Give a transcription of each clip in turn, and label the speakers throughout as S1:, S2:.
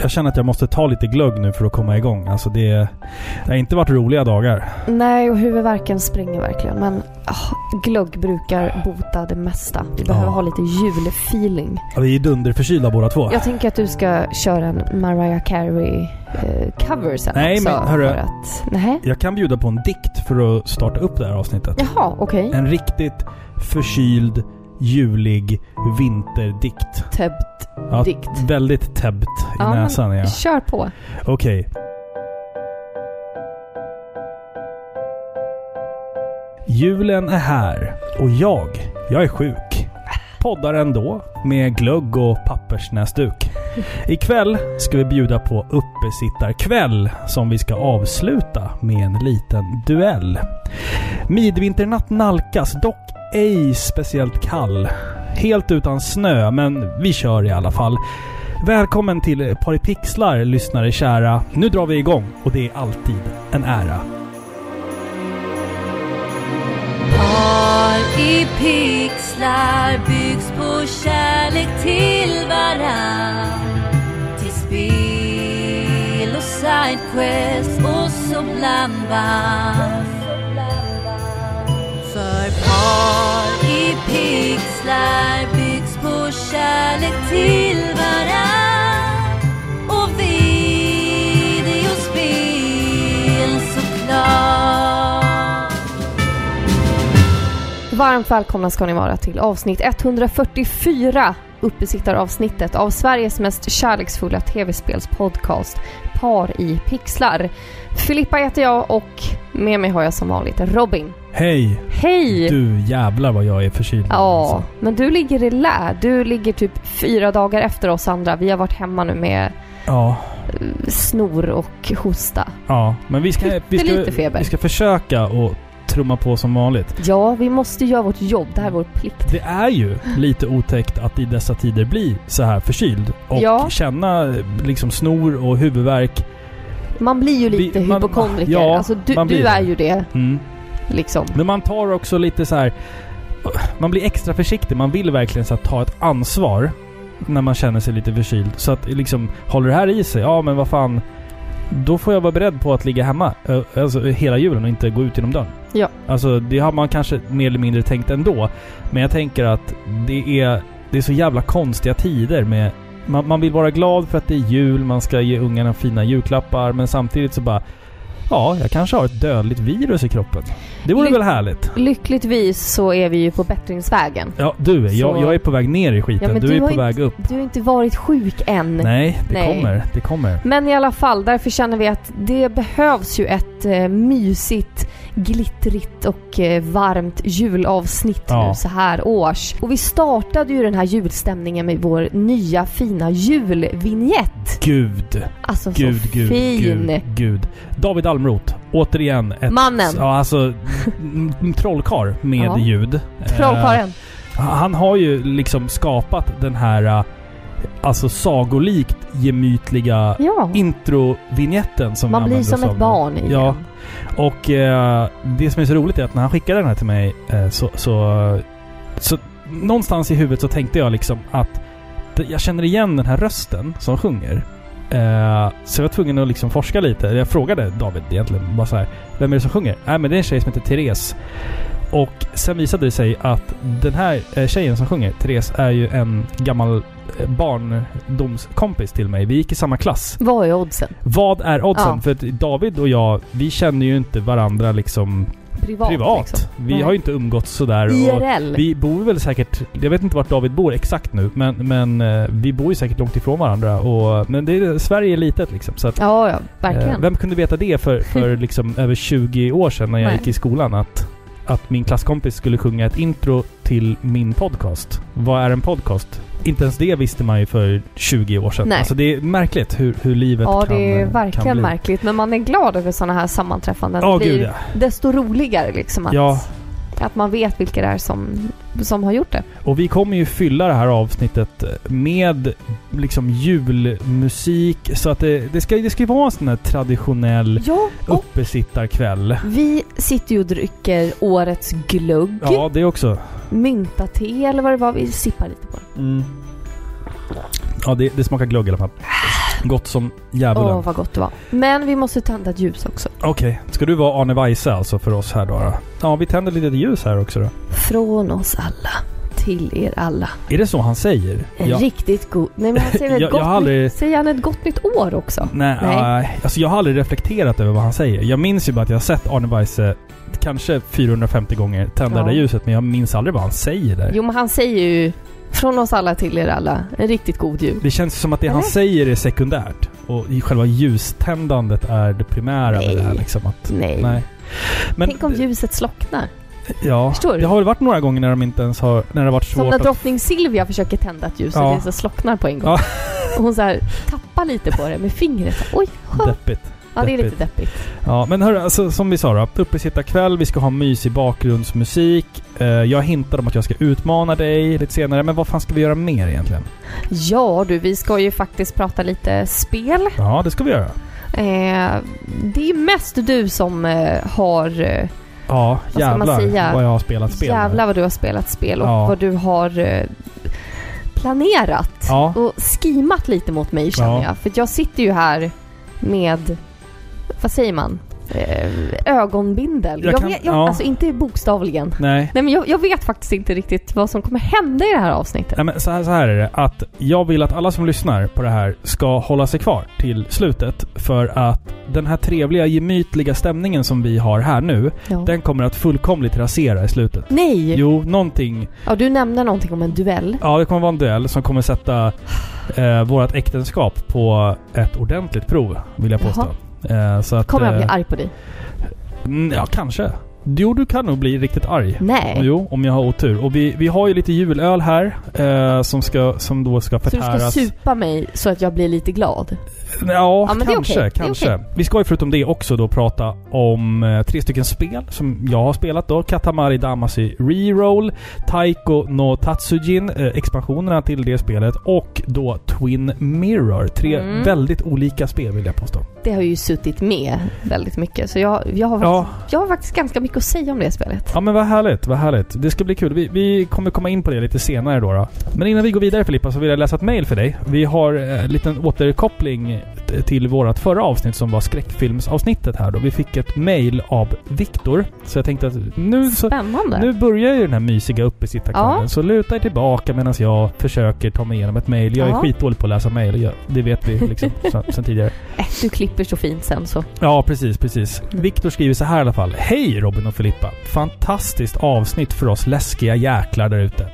S1: jag känner att jag måste ta lite glögg nu för att komma igång. Alltså det, det har inte varit roliga dagar.
S2: Nej, och huvudvärken springer verkligen. Men ah, glögg brukar bota det mesta. Vi behöver
S1: Ja.
S2: ha lite julfeeling.
S1: Ja, Vi är dunderförkylda båda två.
S2: Jag tänker att du ska köra en Mariah Carey-cover sen
S1: Nej,
S2: också.
S1: men hörru.
S2: för att, nej.
S1: Jag kan bjuda på en dikt för att starta upp det här avsnittet.
S2: Jaha, okej.
S1: En riktigt förkyld, julig vinterdikt.
S2: Täppt
S1: Ja,
S2: dikt.
S1: Väldigt täppt i
S2: Ja, men-
S1: näsan är jag.
S2: Kör på.
S1: Okej. Julen är här och jag, jag är sjuk. Poddar ändå med glögg och pappersnäsduk. Ikväll ska vi bjuda på uppesittarkväll som vi ska avsluta med en liten duell. Midvinternatt nalkas, dock ej speciellt kall. Helt utan snö, men vi kör i alla fall. Välkommen till Paripixlar, lyssnare kära. Nu drar vi igång och det är alltid en ära.
S3: Par i pixlar byggs på kärlek till varann Till spel och sidequest och så blandband För par i pixlar byggs på kärlek till varann Och videospel såklart
S2: Varmt välkomna ska ni vara till avsnitt 144 uppesittaravsnittet av Sveriges mest kärleksfulla tv-spelspodcast Par i pixlar. Filippa heter jag och med mig har jag som vanligt Robin.
S1: Hej!
S2: Hej!
S1: Du jävlar vad jag är förkyld.
S2: Ja, men du ligger i lä. Du ligger typ fyra dagar efter oss andra. Vi har varit hemma nu med eh,
S1: Ja,
S2: snor och hosta.
S1: ja. Men vi ska, vi
S2: Pyttelite
S1: ska,
S2: feber.
S1: vi ska försöka och trumma på som vanligt.
S2: Ja, vi måste göra vårt jobb. Det här är vår plikt.
S1: Det är ju lite otäckt att i dessa tider bli så här förkyld och
S2: Ja.
S1: känna eh, liksom snor och huvudvärk.
S2: Man blir ju lite
S1: Vi- man-
S2: hypokondriker.
S1: ja,
S2: alltså, du,
S1: man blir
S2: du är
S1: det.
S2: ju det
S1: Mm.
S2: liksom.
S1: Men man tar också lite så här. Man blir extra försiktig. Man vill verkligen så här, ta ett ansvar när man känner sig lite förkyld. Så att liksom, håller det här i sig, ja men vad fan. Då får jag vara beredd på att ligga hemma eh, alltså, hela julen och inte gå ut genom dörren.
S2: Ja.
S1: Alltså det har man kanske mer eller mindre tänkt ändå. Men jag tänker att det är, det är så jävla konstiga tider med... Man, man vill vara glad för att det är jul, man ska ge ungarna fina julklappar men samtidigt så bara... Ja, jag kanske har ett dödligt virus i kroppen. Det vore
S2: Ly-
S1: väl härligt?
S2: Lyckligtvis så är vi ju på bättringsvägen.
S1: Ja, du. Jag,
S2: Så-
S1: jag är på väg ner i skiten.
S2: Ja, men
S1: du,
S2: du
S1: är
S2: har
S1: på
S2: inte-
S1: väg upp.
S2: Du har inte varit sjuk än.
S1: Nej, det
S2: Nej.
S1: kommer. Det kommer.
S2: Men i alla fall, därför känner vi att det behövs ju ett eh, mysigt, glittrigt och eh, varmt julavsnitt
S1: Ja.
S2: nu så här års. Och vi startade ju den här julstämningen med vår nya fina julvinjett.
S1: Gud,
S2: Alltså
S1: gud,
S2: så
S1: gud,
S2: fin!
S1: gud, gud. David Almroth. Återigen ett...
S2: Mannen.
S1: Ja, alltså... en Trollkarl med
S2: Ja.
S1: ljud. Eh,
S2: Trollkarlen.
S1: Han har ju liksom skapat den här eh, alltså sagolikt gemytliga
S2: Ja.
S1: introvinjetten som
S2: Mm. Man
S1: vi
S2: blir
S1: använder
S2: som
S1: oss av
S2: ett
S1: nu.
S2: barn i
S1: Ja.
S2: den.
S1: Och eh, det som är så roligt är att när han skickade den här till mig eh, så, så, så... Någonstans i huvudet så tänkte jag liksom att det- jag känner igen den här rösten som sjunger. Eh, så jag var tvungen att liksom forska lite. Jag frågade David egentligen bara så här, Vem är det som sjunger? Nej men det är en tjej som heter Therese. Och sen visade det sig att den här eh, tjejen som sjunger, Therese, är ju en gammal eh, barndomskompis till mig. Vi gick i samma klass.
S2: Vad är oddsen?
S1: Vad är oddsen?
S2: Ja.
S1: För att David och jag, vi känner ju inte varandra liksom
S2: Privat,
S1: privat.
S2: liksom.
S1: Vi
S2: Nej.
S1: har ju inte umgåtts sådär. Och
S2: IRL.
S1: vi bor väl säkert... Jag vet inte vart David bor exakt nu, men, men eh, vi bor ju säkert långt ifrån varandra. Och, men det är, Sverige är litet liksom. Så att,
S2: Ja, ja,
S1: eh,
S2: verkligen.
S1: vem kunde veta det för, för liksom över 20 år sedan när jag
S2: Nej.
S1: gick i skolan? Att, att min klasskompis skulle sjunga ett intro till min podcast. Vad är en podcast? Inte ens det visste man ju för 20 år sedan.
S2: Nej.
S1: Alltså det är märkligt hur, hur livet
S2: Ja,
S1: kan
S2: det är
S1: eh, kan
S2: verkligen
S1: bli.
S2: märkligt. Men man är glad över sådana här sammanträffanden.
S1: Ja,
S2: Det blir
S1: gud ja.
S2: desto roligare liksom att,
S1: Ja.
S2: att man vet vilka det är som, som har gjort det.
S1: Och vi kommer ju fylla det här avsnittet med liksom julmusik. Så att det, det, ska, det ska ju vara en sån här traditionell
S2: Ja, och
S1: uppesittarkväll.
S2: vi sitter ju och dricker årets glögg,
S1: Ja, det också.
S2: myntate
S1: Mm.
S2: eller vad det var. Vi sippar lite på det.
S1: Ja, det, det smakar glögg i alla fall. Gott som
S2: Åh,
S1: djävulen.
S2: vad gott det var. Men vi måste tända ett ljus också.
S1: Okej, ska du vara Arne Weise alltså för oss här då? då? Ja, vi tänder lite ljus här också då.
S2: Från oss alla till er alla.
S1: Är det så han säger?
S2: En
S1: Ja.
S2: riktigt god... Nej men han säger ett
S1: Jag- jag
S2: gott
S1: har aldrig-
S2: nytt... Säger han ett gott nytt år också?
S1: Nej,
S2: Nej.
S1: nej. Alltså jag har aldrig reflekterat över vad han säger. Jag minns ju bara att jag har sett Arne Weise eh, kanske 450 gånger tända
S2: Ja.
S1: det där ljuset, men jag minns aldrig vad han säger där.
S2: Jo men han säger ju från oss alla till er alla. En riktigt god jul.
S1: Det känns som att det han
S2: Eller?
S1: säger är sekundärt. Och i själva ljuständandet är det primära med det här
S2: Nej.
S1: liksom. Att,
S2: Nej.
S1: nej. Men,
S2: Tänk om ljuset slocknar.
S1: ja,
S2: Förstår du?
S1: det har väl varit några gånger när de inte ens har... När det har varit
S2: Som
S1: svårt
S2: när
S1: att...
S2: drottning Silvia försöker tända ett ljus
S1: Ja.
S2: och det så slocknar på en gång.
S1: Ja.
S2: Och hon så här tappar lite på det med fingret. Oj, ja,
S1: Deppigt.
S2: ja det är lite deppigt.
S1: Ja, men hörru, alltså, som vi sa då. Uppesittarkväll, vi ska ha mysig bakgrundsmusik. Eh, jag hintar om att jag ska utmana dig lite senare, men vad fan ska vi göra mer egentligen?
S2: Ja du, vi ska ju faktiskt prata lite spel.
S1: Ja, det ska vi göra.
S2: Eh, det är mest du som eh, har... Eh,
S1: Ja,
S2: ska
S1: jävlar
S2: man säga?
S1: vad jag har spelat spel. nu.
S2: jävlar vad du har spelat spel och
S1: Ja.
S2: vad du har eh, planerat.
S1: Ja,
S2: Och skimat lite mot mig känner
S1: Ja.
S2: jag. För att jag sitter ju här med... Vad säger man? Eh, ögonbindel.
S1: Jag
S2: Jag
S1: kan-
S2: vet, jag,
S1: ja.
S2: Alltså inte bokstavligen.
S1: nej.
S2: Nej men jag, jag vet faktiskt inte riktigt vad som kommer hända i det här avsnittet.
S1: Nej, men så här, så här är det. Att jag vill att alla som lyssnar på det här ska hålla sig kvar till slutet. För att den här trevliga, gemytliga stämningen som vi har här nu,
S2: Ja.
S1: den kommer att fullkomligt rasera i slutet.
S2: Nej!
S1: Jo, någonting...
S2: Ja, du nämnde någonting om en duell.
S1: Ja, det kommer vara en duell som kommer sätta eh, vårt äktenskap på ett ordentligt prov, vill jag påstå. Eh, så att,
S2: Kommer jag bli
S1: eh,
S2: arg på dig?
S1: mm, Ja, kanske. Jo, du kan nog bli riktigt arg.
S2: Nej.
S1: Jo, om jag har otur. Och vi, vi har ju lite julöl här eh, som, ska, som då ska
S2: Så du ska
S1: förtäras.
S2: supa mig så att jag blir lite glad?
S1: Ja,
S2: Ja, men det är
S1: kanske.
S2: okej. Det är
S1: kanske. Vi ska ju förutom det också då prata om eh, tre stycken spel som jag har spelat då. Katamari Damacy Reroll, Taiko no Tatsujin, eh, expansionerna till det spelet och då Twin Mirror. Tre
S2: Mm.
S1: väldigt olika spel vill jag påstå.
S2: Det har ju suttit med väldigt mycket så jag, jag, har,
S1: Ja,
S2: faktiskt, jag har faktiskt ganska mycket att säga om det spelet.
S1: ja men vad härligt, vad härligt. Det ska bli kul. Vi, vi kommer komma in på det lite senare då, då. Men innan vi går vidare Filippa så vill jag läsa ett mail för dig. Vi har eh, en liten återkoppling t- till vårt förra avsnitt som var skräckfilmsavsnittet här då. Vi fick ett mail av Viktor. Så jag tänkte att nu så...
S2: Spännande.
S1: Nu börjar ju den här mysiga uppesittarkvällen, så luta er tillbaka medan jag försöker ta mig igenom ett mail. Jag är
S2: Ja.
S1: skitdålig på att läsa mail, jag- det vet vi liksom sen, sen tidigare.
S2: Äh, du klipper så fint sen så.
S1: Ja, precis, precis.
S2: Mm.
S1: Viktor skriver så här i alla fall. Hej Robin och Filippa! Fantastiskt avsnitt för oss läskiga jäklar där ute.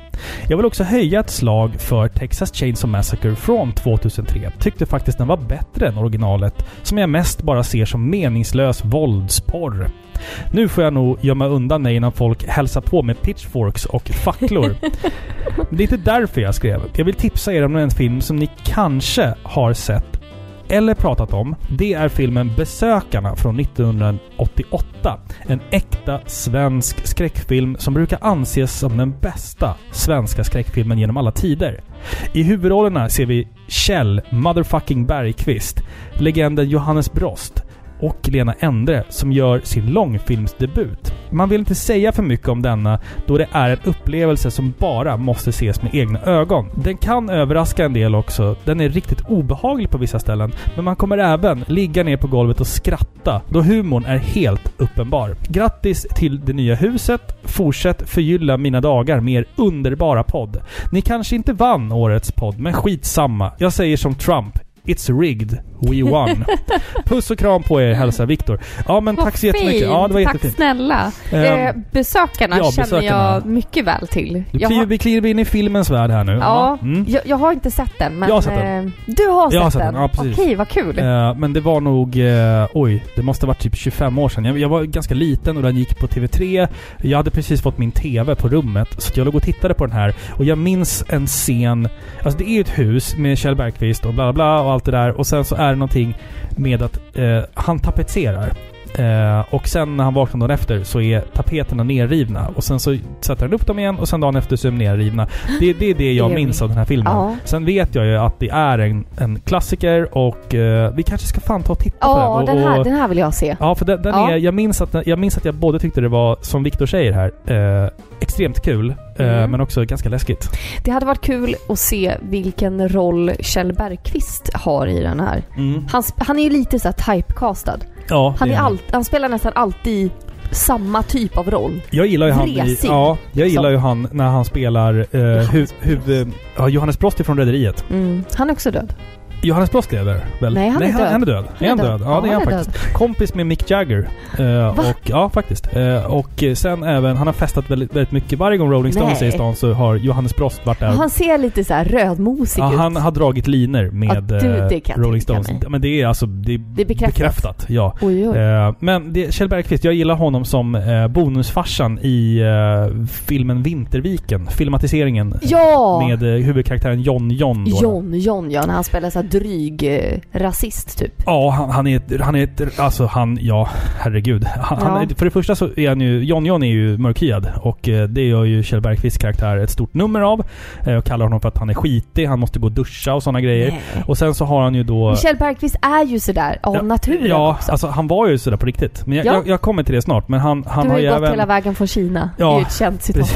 S1: Jag vill också höja ett slag för Texas Chainsaw Massacre från 2003. Tyckte faktiskt den var bättre än originalet, som jag mest bara ser som meningslös våldsporr. Nu får jag nog gömma undan mig innan folk hälsar på med pitchforks och facklor. Men det är inte därför jag skrev. Jag vill tipsa er om en film som ni kanske har sett eller pratat om, det är filmen Besökarna från 1988. En äkta svensk skräckfilm som brukar anses som den bästa svenska skräckfilmen genom alla tider. I huvudrollerna ser vi Kjell motherfucking Bergqvist, legenden Johannes Brost och Lena Endre som gör sin långfilmsdebut. Man vill inte säga för mycket om denna då det är en upplevelse som bara måste ses med egna ögon. Den kan överraska en del också. Den är riktigt obehaglig på vissa ställen, men man kommer även ligga ner på golvet och skratta då humorn är helt uppenbar. Grattis till det nya huset. Fortsätt förgylla mina dagar med er underbara podd. Ni kanske inte vann årets podd, men skitsamma. Jag säger som Trump. It's rigged. We won. Puss och kram på er, hälsar Viktor. Ja, men tack så jättemycket. Ja, det var
S2: Tack
S1: jättefint.
S2: snälla.
S1: Ehm,
S2: eh, besökarna
S1: ja,
S2: känner
S1: Besökarna.
S2: jag mycket väl till.
S1: Du
S2: Jag
S1: kliver,
S2: har,
S1: Vi kliver in i filmens värld här nu.
S2: ja,
S1: Mm.
S2: jag, jag har inte sett den men...
S1: Jag har sett
S2: eh, du har sett,
S1: Jag har sett
S2: den?
S1: den, ja, precis.
S2: Okej, vad kul.
S1: Eh, men det var nog... eh, oj, det måste ha varit typ 25 år sedan. Jag, jag var ganska liten och den gick på TV3. Jag hade precis fått min TV på rummet, så att jag låg och tittade på den här. Och jag minns en scen... Alltså det är ju ett hus med Kjell Bergqvist och bla bla bla och allt det där. Och sen så är det någonting med att eh, han tapetserar. Eh, och sen när han vaknar dagen efter så är tapeterna nerrivna. Och sen så sätter han upp dem igen och sen dagen efter så är de nerrivna. Det, det är det jag
S2: Det är
S1: minns
S2: det.
S1: av den här filmen.
S2: Ja.
S1: Sen vet jag ju att det är en, en klassiker och eh, vi kanske ska fan ta och titta
S2: Ja,
S1: på den.
S2: den
S1: och,
S2: här,
S1: och,
S2: den här vill jag se.
S1: ja, för den, den
S2: Ja.
S1: Är, jag, minns att, den- jag minns att jag både tyckte det var, som Viktor säger här, eh, extremt kul. eh,
S2: Mm.
S1: Men också ganska läskigt.
S2: Det hade varit kul att se vilken roll Kjell Bergqvist har i den här. Han, sp- han är ju lite så här typecastad.
S1: Ja,
S2: Han,
S1: det
S2: är
S1: är
S2: allt, han spelar nästan alltid samma typ av roll.
S1: Jag gillar ju han i,
S2: Vresig.
S1: Ja, jag gillar
S2: Så.
S1: ju han när han spelar eh, hu, hu, eh, ja, Johannes Brost ifrån Rederiet.
S2: Mm. Han är också död.
S1: Johannes Brost lever väl?
S2: Nej, han är
S1: han,
S2: död.
S1: han är död. Han är han död? Ja, det är han faktiskt.
S2: död.
S1: Kompis med Mick Jagger. Eh,
S2: Va?
S1: och, ja, faktiskt. Eh, och eh, sen även, han har festat väldigt, väldigt mycket. Varje gång Rolling Stones
S2: Nej.
S1: är i stan så har Johannes Brost varit där.
S2: Han ser lite så här rödmosig
S1: Ja,
S2: ut.
S1: han har dragit liner
S2: Ja,
S1: med
S2: du, det kan
S1: eh,
S2: jag
S1: Rolling
S2: tänka
S1: Stones.
S2: mig.
S1: Ja, Men det är alltså det är
S2: Det är bekräftat.
S1: bekräftat ja.
S2: Oj, oj.
S1: Eh, men det, Kjell Bergqvist, jag gillar honom som eh, bonusfarsan i eh, filmen Vinterviken. Filmatiseringen. eh,
S2: Ja!
S1: Med eh, huvudkaraktären John John. Då.
S2: John, John ja, när han spelar så här dryg eh, rasist typ.
S1: Ja, han, han är ett, han är ett, alltså han, ja herregud. Han,
S2: Ja.
S1: han är- för det första så är han ju, John John är ju mörkhyad och eh, det gör ju Kjell Bergqvists karaktär ett stort nummer av. Eh, och kallar honom för att han är skitig, han måste gå och duscha och sådana grejer.
S2: Nej.
S1: Och sen så har han ju då...
S2: Men Kjell Bergqvist är ju sådär av
S1: Ja,
S2: naturen
S1: Ja,
S2: också.
S1: alltså han var ju sådär på riktigt. Men jag,
S2: Ja.
S1: jag, jag kommer till det snart. Men han, han
S2: du
S1: har
S2: har
S1: ju
S2: ju gått
S1: även...
S2: hela vägen från Kina.
S1: Ja,
S2: det är ju ett känt citat.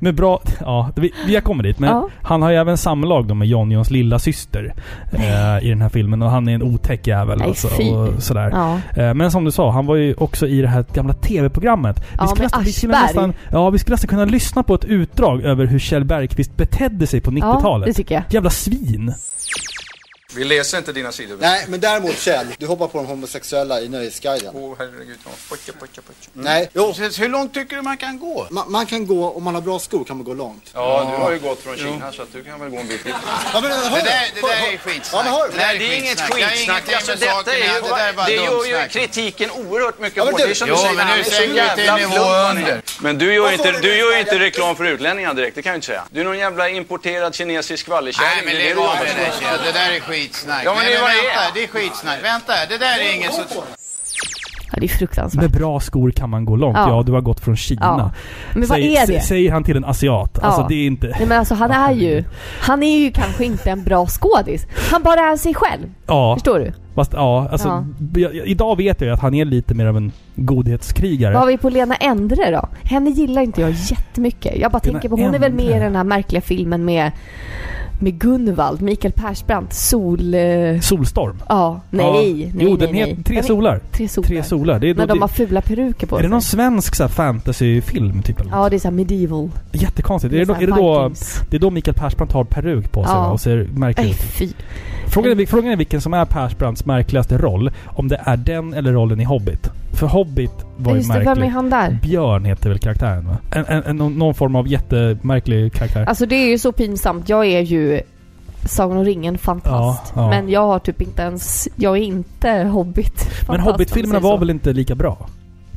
S1: Med bra... Ja, vi, jag kommer dit. Men
S2: Ja.
S1: han har ju även samlag då med John Johns lilla syster eh, i den här filmen. Och han är en otäck jävel.
S2: Nej,
S1: alltså,
S2: fy.
S1: och sådär.
S2: Ja.
S1: Eh, Men som du sa, han var ju också i det här gamla TV-programmet.
S2: Ja, med
S1: vi, skulle
S2: Aschberg.
S1: nästan, ja, vi skulle nästan kunna lyssna på ett utdrag över hur Kjell Bergqvist betedde sig på
S2: ja, det
S1: 90-talet.
S2: tycker jag.
S1: Jävla svin!
S4: Vi läser inte dina sidor.
S5: Nej, men däremot Kjell, du hoppar på de homosexuella i Nöjesguiden.
S4: Åh herregud. ja. Pojke, pojke, pojke.
S5: Nej, jo.
S6: Precis, Mm. hur långt tycker du man kan gå?
S5: Man, man kan gå, om man har bra skor kan man gå långt.
S4: Ja, du har ju gått från Kina så att du kan väl gå en bit till.
S5: Ja, men, hör,
S6: Det där, det
S5: hör-
S6: där
S5: hör-
S6: är skitsnack.
S5: Ja, men hör,
S6: där är Det
S7: Alltså,
S6: har ingenting med saken att göra. Det där är bara
S7: det gör ju
S6: dumsnack.
S7: kritiken oerhört mycket
S5: Ja, men
S7: hårdare.
S5: du-
S7: som du
S6: Jo,
S7: säger,
S6: men
S7: han är
S6: nu
S7: så
S6: sänker vi till
S7: jävla
S6: nivå
S7: plump.
S6: under.
S7: Men du gör,
S5: Vad
S7: inte,
S5: får
S7: du
S5: du
S7: gör ju
S5: säga?
S7: inte reklam för utlänningar direkt, det kan jag inte säga. Du är någon jävla importerad kinesisk
S6: Nej,
S7: vallekärring.
S6: men
S7: det är
S6: lägg
S7: det du
S6: av
S7: jobbar med.
S6: med det Kjell. Det där är skitsnack.
S7: Ja, men
S6: Nej,
S7: det är vad det är.
S6: vänta, det är skitsnack. Vänta, det där är ingen så...
S2: Ja, det är fruktansvärt.
S1: Med bra skor kan man gå långt.
S2: Ja.
S1: Ja, du har gått från Kina.
S2: Ja. Men vad
S1: Säg-
S2: är
S1: sä-
S2: det?
S1: Säger han till en asiat. Alltså det är inte...
S2: Nej, men alltså han är ju... Han är ju kanske inte en bra skådis. Han bara är sig själv.
S1: Ja,
S2: Förstår du?
S1: fast ja, alltså,
S2: Ja.
S1: b- jag- Idag vet jag ju att han är lite mer av en godhetskrigare.
S2: Vad har vi på Lena Endre då? Henne gillar inte jag jättemycket. Jag bara
S1: Lena
S2: tänker på, hon är väl med i
S1: Endre.
S2: den här märkliga filmen med, med Gunvald, Mikael Persbrandt, Sol... eh,
S1: Solstorm.
S2: Ja, nej,
S1: ja.
S2: nej,
S1: Jo,
S2: nej,
S1: den
S2: nej.
S1: heter Tre
S2: Den är-
S1: solar.
S2: Tre solar.
S1: Tre solar. Det är, då,
S2: När de
S1: det,
S2: har fula peruker på
S1: är det
S2: sig.
S1: någon svensk så här, fantasyfilm? Typ, eller?
S2: Ja, det är såhär medieval.
S1: Jättekonstigt. Är det,
S2: är
S1: då,
S2: så här
S1: är det, då,
S2: Vikings.
S1: det är då Mikael Persbrandt har peruk på sig
S2: Ja. Äh.
S1: va? och ser märklig
S2: Nej,
S1: ut.
S2: fy.
S1: Frågan är, vil- frågan är vilken som är Persbrandts märkligaste roll. Om det är den eller rollen i Hobbit. För Hobbit var ju
S2: Just det, vem är
S1: märklig.
S2: han där?
S1: Björn heter väl karaktären va? En, en, en, någon- någon form av jättemärklig karaktär.
S2: Alltså det är ju så pinsamt. Jag är ju Sagan om ringen-fantast.
S1: Ja, ja.
S2: Men jag har typ inte ens... Jag är inte hobbit
S1: Men Hobbit-filmerna var väl inte lika bra?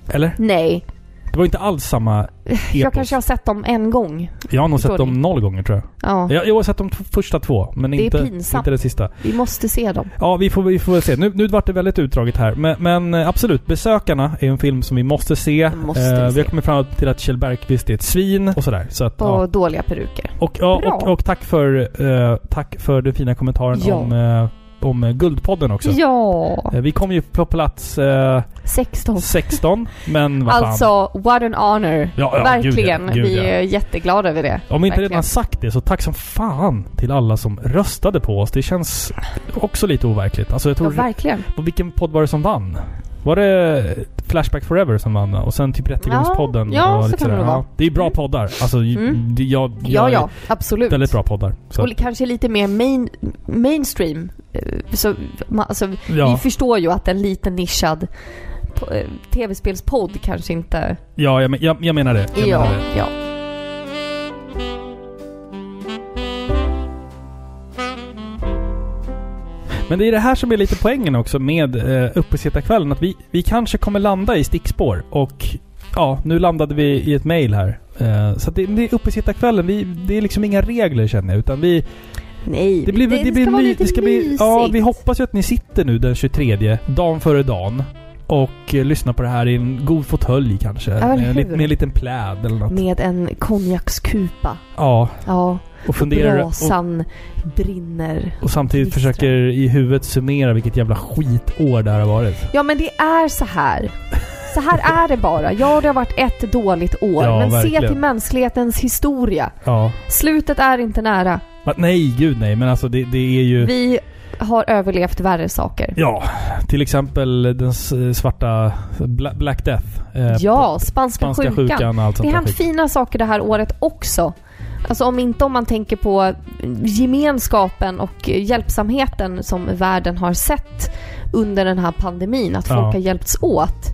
S1: Eller?
S2: Nej.
S1: Det var inte alls samma epos.
S2: Jag kanske har sett dem en gång.
S1: Jag har nog
S2: Förstår
S1: sett dem
S2: ni?
S1: noll gånger tror jag.
S2: Ja,
S1: Jag, jag har sett de t- första två, men
S2: Det är
S1: inte,
S2: pinsamt.
S1: inte den sista.
S2: vi måste se dem.
S1: Ja, vi får, vi får väl se. Nu, nu vart det väldigt utdraget här. Men, men eh, absolut, Besökarna är en film som vi måste se. Eh,
S2: Den måste vi
S1: vi
S2: se.
S1: har kommit fram till att Kjell Bergqvist är ett svin och sådär. Så att,
S2: Och
S1: ja.
S2: dåliga peruker.
S1: Och, ja,
S2: Bra.
S1: och, och tack, för, eh, tack för den fina kommentaren
S2: Ja.
S1: om, eh, om eh, Guldpodden också.
S2: Ja,
S1: Eh, Vi kom ju på plats eh,
S2: 16.
S1: 16, men vad fan.
S2: Alltså, what an honor.
S1: Ja, ja,
S2: Verkligen.
S1: gud ja, gud
S2: vi
S1: ja.
S2: är jätteglada över det.
S1: Om vi inte
S2: Verkligen.
S1: redan sagt det så tack som fan till alla som röstade på oss. Det känns också lite overkligt. Alltså jag
S2: Ja,
S1: tror...
S2: verkligen.
S1: och vilken podd var det som vann? Var det Flashback Forever som vann? Och sen typ Rättegångspodden?
S2: Ja, ja,
S1: och
S2: så
S1: lite
S2: kan det
S1: sådär.
S2: vara.
S1: Ja, det är bra poddar. Alltså,
S2: Mm.
S1: det- jag,
S2: Ja,
S1: jag
S2: ja,
S1: är
S2: absolut.
S1: Väldigt bra poddar. Så,
S2: Och kanske lite mer main, mainstream. Eh, Så, ma- alltså, Vi
S1: ja,
S2: förstår ju att en liten nischad po- eh, tv-spelspodd kanske inte...
S1: ja jag, men- jag, jag menar det. Jag
S2: ja,
S1: menar det.
S2: ja.
S1: Men det är det här som är lite poängen också med eh, Uppesittarkvällen. Att vi, vi kanske kommer landa i stickspår. Och ja, nu landade vi i ett mejl här. Eh, så att det, det är Uppesittarkvällen. Vi, det är liksom inga regler känner jag. Utan vi,
S2: Nej,
S1: Det, blir, det,
S2: ska
S1: blir
S2: vara
S1: ny,
S2: lite
S1: det ska bli, Ja,
S2: mysigt.
S1: vi hoppas ju att ni sitter nu den 23, dagen före dagen. och eh, lyssna på det här i en god fåtölj kanske.
S2: Ja,
S1: med,
S2: men
S1: en
S2: hur?
S1: lit- med en liten pläd eller något.
S2: Med en konjakskupa.
S1: Ja,
S2: Ja,
S1: och funderar och,
S2: brasan brinner.
S1: och samtidigt
S2: knistrar.
S1: försöker i huvudet summera vilket jävla skitår det här har varit.
S2: Ja men det är så här. Så här är det bara. Ja, det har varit ett dåligt år.
S1: Ja,
S2: men se
S1: verkligen.
S2: till mänsklighetens historia.
S1: Ja.
S2: Slutet är inte nära.
S1: Va, nej, gud nej. Men alltså det, det är ju...
S2: Vi har överlevt värre saker.
S1: Ja, till exempel den s- svarta Bla- Black Death. eh,
S2: Ja, spanska,
S1: Spanska
S2: sjukan.
S1: sjukan och allt
S2: Det
S1: sånt
S2: har
S1: där
S2: hänt
S1: skit.
S2: fina saker det här året också. Alltså om inte om man tänker på gemenskapen och hjälpsamheten som världen har sett under den här pandemin, att folk
S1: Ja.
S2: har hjälpts åt.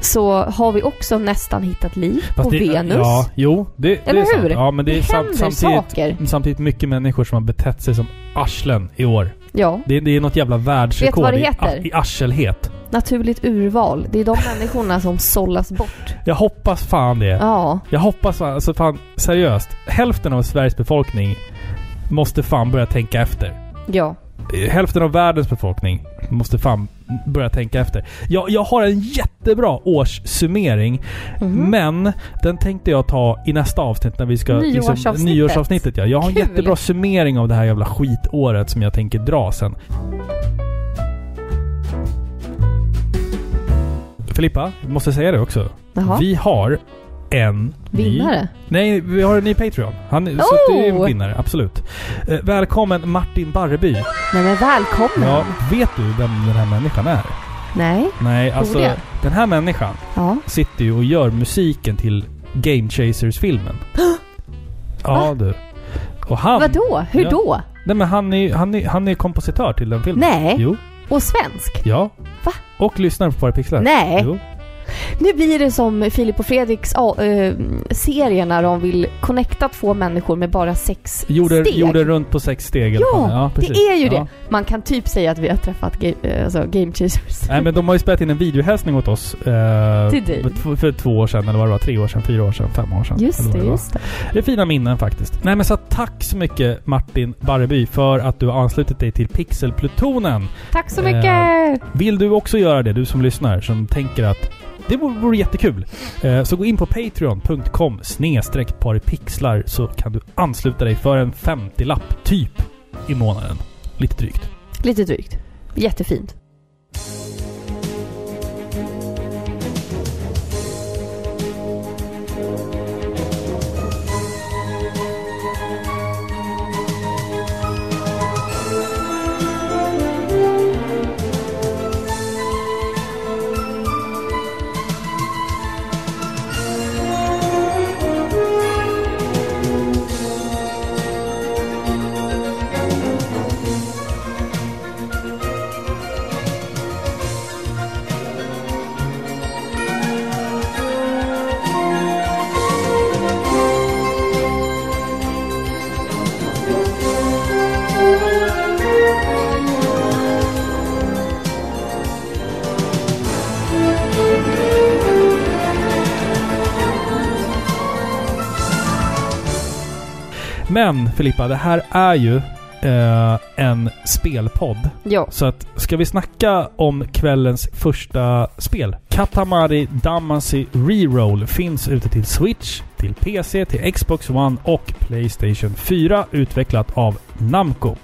S2: Så har vi också nästan hittat liv
S1: Fast
S2: på
S1: det-
S2: Venus.
S1: Ja, jo. Det, det
S2: Eller
S1: är sant.
S2: hur?
S1: Ja, men det,
S2: Det
S1: är sam-
S2: händer
S1: samtidigt,
S2: saker.
S1: Samtidigt mycket människor som har betett sig som arslen i år.
S2: Ja,
S1: Det, det är något jävla världsrekord
S2: Vet du vad det
S1: I,
S2: heter?
S1: a- i arselhet.
S2: naturligt urval. Det är de människorna som sållas bort.
S1: Jag hoppas fan det.
S2: Ja,
S1: Jag hoppas fan, alltså fan seriöst. Hälften av Sveriges befolkning måste fan börja tänka efter.
S2: ja.
S1: Eh, Hälften av världens befolkning måste fan börja tänka efter. Jag, jag har en jättebra årssummering,
S2: Mhm.
S1: men den tänkte jag ta i nästa avsnitt när vi ska... liksom-
S2: Nyårsavsnittet.
S1: nyårsavsnittet ja. Jag har en
S2: Kul.
S1: jättebra summering av det här jävla skitåret som jag tänker dra sen. Filippa, jag måste säga det också.
S2: Jaha.
S1: Vi har en Ny...
S2: Vinnare.
S1: Nej, vi har en ny Patreon. Han, Så att du är en
S2: Oh!
S1: vinnare, absolut. Eh, välkommen Martin Barreby.
S2: Nej men välkommen.
S1: Ja, vet du vem den här människan är?
S2: Nej.
S1: Nej, alltså
S2: jag?
S1: den här människan
S2: Ja.
S1: sitter ju och gör musiken till Game Chasers-filmen. ja,
S2: Va?
S1: du. Och han...
S2: Vadå? Hur
S1: Ja.
S2: då?
S1: Nej, men han är, han, är, han är kompositör till den filmen.
S2: Nej.
S1: Jo.
S2: Och svensk?
S1: Ja.
S2: Va?
S1: Och lyssnar på Bara Pixlar.
S2: Nej.
S1: Jo.
S2: Nu blir det som Filip och Fredriks äh, serie när de vill connecta två människor med bara sex
S1: Gjorde,
S2: steg.
S1: gjorde runt på sex steg. eller
S2: Ja,
S1: vad det är.
S2: det
S1: precis.
S2: är ju
S1: Ja.
S2: det. Man kan typ säga att vi har träffat ga- eh, alltså, Game Chasers.
S1: Nej men de har ju spelat in en videohälsning åt oss. Eh,
S2: Till dig.
S1: för tv- För två år sedan, eller vad det var. Tre år sedan, fyra år sedan, fem år sedan. eller
S2: Just
S1: vad
S2: det,
S1: var.
S2: just det.
S1: Det är fina minnen faktiskt. Nej men så att tack så mycket Martin Barreby för att du har anslutit dig till Pixelplutonen.
S2: Tack så
S1: Eh,
S2: mycket!
S1: Vill du också göra det, du som lyssnar, som tänker att det vore, vore jättekul. Eh, så gå in på patreon.com snedstreck paripixlar så kan du ansluta dig för en 50-lapp typ i månaden. Lite drygt.
S2: Lite drygt. Jättefint.
S1: Men Filippa, det här är ju eh, en spelpodd.
S2: Ja.
S1: Så att, ska vi snacka om kvällens första spel? Katamari Damacy Reroll finns ute till Switch, till PC, till Xbox One och Playstation 4 utvecklat av Namco.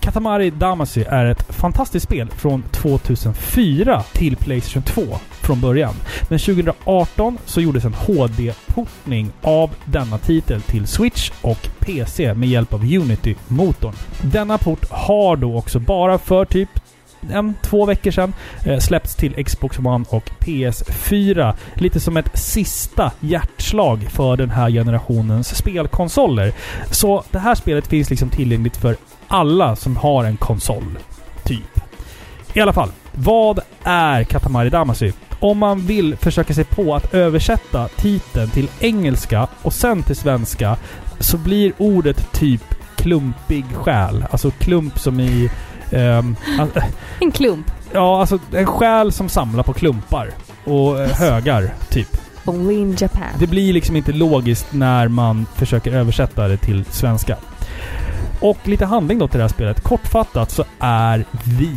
S1: Katamari Damacy är ett fantastiskt spel från 2004 till Playstation 2 från början. Men 2018 så gjordes en HD-portning av denna titel till Switch och PC med hjälp av Unity-motorn. Denna port har då också bara för typ en, två veckor sedan eh, släppts till Xbox One och PS4. Lite som ett sista hjärtslag för den här generationens spelkonsoler. Så det här spelet finns liksom tillgängligt för alla som har en konsol. Typ. I alla fall, vad är Katamari Damacy? Om man vill försöka sig på att översätta titeln till engelska och sen till svenska så blir ordet typ klumpig själ. Alltså klump som i... ehm, al-
S2: En klump.
S1: ja, alltså en själ som samlar på klumpar. Och eh, högar, typ.
S2: Only in Japan.
S1: Det blir liksom inte logiskt när man försöker översätta det till svenska. Och lite handling då till det här spelet. Kortfattat så är vi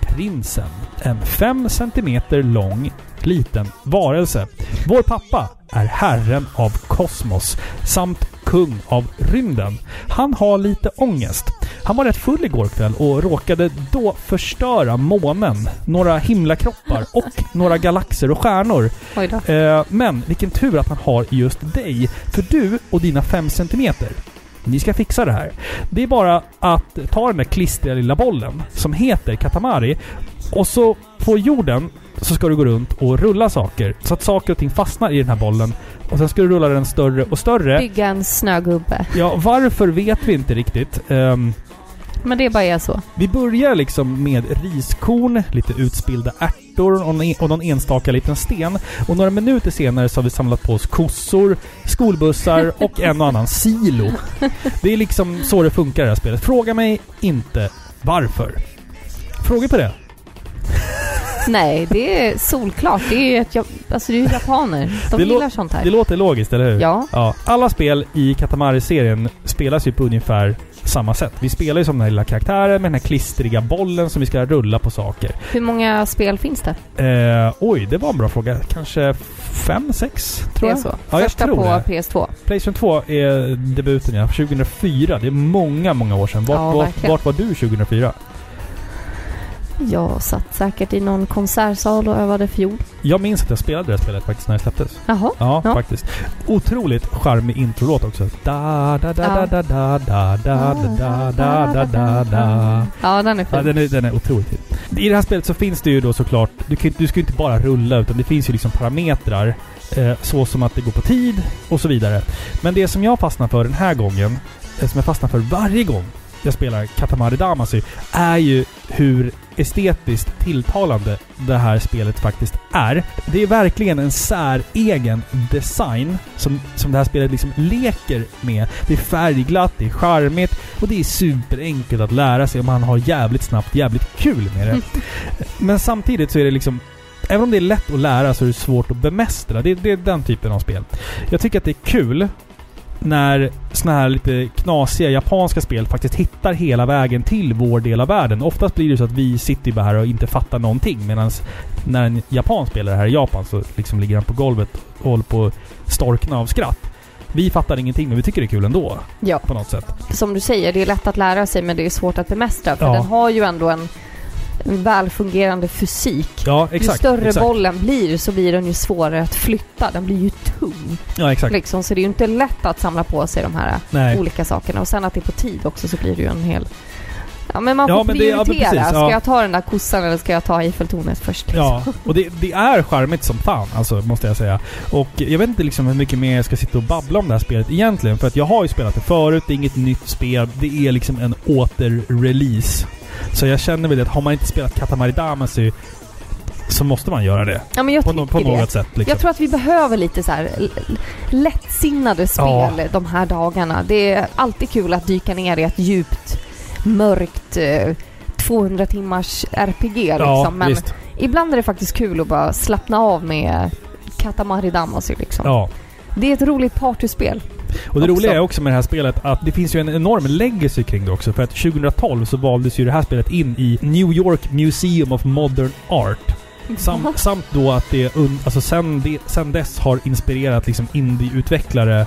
S1: prinsen. En 5 cm lång liten varelse. Vår pappa är herren av kosmos samt kung av rymden. Han har lite ångest. Han var rätt full igår kväll och råkade då förstöra månen, några himlakroppar och några galaxer och stjärnor.
S2: Oj då.
S1: Eh, men vilken tur att han har just dig. För du och dina 5 centimeter. Ni ska fixa det här. Det är bara att ta den där klistriga lilla bollen som heter Katamari och så på jorden så ska du gå runt och rulla saker så att saker och ting fastnar i den här bollen. Och sen ska du rulla den större och större.
S2: Bygga en snögubbe.
S1: Ja, varför vet vi inte riktigt. Ehm,
S2: Men det bara är så.
S1: vi börjar liksom med riskorn, lite utspillda ärtor och en- och någon enstaka liten sten. Och några minuter senare så har vi samlat på oss kossor, skolbussar och en och annan silo. Det är liksom så det funkar i det här spelet. Fråga mig inte varför. Frågor på det?
S2: Nej, det är solklart. Det är ju ett, jap- alltså det är ju japaner. De
S1: Det lå-
S2: gillar sånt
S1: Det
S2: här.
S1: låter logiskt, eller hur?
S2: Ja.
S1: Alla spel i Katamari-serien spelas ju på ungefär samma sätt. Vi spelar ju som den här lilla karaktären med den här klistriga bollen som vi ska rulla på saker.
S2: Hur många spel finns det?
S1: Eh, oj, det var en bra fråga. Kanske fem, sex tror
S2: det är
S1: jag.
S2: så.
S1: Ja, jag
S2: Första
S1: tror
S2: på
S1: det.
S2: PS2.
S1: Playstation 2 är debuten ja. 2004. Det är många, många år sedan. Vart,
S2: Ja,
S1: vart,
S2: verkligen.
S1: vart var du 2004?
S2: Jag satt säkert i någon konsertsal och övade fiol.
S1: Jag minns att jag spelade det här spelet faktiskt när det släpptes.
S2: Jaha.
S1: Ja,
S2: Ja.
S1: faktiskt. Otroligt charmig introlåt också. Da, da, da,
S2: Ja.
S1: da, da, da, da, da, da, da, da, da, da.
S2: Ja, den är
S1: Ja,
S2: fin.
S1: den är, den är otroligt fin. I det här spelet så finns det ju då såklart... Du, kan, du ska ju inte bara rulla, utan det finns ju liksom parametrar. Eh, så som att det går på tid och så vidare. Men det som jag fastnar för den här gången, eh, som jag fastnar för varje gång jag spelar Katamari Damacy, är ju hur estetiskt tilltalande det här spelet faktiskt är. Det är verkligen en säregen design som, som det här spelet liksom leker med. Det är färgglatt, det är charmigt och det är superenkelt att lära sig om man har jävligt snabbt, jävligt kul med det. Men samtidigt så är det liksom Även om det är lätt att lära så är det svårt att bemästra. Det, det är den typen av spel. Jag tycker att det är kul när såna här lite knasiga japanska spel faktiskt hittar hela vägen till vår del av världen. Oftast blir det så att vi sitter bara här och inte fattar någonting medan när en japan spelar här i Japan så liksom ligger han på golvet och håller på att storkna av skratt. Vi fattar ingenting men vi tycker det är kul ändå
S2: Ja.
S1: på något sätt.
S2: Som du säger, det är lätt att lära sig men det är svårt att bemästra. För
S1: Ja.
S2: den har ju ändå en, en välfungerande fysik.
S1: Ja, exakt.
S2: ju större
S1: exakt.
S2: bollen blir så blir den ju svårare att flytta. Den blir ju tung.
S1: Ja, exakt.
S2: Liksom, så det är ju inte lätt att samla på sig de här
S1: Nej.
S2: olika sakerna. Och sen att det är på tid också så blir det ju en hel... Ja men man
S1: Ja,
S2: får
S1: men det- ja,
S2: prioritera.
S1: men precis,
S2: ska
S1: ja.
S2: jag ta den där kossan eller ska jag ta Eiffeltornet först? liksom?
S1: Ja, och det, det är charmigt som fan, alltså, måste jag säga. Och jag vet inte liksom hur mycket mer jag ska sitta och babbla om det här spelet egentligen. För att jag har ju spelat det förut, det är inget nytt spel. Det är liksom en återrelease. Så jag känner väl att har man inte spelat Katamari Damacy så måste man göra det.
S2: Ja, men jag
S1: På, nå- på
S2: tycker det.
S1: något sätt. Liksom.
S2: Jag tror att vi behöver lite så här l- l- lättsinnade spel
S1: Ja.
S2: de här dagarna. Det är alltid kul att dyka ner i ett djupt, mörkt eh, 200 timmars RPG
S1: ja,
S2: liksom. Men
S1: visst.
S2: ibland är det faktiskt kul att bara slappna av med Katamari Damacy liksom.
S1: Ja.
S2: Det är ett roligt partyspel.
S1: Och det
S2: Också.
S1: roliga är också med det här spelet att det finns ju en enorm legacy kring det också. För att 2012 så valdes ju det här spelet in i New York Museum of Modern Art. Sam, samt då att det un, alltså sen, de, sen dess har inspirerat liksom indieutvecklare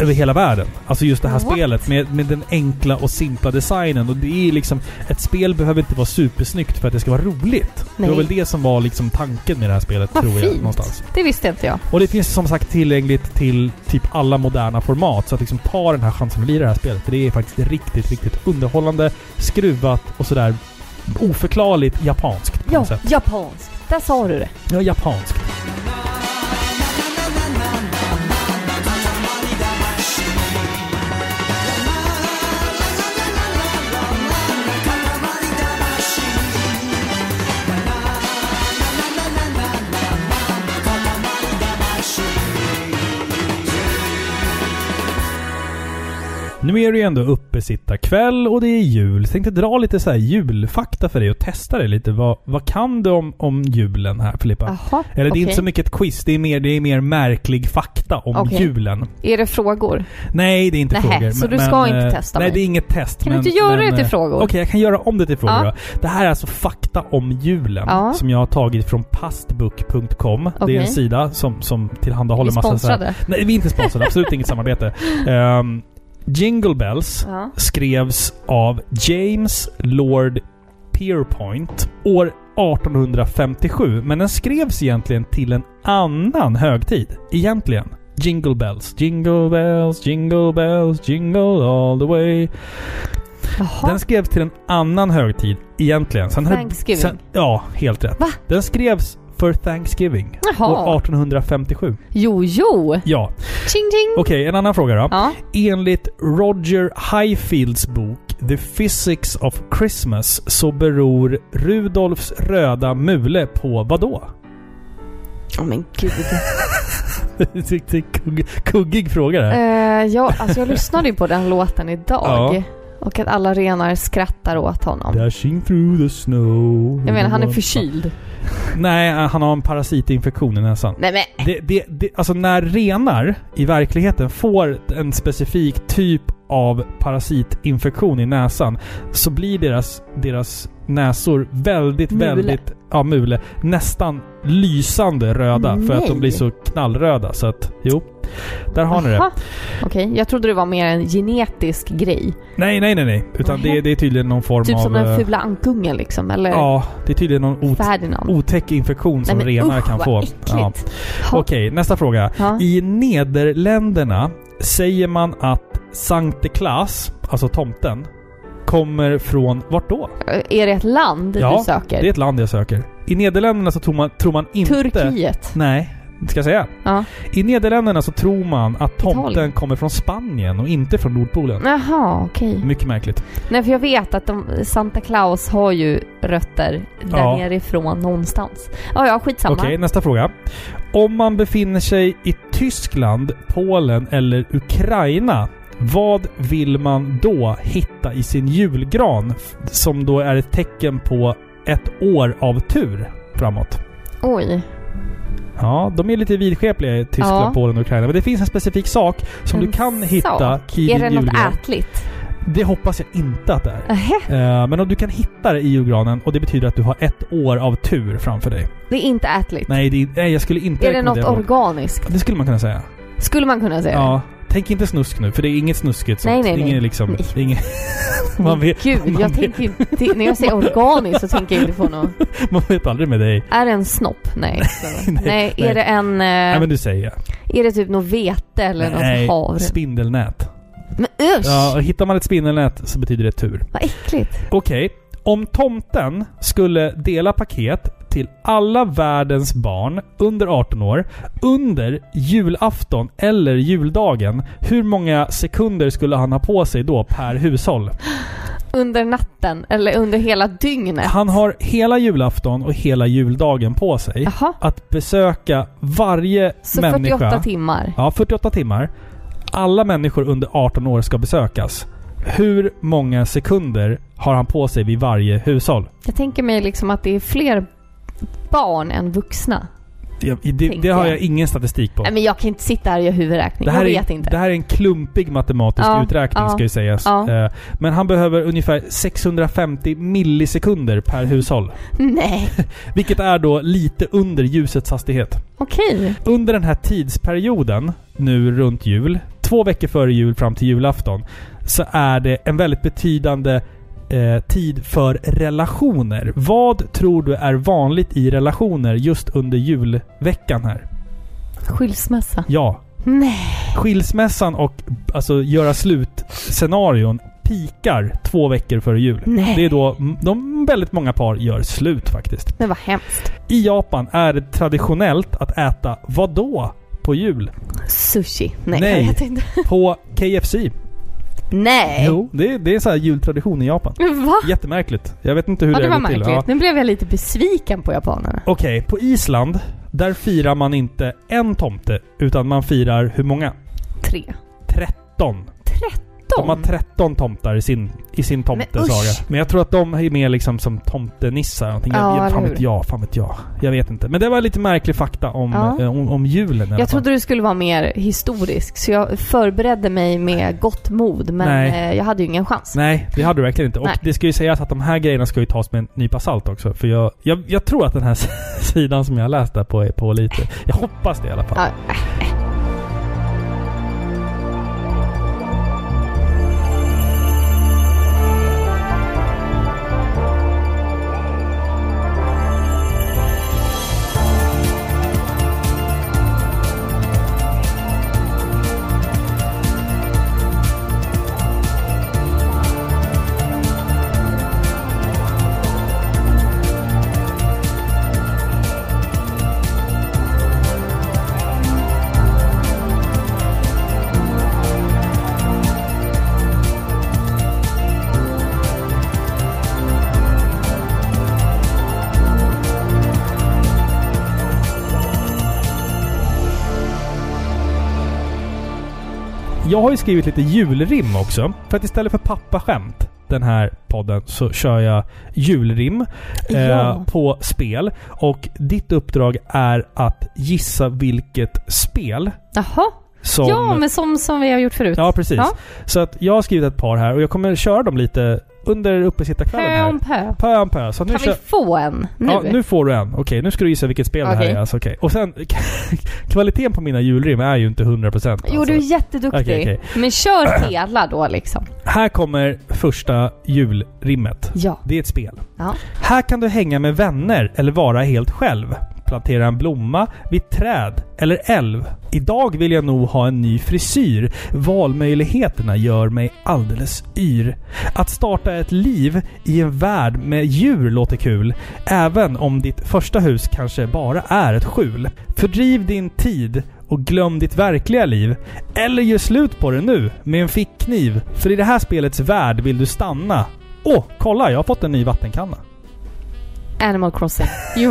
S1: över hela världen. Alltså just det här
S2: What?
S1: spelet med, med den enkla och simpla designen. Och det är liksom... Ett spel behöver inte vara supersnyggt för att det ska vara roligt. Det
S2: Nej.
S1: var väl det som var liksom tanken med det här spelet,
S2: Vad
S1: tror jag.
S2: fint.
S1: Någonstans.
S2: Det visste inte jag.
S1: Och det finns som sagt tillgängligt till typ alla moderna format. Så att liksom ta den här chansen att lira det här spelet. För det är faktiskt riktigt, riktigt underhållande, skruvat och sådär oförklarligt japanskt på
S2: Ja,
S1: något sätt.
S2: japanskt. Där sa du det.
S1: Ja, japanskt. Nu är det ju ändå uppesittarkväll och det är jul. Så jag tänkte dra lite så här julfakta för dig och testa dig lite. Vad, vad kan du om, om julen här Filippa?
S2: Jaha,
S1: Eller det är inte
S2: Ah, okej.
S1: så mycket ett quiz, det är mer, det är mer märklig fakta om
S2: Okej.
S1: julen.
S2: Är det frågor?
S1: Nej, det är inte
S2: Nähä,
S1: frågor.
S2: så
S1: men-
S2: du ska
S1: men,
S2: inte
S1: eh,
S2: testa
S1: Nej,
S2: mig?
S1: det är inget test.
S2: Kan du inte göra det till
S1: eh,
S2: frågor?
S1: Okej, jag kan göra om det till frågor
S2: Ja.
S1: då. Det här är alltså fakta om julen
S2: Ja.
S1: som jag har tagit från pastbook.com. Det
S2: Okej.
S1: är en sida som, som tillhandahåller
S2: Vi
S1: massa så här-
S2: sponsrade.
S1: Nej, vi är inte sponsrade. Absolut inget samarbete. Ehm, Jingle Bells
S2: Ja.
S1: skrevs av James Lord Pierpoint år 1857. Men den skrevs egentligen till en annan högtid. Egentligen. Jingle Bells. Jingle Bells, Jingle Bells, Jingle All The Way.
S2: Jaha.
S1: Den skrevs till en annan högtid egentligen. Sen har-
S2: Thanksgiving.
S1: Sen, ja, helt rätt.
S2: Va?
S1: Den skrevs för Thanksgiving.
S2: Jaha.
S1: År 1857.
S2: Jo, jo!
S1: Ja.
S2: Ching, ching!
S1: Okej, en annan fråga då.
S2: Ja.
S1: Enligt Roger Highfields bok The Physics of Christmas så beror Rudolfs röda mule på vad då?
S2: Åh men gud.
S1: Det är en kugg, kuggig fråga det här.
S2: Eh, ja, alltså jag lyssnade ju på den låten idag.
S1: Ja.
S2: Och att alla renar skrattar åt honom.
S1: Dashing through the snow.
S2: Eh. Jag menar, han är förkyld.
S1: Nej, han har en parasitinfektion i näsan.
S2: Nej men,
S1: Det, det, det, alltså när renar i verkligheten får en specifik typ av parasitinfektion i näsan så blir deras, deras näsor väldigt,
S2: Mule.
S1: väldigt... Ja, mule. Nästan lysande röda för att
S2: Nej.
S1: de blir så knallröda. Så att, jo. Där har ni det.
S2: Jaha. Okej, jag trodde det var mer en genetisk grej.
S1: Nej, nej, nej, nej. Utan det,
S2: Nähä.
S1: det är tydligen någon form
S2: Typ
S1: av...
S2: som
S1: eh,
S2: den fula ankungen liksom, eller
S1: Ja, det är tydligen någon ot,
S2: Ferdinand.
S1: otäck infektion som
S2: Nej, men
S1: renar
S2: usch,
S1: kan
S2: vad
S1: få.
S2: äckligt.
S1: Ja.
S2: Ha.
S1: Okej, nästa fråga.
S2: Ja.
S1: I Nederländerna säger man att Sankte Claus, alltså tomten, kommer från vart då?
S2: Eh, Är det ett land du söker?
S1: det är ett land jag söker. I Nederländerna så tror man, tror man inte...
S2: Turkiet?
S1: Nej, ska jag säga.
S2: Ja.
S1: I Nederländerna så tror man att tomten
S2: Italien.
S1: kommer från Spanien och inte från Nordpolen.
S2: Jaha, okej.
S1: Mycket märkligt.
S2: Nej, för jag vet att de, Santa Claus har ju rötter där
S1: Ja.
S2: nerifrån någonstans. Ja, ja, skitsamma.
S1: Okej, nästa fråga. Om man befinner sig i Tyskland, Polen eller Ukraina, vad vill man då hitta i sin julgran? F- Som då är ett tecken på ett år av tur framåt.
S2: Oj.
S1: Ja, de är lite vidskepliga i Tyskland,
S2: Ja.
S1: Polen och Ukraina. Men det finns en specifik sak som
S2: En
S1: du kan hitta
S2: sak.
S1: i
S2: Är
S1: din
S2: det
S1: julgran.
S2: något ätligt? Äh,
S1: Det hoppas jag inte att det är.
S2: Nähä,
S1: Eh, Men om du kan hitta det i julgranen och det betyder att du har ett år av tur framför dig.
S2: det är inte ätligt.
S1: Nej, det, är- nej jag skulle inte
S2: är det något
S1: rekommendera något.
S2: organiskt?
S1: Det skulle man kunna säga.
S2: Skulle man kunna säga.
S1: Ja. Tänk inte snusk nu, för det är inget snuskigt. sånt.
S2: Nej, nej,
S1: Det är
S2: nej.
S1: Ingen, liksom,
S2: Nej.
S1: det är ingen, man, vet,
S2: Gud,
S1: man
S2: jag
S1: vet-
S2: tänker inte... det- När jag säger organiskt så tänker jag inte på något.
S1: man vet aldrig med dig.
S2: Är det en snopp? Nej. nej, är
S1: nej.
S2: det en... eh,
S1: Nej, men du säger
S2: Är det typ något vete eller
S1: Nej,
S2: något havre?
S1: Spindelnät.
S2: Men usch!
S1: Ja, och hittar man ett spindelnät så betyder det tur.
S2: Vad äckligt.
S1: Okej. Om tomten skulle dela paket till alla världens barn under 18 år under julafton eller juldagen. Hur många sekunder skulle han ha på sig då per hushåll?
S2: Under natten, eller under hela dygnet.
S1: Han har hela julafton och hela juldagen på sig.
S2: Jaha.
S1: att besöka varje
S2: Så
S1: människa.
S2: 48 timmar.
S1: Ja, 48 timmar. Alla människor under 18 år ska besökas. Hur många sekunder har han på sig vid varje hushåll?
S2: Jag tänker mig liksom att det är fler barn än vuxna.
S1: Det, det, det
S2: Tänker
S1: har
S2: jag.
S1: jag ingen statistik på.
S2: Nej men jag kan inte sitta här och göra huvudräkning.
S1: det, här
S2: jag vet
S1: är,
S2: inte.
S1: det här är en klumpig matematisk
S2: Ja,
S1: uträkning
S2: ja,
S1: ska ju sägas.
S2: ja.
S1: Eh, Men han behöver ungefär 650 millisekunder per hushåll.
S2: Nej,
S1: Vilket är då lite under ljusets hastighet.
S2: okej.
S1: Under den här tidsperioden, nu runt jul, två veckor före jul fram till julafton, så är det en väldigt betydande eh, tid för relationer. Vad tror du är vanligt i relationer just under julveckan här?
S2: Skilsmässa.
S1: Ja,
S2: Nej.
S1: skilsmässan och alltså göra slut-scenarion pikar två veckor före jul.
S2: Nej.
S1: Det är då m- de väldigt många par gör slut faktiskt.
S2: Men vad hemskt.
S1: I Japan är det traditionellt att äta vad då på jul?
S2: Sushi. Nej,
S1: Nej.
S2: jag vet inte.
S1: På KFC.
S2: Nej.
S1: Jo, det, det är så här jultradition i Japan.
S2: Va?
S1: Jättemärkligt. Jag vet inte hur
S2: Ja,
S1: det
S2: det
S1: har
S2: var
S1: gått till.
S2: märkligt.
S1: Ja.
S2: Nu blev jag lite besviken på japanerna.
S1: Okej, på Island, där firar man inte en tomte, utan man firar hur många?
S2: Tre.
S1: 13. De har
S2: 13?
S1: 13 tomtar i sin, i sin tomtesaga.
S2: usch.
S1: Men, jag tror att de är mer liksom som tomtenissar. eller någonting.
S2: Ja,
S1: Jag, jag, fan
S2: eller
S1: vet
S2: hur?
S1: jag, fan vet jag. Jag vet inte. Men det var lite märklig fakta om,
S2: Ja.
S1: eh, om, om julen. i alla
S2: Jag
S1: fall.
S2: trodde du skulle vara mer historisk, så jag förberedde mig med gott mod, men
S1: Nej.
S2: eh, jag hade ju ingen chans.
S1: Nej, det hade du verkligen inte. Och
S2: Nej.
S1: det ska ju sägas att de här grejerna ska ju tas med en nypa salt också. För jag, jag, jag tror att den här sidan som jag har läst där på är på lite. Jag hoppas det i alla fall.
S2: Ja,
S1: Jag har ju skrivit lite julrim också. För att istället för pappaskämt, den här podden, så kör jag julrim eh,
S2: Ja.
S1: på spel. Och ditt uppdrag är att gissa vilket spel
S2: Jaha.
S1: som...
S2: Ja, men som, som vi har gjort förut.
S1: Ja, precis.
S2: Ja.
S1: Så att jag har skrivit ett par här och jag kommer köra dem lite under uppesittarkvällen
S2: Pö
S1: här.
S2: om pö.
S1: Pö om pö. Så nu
S2: Kan
S1: kör...
S2: vi få en nu?
S1: Ja, nu får du en. Okej, nu ska du gissa vilket spel det här
S2: Okej.
S1: är. Alltså, okej. Och sen, kvaliteten på mina julrim är ju inte 100%. Alltså.
S2: Jo, du är jätteduktig.
S1: Okej, okej.
S2: Men kör hela då liksom.
S1: Här kommer första julrimmet.
S2: Ja.
S1: Det är ett spel.
S2: Ja.
S1: Här kan du hänga med vänner eller vara helt själv. Plantera en blomma vid träd eller älv. Idag vill jag nog ha en ny frisyr. Valmöjligheterna gör mig alldeles yr. Att starta ett liv i en värld med djur låter kul. Även om ditt första hus kanske bara är ett skjul. Fördriv din tid och glöm ditt verkliga liv. Eller gör slut på det nu med en fickkniv. För i det här spelets värld vill du stanna. Åh, kolla! Jag har fått en ny vattenkanna.
S2: Animal Crossing, New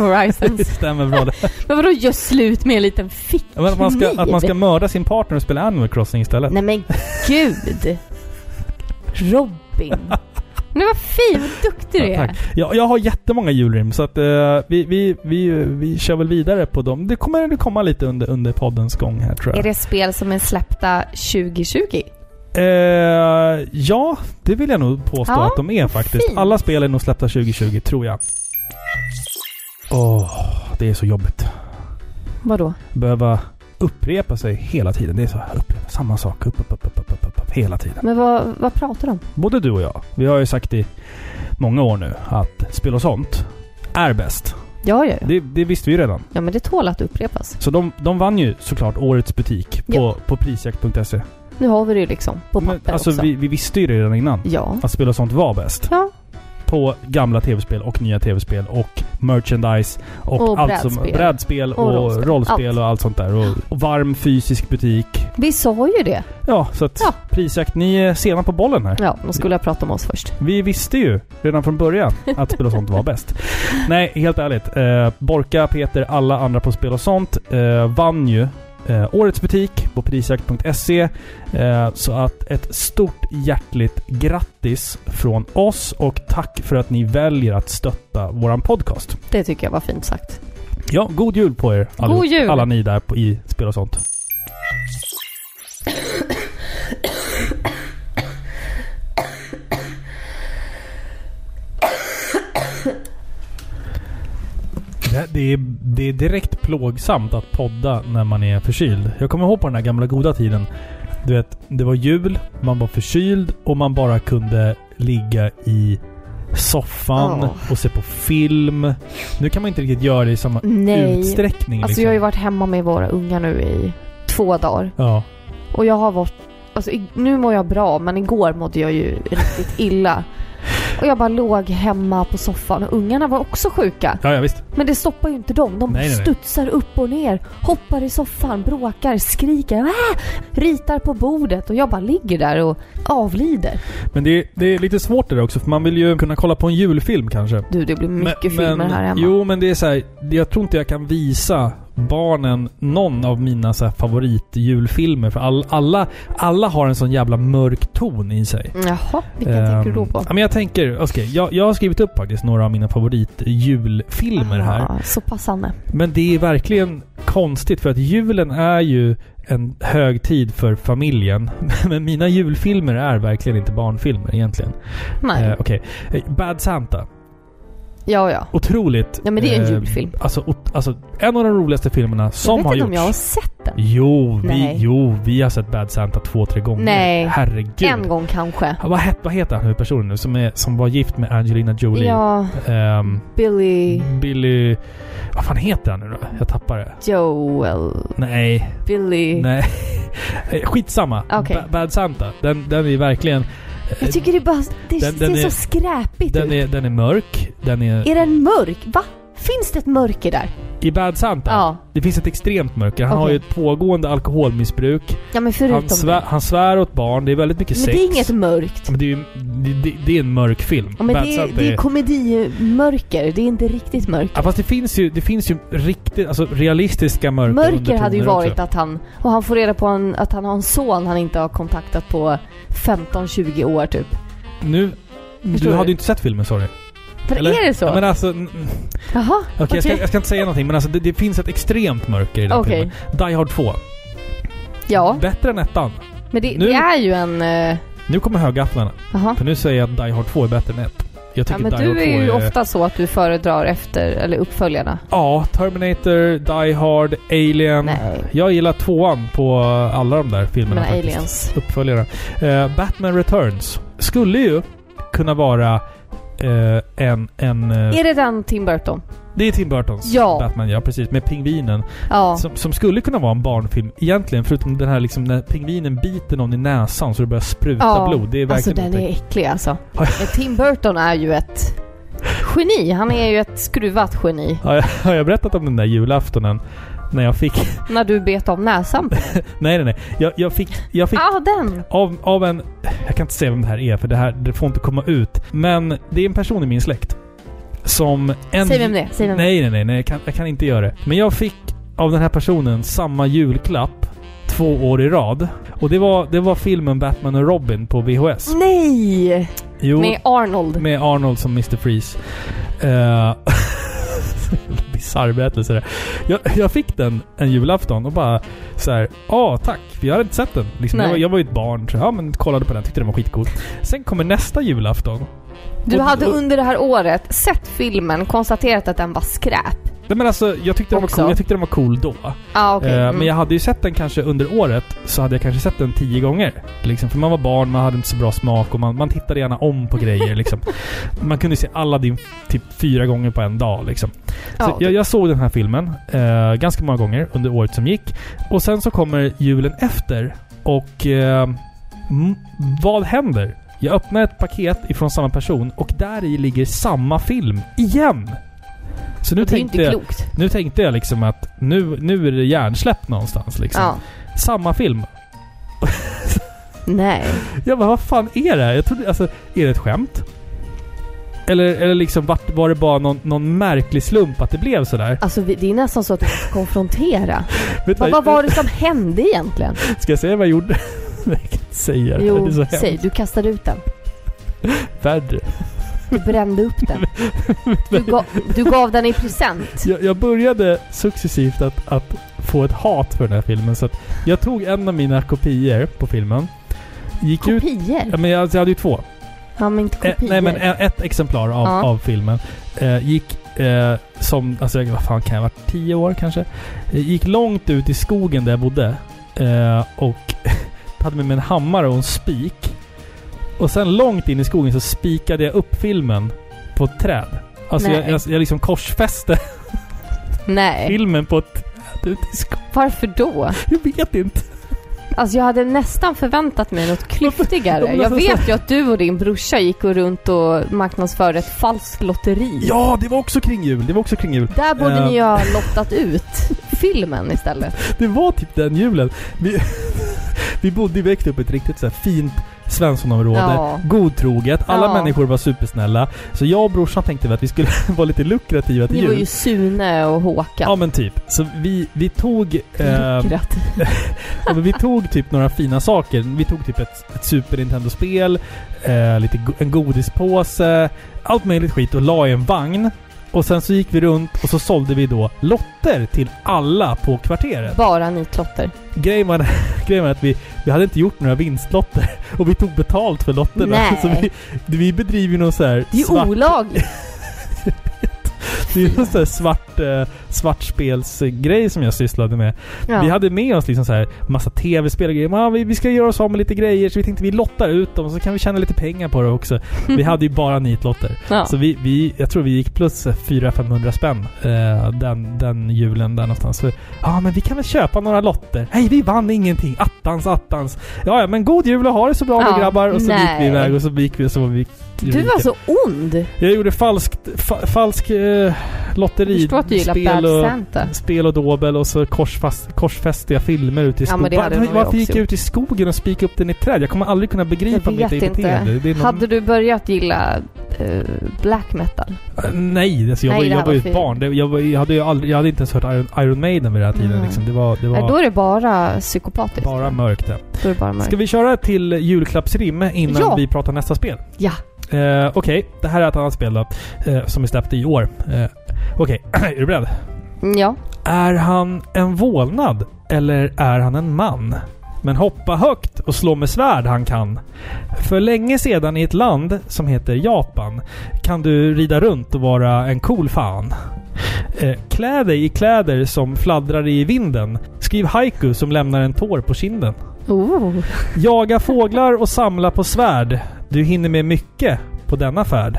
S2: Horizons.
S1: Stämmer bra det.
S2: men vadå gör slut med en liten fick?
S1: Men att, man ska, att man ska mörda sin partner och spela Animal Crossing istället.
S2: Nej men gud! Robin. Men vad fin, vad duktig du
S1: Ja,
S2: är.
S1: tack. Jag, jag har jättemånga julrim så att eh, vi, vi, vi, vi kör väl vidare på dem. Det kommer det komma lite under, under poddens gång här tror
S2: Är
S1: jag.
S2: det spel som är släppta 2020?
S1: Eh, ja, det vill jag nog påstå
S2: Ja,
S1: att de är faktiskt.
S2: fint.
S1: Alla spel är nog släppta 2020 tror jag. Åh, det är så jobbigt.
S2: Vadå?
S1: Behöva upprepa sig hela tiden. Det är så här, upprepa samma sak. Upp, upp, upp, upp, upp, upp, upp, hela tiden.
S2: Men vad, vad pratar de om?
S1: både du och jag, vi har ju sagt i många år nu att spel och sånt är bäst.
S2: Ja, ja, ja.
S1: Det, det visste vi ju redan.
S2: Ja, men det tål att upprepas.
S1: Så de, de vann ju såklart årets butik på, på prisjakt.se.
S2: Nu har vi det ju liksom på
S1: Men,
S2: papper
S1: Alltså
S2: också.
S1: vi, vi visste ju det redan innan.
S2: Ja.
S1: Att spel och sånt var bäst.
S2: Ja.
S1: På gamla tv-spel och nya tv-spel och merchandise och,
S2: Och
S1: allt som,
S2: brädspel.
S1: brädspel och,
S2: Och rollspel.
S1: rollspel och allt sånt där. Och, och varm fysisk butik.
S2: Vi sa ju det.
S1: Ja, så att
S2: Ja.
S1: prisjakt, ni är sena på bollen här.
S2: Ja, de skulle ha pratat om oss först.
S1: Vi visste ju redan från början att spel och sånt var bäst. Nej, helt ärligt. Eh, Borka, Peter, alla andra på spel och sånt eh, vann ju eh, Årets butik på prisjakt.se. Eh, så att ett stort hjärtligt grattis från oss och tack för att ni väljer att stötta våran podcast.
S2: Det tycker jag var fint sagt.
S1: Ja, god jul på er
S2: God jul!
S1: alla ni där på, i spel och sånt. Det, det, är, det är direkt plågsamt att podda när man är förkyld. Jag kommer ihåg på den här gamla goda tiden. Du vet, det var jul, man var förkyld och man bara kunde ligga i soffan
S2: Ja.
S1: och se på film. Nu kan man inte riktigt göra det i samma
S2: Nej.
S1: utsträckning.
S2: Alltså
S1: liksom.
S2: jag har ju varit hemma med våra ungar nu i två dagar.
S1: Ja.
S2: Och jag har varit... Alltså i- nu mår jag bra, men igår mådde jag ju riktigt illa. Och jag bara låg hemma på soffan och ungarna var också sjuka.
S1: Ja, ja, visst.
S2: Men det stoppar ju inte dem. De
S1: Nej, nej, nej.
S2: studsar upp och ner, hoppar i soffan, bråkar, skriker, ah! ritar på bordet och jag bara ligger där och avlider.
S1: Men det är, det är lite svårt det där också, för man vill ju kunna kolla på en julfilm kanske.
S2: Du, det blir mycket
S1: Men-
S2: filmer
S1: men,
S2: här hemma.
S1: Jo, men det är så här, jag tror inte jag kan visa barnen någon av mina så här, favoritjulfilmer. För all, alla, alla har en sån jävla mörk ton i sig.
S2: Jaha, vilken
S1: Ehm,
S2: tänker du då på?
S1: Ja, men jag tänker, okej, jag, jag har skrivit upp faktiskt några av mina favoritjulfilmer här.
S2: Ah, så passande.
S1: Men det är verkligen konstigt för att julen är ju en högtid för familjen. Men mina julfilmer är verkligen inte barnfilmer egentligen.
S2: Nej.
S1: Eh, Okej. Eh, Bad Santa.
S2: Ja, ja.
S1: Otroligt.
S2: Ja, men det är ju en julfilm.
S1: Alltså, ot- alltså en av de roligaste filmerna som
S2: jag vet
S1: har
S2: inte
S1: gjorts.
S2: om jag har sett den.
S1: Jo, vi,
S2: Nej.
S1: jo, vi har sett Bad Santa två, tre gånger.
S2: Nej.
S1: Herregud.
S2: En gång kanske.
S1: Ja, Vad, het, vad heter han personen nu som, är, som var gift med Angelina Jolie?
S2: Ja,
S1: Ehm,
S2: Billy
S1: Billy... Vad fan heter han nu då? Jag tappar det.
S2: Joel.
S1: Nej,
S2: Billy.
S1: Nej. Eh, Skitsamma.
S2: Okej.
S1: Ba- Bad Santa. Den, den är verkligen...
S2: Jag tycker det är bara... Det
S1: Den-
S2: ser
S1: den är-
S2: så skräpigt
S1: Den
S2: ut.
S1: är, den är mörk. Den är...
S2: Är den mörk? Va? Finns det ett mörker där?
S1: I Bad Santa.
S2: Ja.
S1: Det finns ett extremt mörker. Han
S2: Okej.
S1: har ju ett pågående alkoholmissbruk.
S2: Ja, men förutom
S1: Han, svär, han svär åt barn. Det är väldigt mycket
S2: Men
S1: sex.
S2: det är inget mörkt.
S1: Ja, men det, är ju, det, det, det är en mörk film.
S2: Ja, men
S1: Bad
S2: det, är,
S1: Santa
S2: det är komedimörker. Det är inte riktigt mörker.
S1: Ja, fast det finns ju, det finns ju riktigt, alltså realistiska mörka
S2: Mörker
S1: undertoner
S2: hade ju varit
S1: också.
S2: att han... Och han får reda på en, att han har en son han inte har kontaktat på 15-20 år typ.
S1: Nu...
S2: Förstår
S1: Du
S2: du?
S1: hade ju inte sett filmen sorry.
S2: Men är det så?
S1: Ja, men alltså... n-
S2: Jaha,
S1: Okej, jag, ska,
S2: Okej.
S1: jag ska inte säga någonting men alltså det, det finns ett extremt mörker i den
S2: Okej.
S1: filmen. Die Hard 2.
S2: ja.
S1: Bättre än ettan.
S2: Men det,
S1: Nu-
S2: det är ju en... eh,
S1: Nu kommer högafflarna.
S2: Jaha.
S1: För nu säger jag att Die Hard 2 är bättre än 1. Jag
S2: Ja,
S1: tycker
S2: men
S1: Die Hard 2
S2: du är
S1: är...
S2: ju ofta så att du föredrar efter, eller uppföljarna.
S1: Ja, Terminator, Die Hard, Alien.
S2: Nej.
S1: Jag gillar tvåan på alla de där filmerna
S2: Men
S1: faktiskt.
S2: aliens.
S1: Uppföljare. Eh, Batman Returns skulle ju kunna vara eh, en... en eh,
S2: Är det den Tim Burton?
S1: det är Tim Burtons
S2: Ja.
S1: Batman, ja precis. Med pingvinen.
S2: Ja.
S1: Som, som skulle kunna vara en barnfilm egentligen, förutom den här liksom när pingvinen biter någon i näsan så det börjar spruta
S2: ja.
S1: blod. Det är
S2: alltså
S1: verkligen
S2: den
S1: inte-
S2: är äcklig alltså.
S1: Ja.
S2: Men Tim Burton är ju ett geni. Han är ju ett skruvat geni.
S1: Har jag, har jag berättat om den där julaftonen? När jag fick...
S2: När du bet av näsan.
S1: Nej, nej, nej. Jag, jag fick... Jag fick
S2: Ja, ah, den!
S1: av, av en... Jag kan inte säga vem det här är, för det här det får inte komma ut. Men det är en person i min släkt. Som... En,
S2: Säg vem det är, säg vem det är.
S1: Nej, nej, nej. nej jag, kan, jag kan inte göra det. Men jag fick av den här personen samma julklapp två år i rad. Och det var, det var filmen Batman och Robin på VHS.
S2: Nej!
S1: Jo,
S2: Mm. Med Arnold.
S1: med Arnold som Mr. Freeze. Uh, Bisarr berättelse det. Jag, jag fick den en julafton och bara så här, ja tack, för jag hade inte sett den. Liksom, jag,
S2: Nej.
S1: var- jag var ju ett barn, så ja men kollade på den, tyckte den var skitcool. Sen kommer nästa julafton.
S2: Du
S1: och-
S2: hade
S1: och-
S2: under det här året sett filmen, konstaterat att den var skräp. Ja,
S1: Nej men alltså, jag tyckte, den var
S2: Också.
S1: cool, jag tyckte den var cool då.
S2: ah, okej.
S1: Eh,
S2: mm.
S1: Men jag hade ju sett den kanske under året, så hade jag kanske sett den tio gånger. Liksom, för man var barn, man hade inte så bra smak och man, man tittade gärna om på grejer. Liksom. Man kunde se Aladdin typ fyra gånger på en dag. Liksom. Så
S2: ja,
S1: jag, jag såg den här filmen eh, ganska många gånger under året som gick. Och sen så kommer julen efter. Och eh, m- vad händer? Jag öppnar ett paket ifrån samma person och där i ligger samma film igen. Så nu
S2: det är ju inte
S1: tänkte, jag,
S2: klokt.
S1: nu tänkte jag liksom att nu, nu är det hjärnsläpp någonstans. Liksom.
S2: Ja.
S1: Samma film.
S2: Nej.
S1: Jag bara, vad fan är det här? Jag trodde, alltså, är det ett skämt? Eller, eller liksom, vart, var det bara någon, någon märklig slump att det blev sådär?
S2: Alltså vi- det är nästan så att du måste konfrontera.
S1: Vet du
S2: Vad,
S1: vad-
S2: vad var det som hände egentligen?
S1: Ska jag säga vad jag gjorde? Nej, jag kan inte säga det. det
S2: Jo,
S1: är så hemskt
S2: säg. Du kastade ut den.
S1: värre.
S2: Du brände upp den. Du, ga, du gav den i present.
S1: Jag, jag började successivt att, att få ett hat för den här filmen. Så att jag tog en av mina kopior på filmen. Gick ut... Ja,
S2: Kopior?
S1: men jag, alltså, jag hade ju två.
S2: Ja, men inte
S1: Eh,
S2: kopior.
S1: nej, men e- ett exemplar av,
S2: Ja.
S1: av filmen. Eh, gick eh, som... Alltså, jag- vad fan kan jag ha varit? Tio år kanske? Eh, gick långt ut i skogen där jag bodde. Eh, och hade med mig en hammare och en spik. Och sen långt in i skogen så spikade jag upp filmen på ett träd. Alltså
S2: Nej.
S1: jag, jag, jag liksom korsfäste
S2: Nej.
S1: filmen på ett träd ute i skogen.
S2: Varför då?
S1: Jag vet inte.
S2: Alltså jag hade nästan förväntat mig något klyftigare. Jag
S1: alltså,
S2: vet ju att du och din brorsa gick och runt och marknadsförde ett falskt lotteri.
S1: Ja, det var också kring jul. Det var också kring jul.
S2: Där borde
S1: Eh.
S2: ni ju ha lottat ut filmen istället.
S1: Det var typ den julen. Vi, vi bodde, vi växte upp i ett riktigt så här fint Svenssonområde.
S2: Ja.
S1: Godtroget. Alla
S2: Ja.
S1: människor var supersnälla. Så jag och brorsan tänkte väl att vi skulle vara lite lukrativa till
S2: Ni var
S1: jul.
S2: ju Sune och Håkan.
S1: Ja men typ. Så vi, vi tog... Eh,
S2: Luckrat.
S1: Ja, men vi tog typ några fina saker. Vi tog typ ett, ett Super Nintendo-spel, eh, lite go- en godispåse, allt möjligt skit och la i en vagn. Och sen så gick vi runt och så sålde vi då lotter till alla på kvarteret.
S2: Bara nitlotter.
S1: Grejen var, grejen var att vi, vi hade inte gjort några vinstlotter och vi tog betalt för lotterna.
S2: Nej.
S1: Så vi, vi bedriver ju någon så här
S2: Det är ju
S1: svart,
S2: olagligt.
S1: det är någon så här svart, eh, svartspelsgrej som jag sysslade med.
S2: Ja.
S1: Vi hade med oss liksom så här massa tv-spel och grejer. Man, vi, vi ska göra oss av med lite grejer så vi tänkte vi lottar ut dem så kan vi tjäna lite pengar på det också. Vi hade ju bara nitlotter.
S2: ja.
S1: Så vi, vi, jag tror vi gick plus 400-500 spänn eh, den, den julen där någonstans. Ja, ah, men vi kan väl köpa några lotter? Nej, vi vann ingenting. Attans, attans. Ja, ja, men god jul och ha det så bra
S2: Ja,
S1: då grabbar. Och så gick vi
S2: nej.
S1: iväg och så gick vi och så var vi
S2: Du var så ond.
S1: Jag gjorde falskt, fa, falsk eh,
S2: Jag
S1: lotteri.
S2: förstår att du gillar
S1: spel
S2: Bad
S1: och-
S2: Santa.
S1: spel och dobel och så korsfast, korsfästiga filmer ute i
S2: Ja, men
S1: skogen.
S2: det hade
S1: Var-
S2: nog jag
S1: varför gick
S2: också
S1: jag ut i skogen och spikade upp den i ett träd? Jag kommer aldrig kunna begripa
S2: Jag
S1: mitt
S2: vet
S1: eget beteende.
S2: inte.
S1: Det är någon-
S2: Hade du börjat gilla eh, black metal?
S1: Äh, Nej, alltså jag,
S2: Nej,
S1: var,
S2: det här
S1: jag var ju
S2: var
S1: ett barn. Det, jag, var, jag, hade ju aldrig, jag hade inte ens hört Iron, Iron Maiden vid den här tiden.
S2: Mm.
S1: Liksom. Det var, det
S2: Nej, då
S1: var
S2: är det bara psykopatiskt.
S1: bara mörkt. där.
S2: Då är det bara mörkt.
S1: Ska vi köra till julklappsrim innan
S2: Ja.
S1: vi pratar nästa spel?
S2: Ja.
S1: Eh, Okej, det här är ett annat spel då. Eh, som är släppt i år. Eh, Okej, är du beredd?
S2: Mm, Ja.
S1: Är han en vålnad eller är han en man? Men hoppa högt och slå med svärd han kan. För länge sedan i ett land som heter Japan kan du rida runt och vara en cool fan. Eh, Klä dig i kläder som fladdrar i vinden. Skriv haiku som lämnar en tår på kinden.
S2: Oh.
S1: Jaga fåglar och samla på svärd. Du hinner med mycket på denna färd.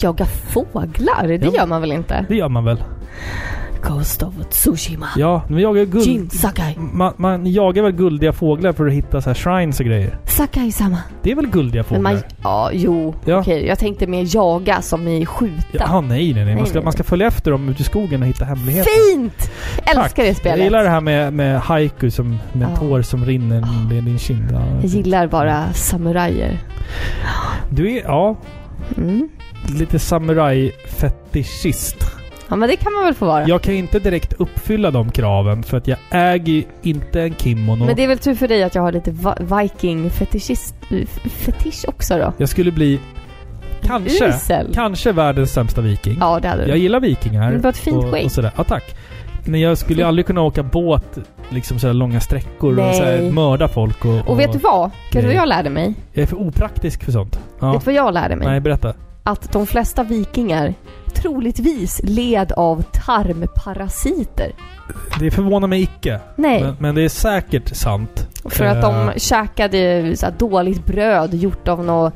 S2: Jaga fåglar? Det
S1: Ja.
S2: gör man väl inte?
S1: Det gör man väl?
S2: Ghost of Tsushima.
S1: Ja, men jagar ju guld...
S2: Jin Sakai.
S1: Man, man jagar väl guldiga fåglar för att hitta så här shrines och grejer?
S2: Sakai-sama.
S1: Det är väl guldiga
S2: Men
S1: fåglar?
S2: man, ja, jo.
S1: Ja.
S2: Okej, jag tänkte mer jaga som i skjuta.
S1: Jaha, nej, nej, nej. Man
S2: Nej,
S1: ska,
S2: nej.
S1: man ska följa efter dem ute i skogen och hitta hemligheter.
S2: Fint! Älskar
S1: Tack.
S2: det spelet.
S1: Jag gillar det här med, med haiku som, med
S2: Ja. Ah.
S1: tår som rinner i din kind. Ja,
S2: Jag gillar bara samurajer.
S1: Du är, ja,
S2: Mm.
S1: lite samurajfetischist.
S2: Ja men det kan man väl få vara.
S1: Jag kan inte direkt uppfylla de kraven för att jag äger ju inte en kimono.
S2: Men det är väl tur för dig att jag har lite va- viking-fetischist... f- Fetisch också då?
S1: Jag skulle bli, kanske,
S2: Usel?
S1: kanske världens sämsta viking.
S2: Ja det hade
S1: Jag
S2: du.
S1: gillar vikingar.
S2: Men det var ett fint Mm.
S1: och,
S2: skägg.
S1: och sådär. Ja, tack. Men jag skulle ju aldrig kunna åka båt liksom sådär långa sträckor och
S2: Nej.
S1: sådär, mörda folk och,
S2: Och vet du vad? Vet du vad jag lärde mig?
S1: Jag är för opraktisk för sånt. Ja.
S2: Vet du vad jag lärde mig?
S1: Nej, berätta.
S2: Att de flesta vikingar troligtvis led av tarmparasiter.
S1: Det förvånar mig icke.
S2: Nej,
S1: Men, men det är säkert sant.
S2: för att
S1: eh,
S2: de käkade så här, dåligt bröd gjort av något,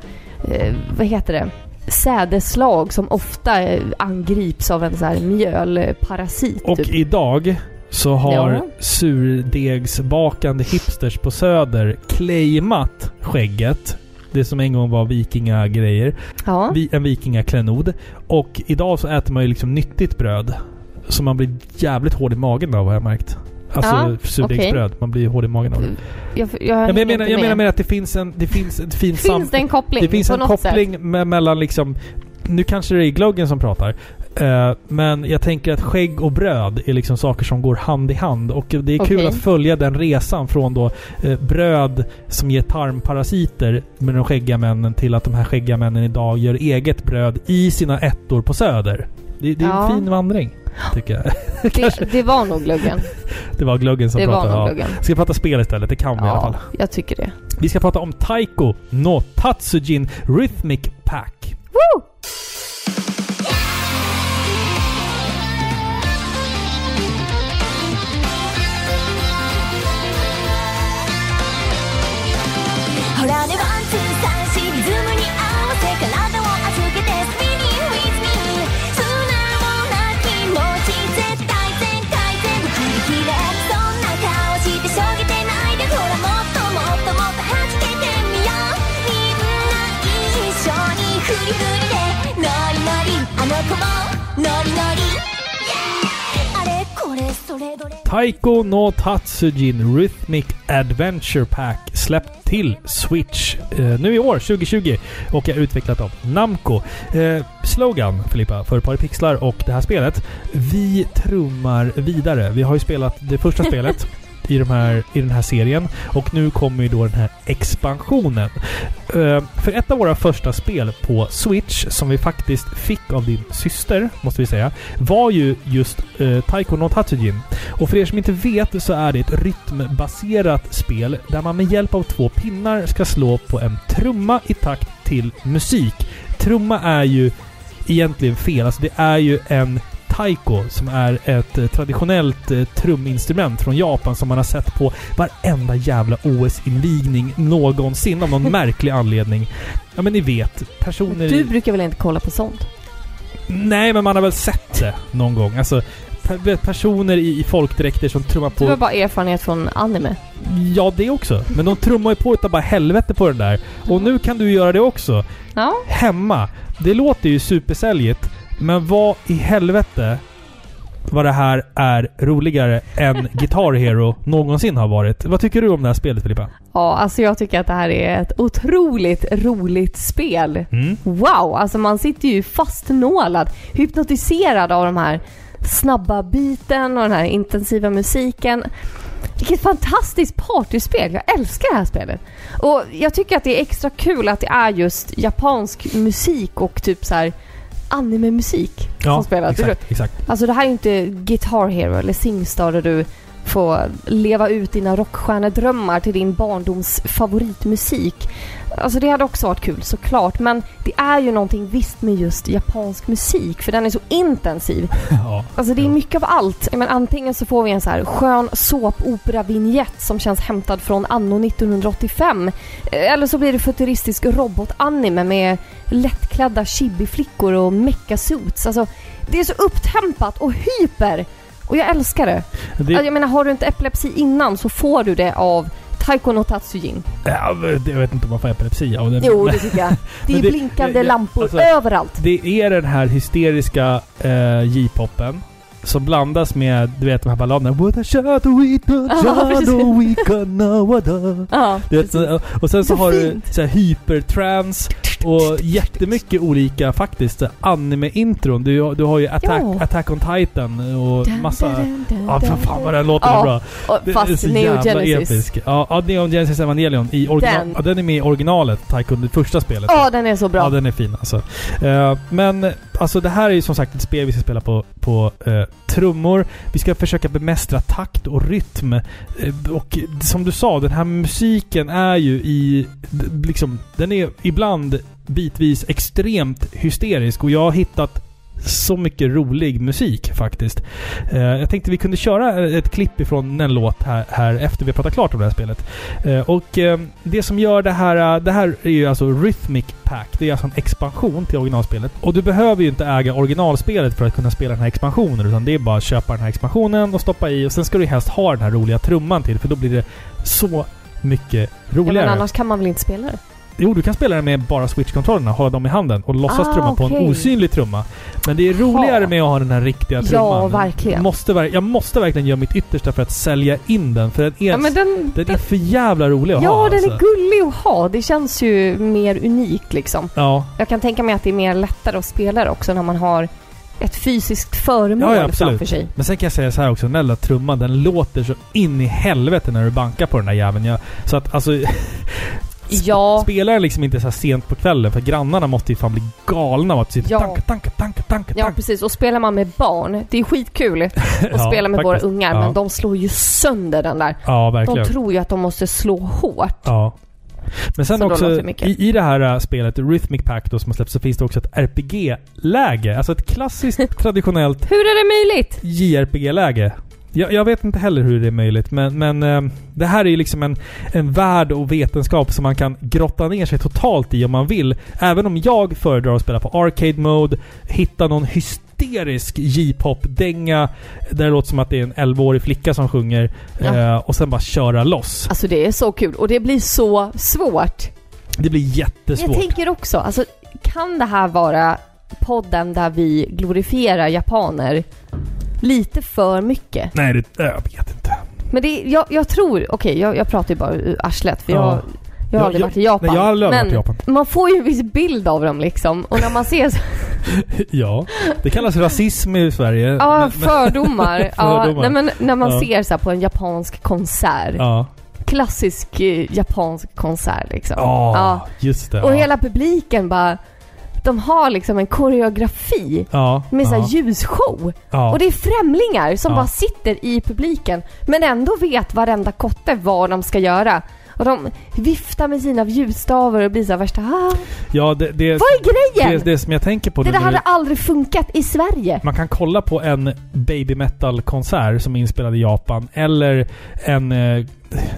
S2: eh, vad heter det, sädeslag som ofta eh, angrips av en så här mjölparasit.
S1: Och
S2: typ.
S1: idag så har
S2: Ja.
S1: surdegsbakande hipsters på Söder claimat skägget. Det som en gång var vikingagrejer.
S2: Ja.
S1: vi, en vikingaklenod. Och idag så äter man ju liksom nyttigt bröd. Så man blir jävligt hård i magen av har jag märkt. Alltså
S2: Ja,
S1: surdegsbröd. Man blir ju hård i magen av det.
S2: Jag, jag,
S1: Ja, men
S2: hänger
S1: jag menar,
S2: inte
S1: jag
S2: med.
S1: menar med att det finns en, det finns, det finns sam-
S2: Finns det en koppling?
S1: det finns
S2: på
S1: en
S2: något Sätt?
S1: koppling me- mellan liksom... Nu kanske det är glöggen som pratar. eh, men jag tänker att skägg och bröd är liksom saker som går hand i hand. Och det är kul
S2: Okej.
S1: att följa den resan från då eh, bröd som ger tarmparasiter med de skäggiga männen till att de här skäggiga männen idag gör eget bröd i sina ettor på Söder. Det, det är
S2: Ja.
S1: en fin vandring, tycker jag.
S2: Det, det var nog gluggen.
S1: Det var glöggen som
S2: Det var
S1: pratade.
S2: nog
S1: Ja.
S2: gluggen.
S1: Ska vi prata spel istället? Det kan vi i alla fall.
S2: Ja, jag tycker det.
S1: Vi ska prata om Taiko no Tatsujin Rhythmic Pack.
S2: Woo!
S3: 「ほらねワンツーサンシリズムに合わせ」「体を預けてスピニング with me」「素直な気持ち絶対全開全部振り切れ」「そんな顔してしょげてないでほらもっともっともっとはじけてみよう」「みんな一緒にフリフリでノリノリあの子もノリノリ」「あれここれそれどれ
S1: Taiko no Tatsujin Rhythmic Adventure Pack släppt till Switch eh, nu i år, 2020, och är utvecklat av Namco. Eh, slogan, Filippa, för Paripixlar och det här spelet. Vi trummar vidare. Vi har ju spelat det första spelet i, de här, i den här serien och nu kommer ju då den här expansionen. Eh, för ett av våra första spel på Switch, som vi faktiskt fick av din syster, måste vi säga, var ju just eh, Taiko no Tatsujin. Och för er som inte vet så är det ett rytmbaserat spel där man med hjälp av två pinnar ska slå på en trumma i takt till musik. Trumma är ju egentligen fel. Alltså det är ju en taiko som är ett eh, traditionellt eh, truminstrument från Japan som man har sett på varenda jävla OS-invigning någonsin av någon märklig anledning. Ja men ni vet, personer...
S2: Men
S1: i-
S2: du brukar väl inte kolla på sånt?
S1: Nej, men man har väl sett det någon gång. Alltså, pe- personer i, i folkdräkter som trummar på...
S2: Du har bara erfarenhet från anime.
S1: Ja, det också. Men de trummar ju på utav bara helvete på den där. Och nu kan du göra det också.
S2: Ja.
S1: Hemma. Det låter ju supersäljigt. Men vad i helvete vad det här är roligare än Guitar Hero någonsin har varit. Vad tycker du om det här spelet Filippa?
S2: Ja, alltså jag tycker att det här är ett otroligt roligt spel.
S1: Mm.
S2: Wow, alltså man sitter ju fastnålad, hypnotiserad av de här snabba biten och den här intensiva musiken. Vilket fantastiskt partyspel! Jag älskar det här spelet. Och jag tycker att det är extra kul att det är just japansk musik och typ så här anime-musik som spelas.
S1: exakt, exakt.
S2: Alltså det här är ju inte Guitar Hero eller Singstar där du får leva ut dina rockstjärnedrömmar till din barndoms favoritmusik. Alltså det hade också varit kul såklart men det är ju någonting visst med just japansk musik för den är så intensiv.
S1: Ja.
S2: Alltså det är mycket av allt. Men antingen så får vi en så här skön såpopera-vinjett som känns hämtad från anno 1985. eh, Eller så blir det futuristisk robotanime med lättklädda chibi-flickor och mecha-suits. Alltså det är så upptempat och hyper! Och jag älskar det.
S1: Det,
S2: Alltså, jag menar har du inte epilepsi innan så får du det av Taiko no Tatsujin.
S1: ja, men det- jag vet inte om man får epilepsi av den.
S2: Jo, det tycker jag. Det är
S1: Men det-
S2: blinkande
S1: det- det-
S2: lampor
S1: alltså-
S2: överallt.
S1: Det är den här hysteriska eh, J-popen som blandas med, du vet de här balladerna. What a shot we got,
S2: Ja,
S1: shot
S2: precis.
S1: we gonna, what a...
S2: Ja,
S1: Du vet,
S2: precis.
S1: så- och sen så,
S2: Så
S1: har du
S2: fint.
S1: så här hypertrans och jättemycket olika faktiskt anime-intron. Du, du har ju Attack,
S2: Ja.
S1: Attack on Titan och massa...
S2: Dun, dun, dun,
S1: Ja, för
S2: dun,
S1: fan vad den låter
S2: Ja,
S1: bra.
S2: Och,
S1: Det är
S2: fast
S1: så
S2: Neo
S1: jävla
S2: Genesis.
S1: episk. Ja, ja, Neo Genesis Evangelion. I original, den.
S2: Den.
S1: Ja, den är med i originalet, Taiko, det första spelet.
S2: Ja, den är så bra.
S1: Ja, den är fin alltså. Eh, men eh, alltså det här är ju som sagt ett spel vi ska spela på, på eh, trummor. Vi ska försöka bemästra takt och rytm. Eh, och som du sa, den här musiken är ju i... d- Liksom, den är ibland bitvis extremt hysterisk och jag har hittat så mycket rolig musik faktiskt. Eh, jag tänkte vi kunde köra ett klipp ifrån en låt här, här efter vi har pratat klart om det här spelet. Eh, Och eh, det som gör det här... eh, Det här är ju alltså Rhythmic Pack. Det är alltså en expansion till originalspelet. Och du behöver ju inte äga originalspelet för att kunna spela den här expansionen. Utan det är bara att köpa den här expansionen och stoppa i. Och sen ska du helst ha den här roliga trumman till. För då blir det så mycket
S2: Ja, men
S1: roligare.
S2: annars kan man väl inte spela det?
S1: Jo, du kan spela den med bara switch-kontrollerna. Hålla dem i handen och låtsas
S2: Ah,
S1: trumma på en
S2: okej.
S1: osynlig trumma. Men det är roligare
S2: Ha.
S1: med att ha den här riktiga trumman.
S2: Ja, verkligen.
S1: Måste, ver- jag måste verkligen göra mitt yttersta för att sälja in den. För den är,
S2: Ja, men den,
S1: den är
S2: den,
S1: för jävla rolig att ha.
S2: ja, den
S1: alltså.
S2: är gullig att ha. Det känns ju mer unikt liksom.
S1: Ja,
S2: Jag kan tänka mig att det är mer lättare att spela det också när man har ett fysiskt föremål
S1: Ja, ja, absolut.
S2: framför sig.
S1: men sen kan jag säga så här också. Den där lilla trumman, den låter så in i helvete när du bankar på den där jäveln. Jag, så att alltså... sp-
S2: Ja.
S1: Spelar den liksom inte så här sent på kvällen för grannarna måste ju fan bli galna av att sitta
S2: Ja.
S1: tanka, tanka, tanka, tanka,
S2: Ja,
S1: tanka.
S2: precis. Och spelar man med barn, det är skitkul att
S1: Ja,
S2: spela med våra
S1: faktiskt.
S2: ungar,
S1: Ja.
S2: men de slår ju sönder den där.
S1: Ja,
S2: De
S1: verkligen.
S2: tror ju att de måste slå hårt.
S1: Ja. Men sen
S2: Så då
S1: också,
S2: låter det mycket.
S1: i, i det här äh, spelet, Rhythmic Pack då, som har släppts, så finns det också ett RPG-läge. Alltså ett klassiskt traditionellt
S2: Hur är det möjligt?
S1: JRPG-läge. Jag, jag vet inte heller hur det är möjligt, men, men ehm, det här är ju liksom en, en värld och vetenskap som man kan grotta ner sig totalt i om man vill. Även om jag föredrar att spela på Arcade Mode, hitta någon hysterisk J-pop-dänga där det låter som att det är en 11-årig flicka som sjunger
S2: Ja.
S1: eh, och sen bara köra loss.
S2: Alltså det är så kul och det blir så svårt.
S1: Det blir jättesvårt.
S2: Jag tänker också, alltså kan det här vara podden där vi glorifierar japaner lite för mycket.
S1: Nej, det, äh, jag vet inte.
S2: Men det, jag, jag tror, okej jag, jag pratar ju bara ur arslet för
S1: Ja.
S2: jag, jag
S1: Ja,
S2: har aldrig
S1: jag-
S2: varit i Japan.
S1: nej, jag har aldrig
S2: men
S1: varit i Japan.
S2: man får ju en viss bild av dem liksom. Och när man ser så,
S1: Ja, det kallas rasism i Sverige.
S2: ja,
S1: Men- men-
S2: fördomar. ja,
S1: Fördomar.
S2: nej, men när man
S1: Ja.
S2: ser så här på en japansk konsert.
S1: Ja.
S2: Klassisk eh, japansk konsert liksom.
S1: Ja,
S2: Ja.
S1: just det.
S2: Och
S1: ja.
S2: hela publiken bara, de har liksom en koreografi
S1: ja.
S2: med så
S1: ja.
S2: här ljusshow.
S1: ja.
S2: Och det är främlingar som
S1: Ja.
S2: bara sitter i publiken men ändå vet varenda kotte vad de ska göra. Och de viftar med sina ljusstavar och blir så här värsta ah,
S1: ja, det, det,
S2: Vad är grejen?
S1: Det, det som jag tänker på
S2: Det
S1: nu
S2: där
S1: när
S2: hade
S1: du,
S2: aldrig funkat i Sverige.
S1: Man kan kolla på en baby metal-konsert som är inspelad i Japan. Eller en... eh,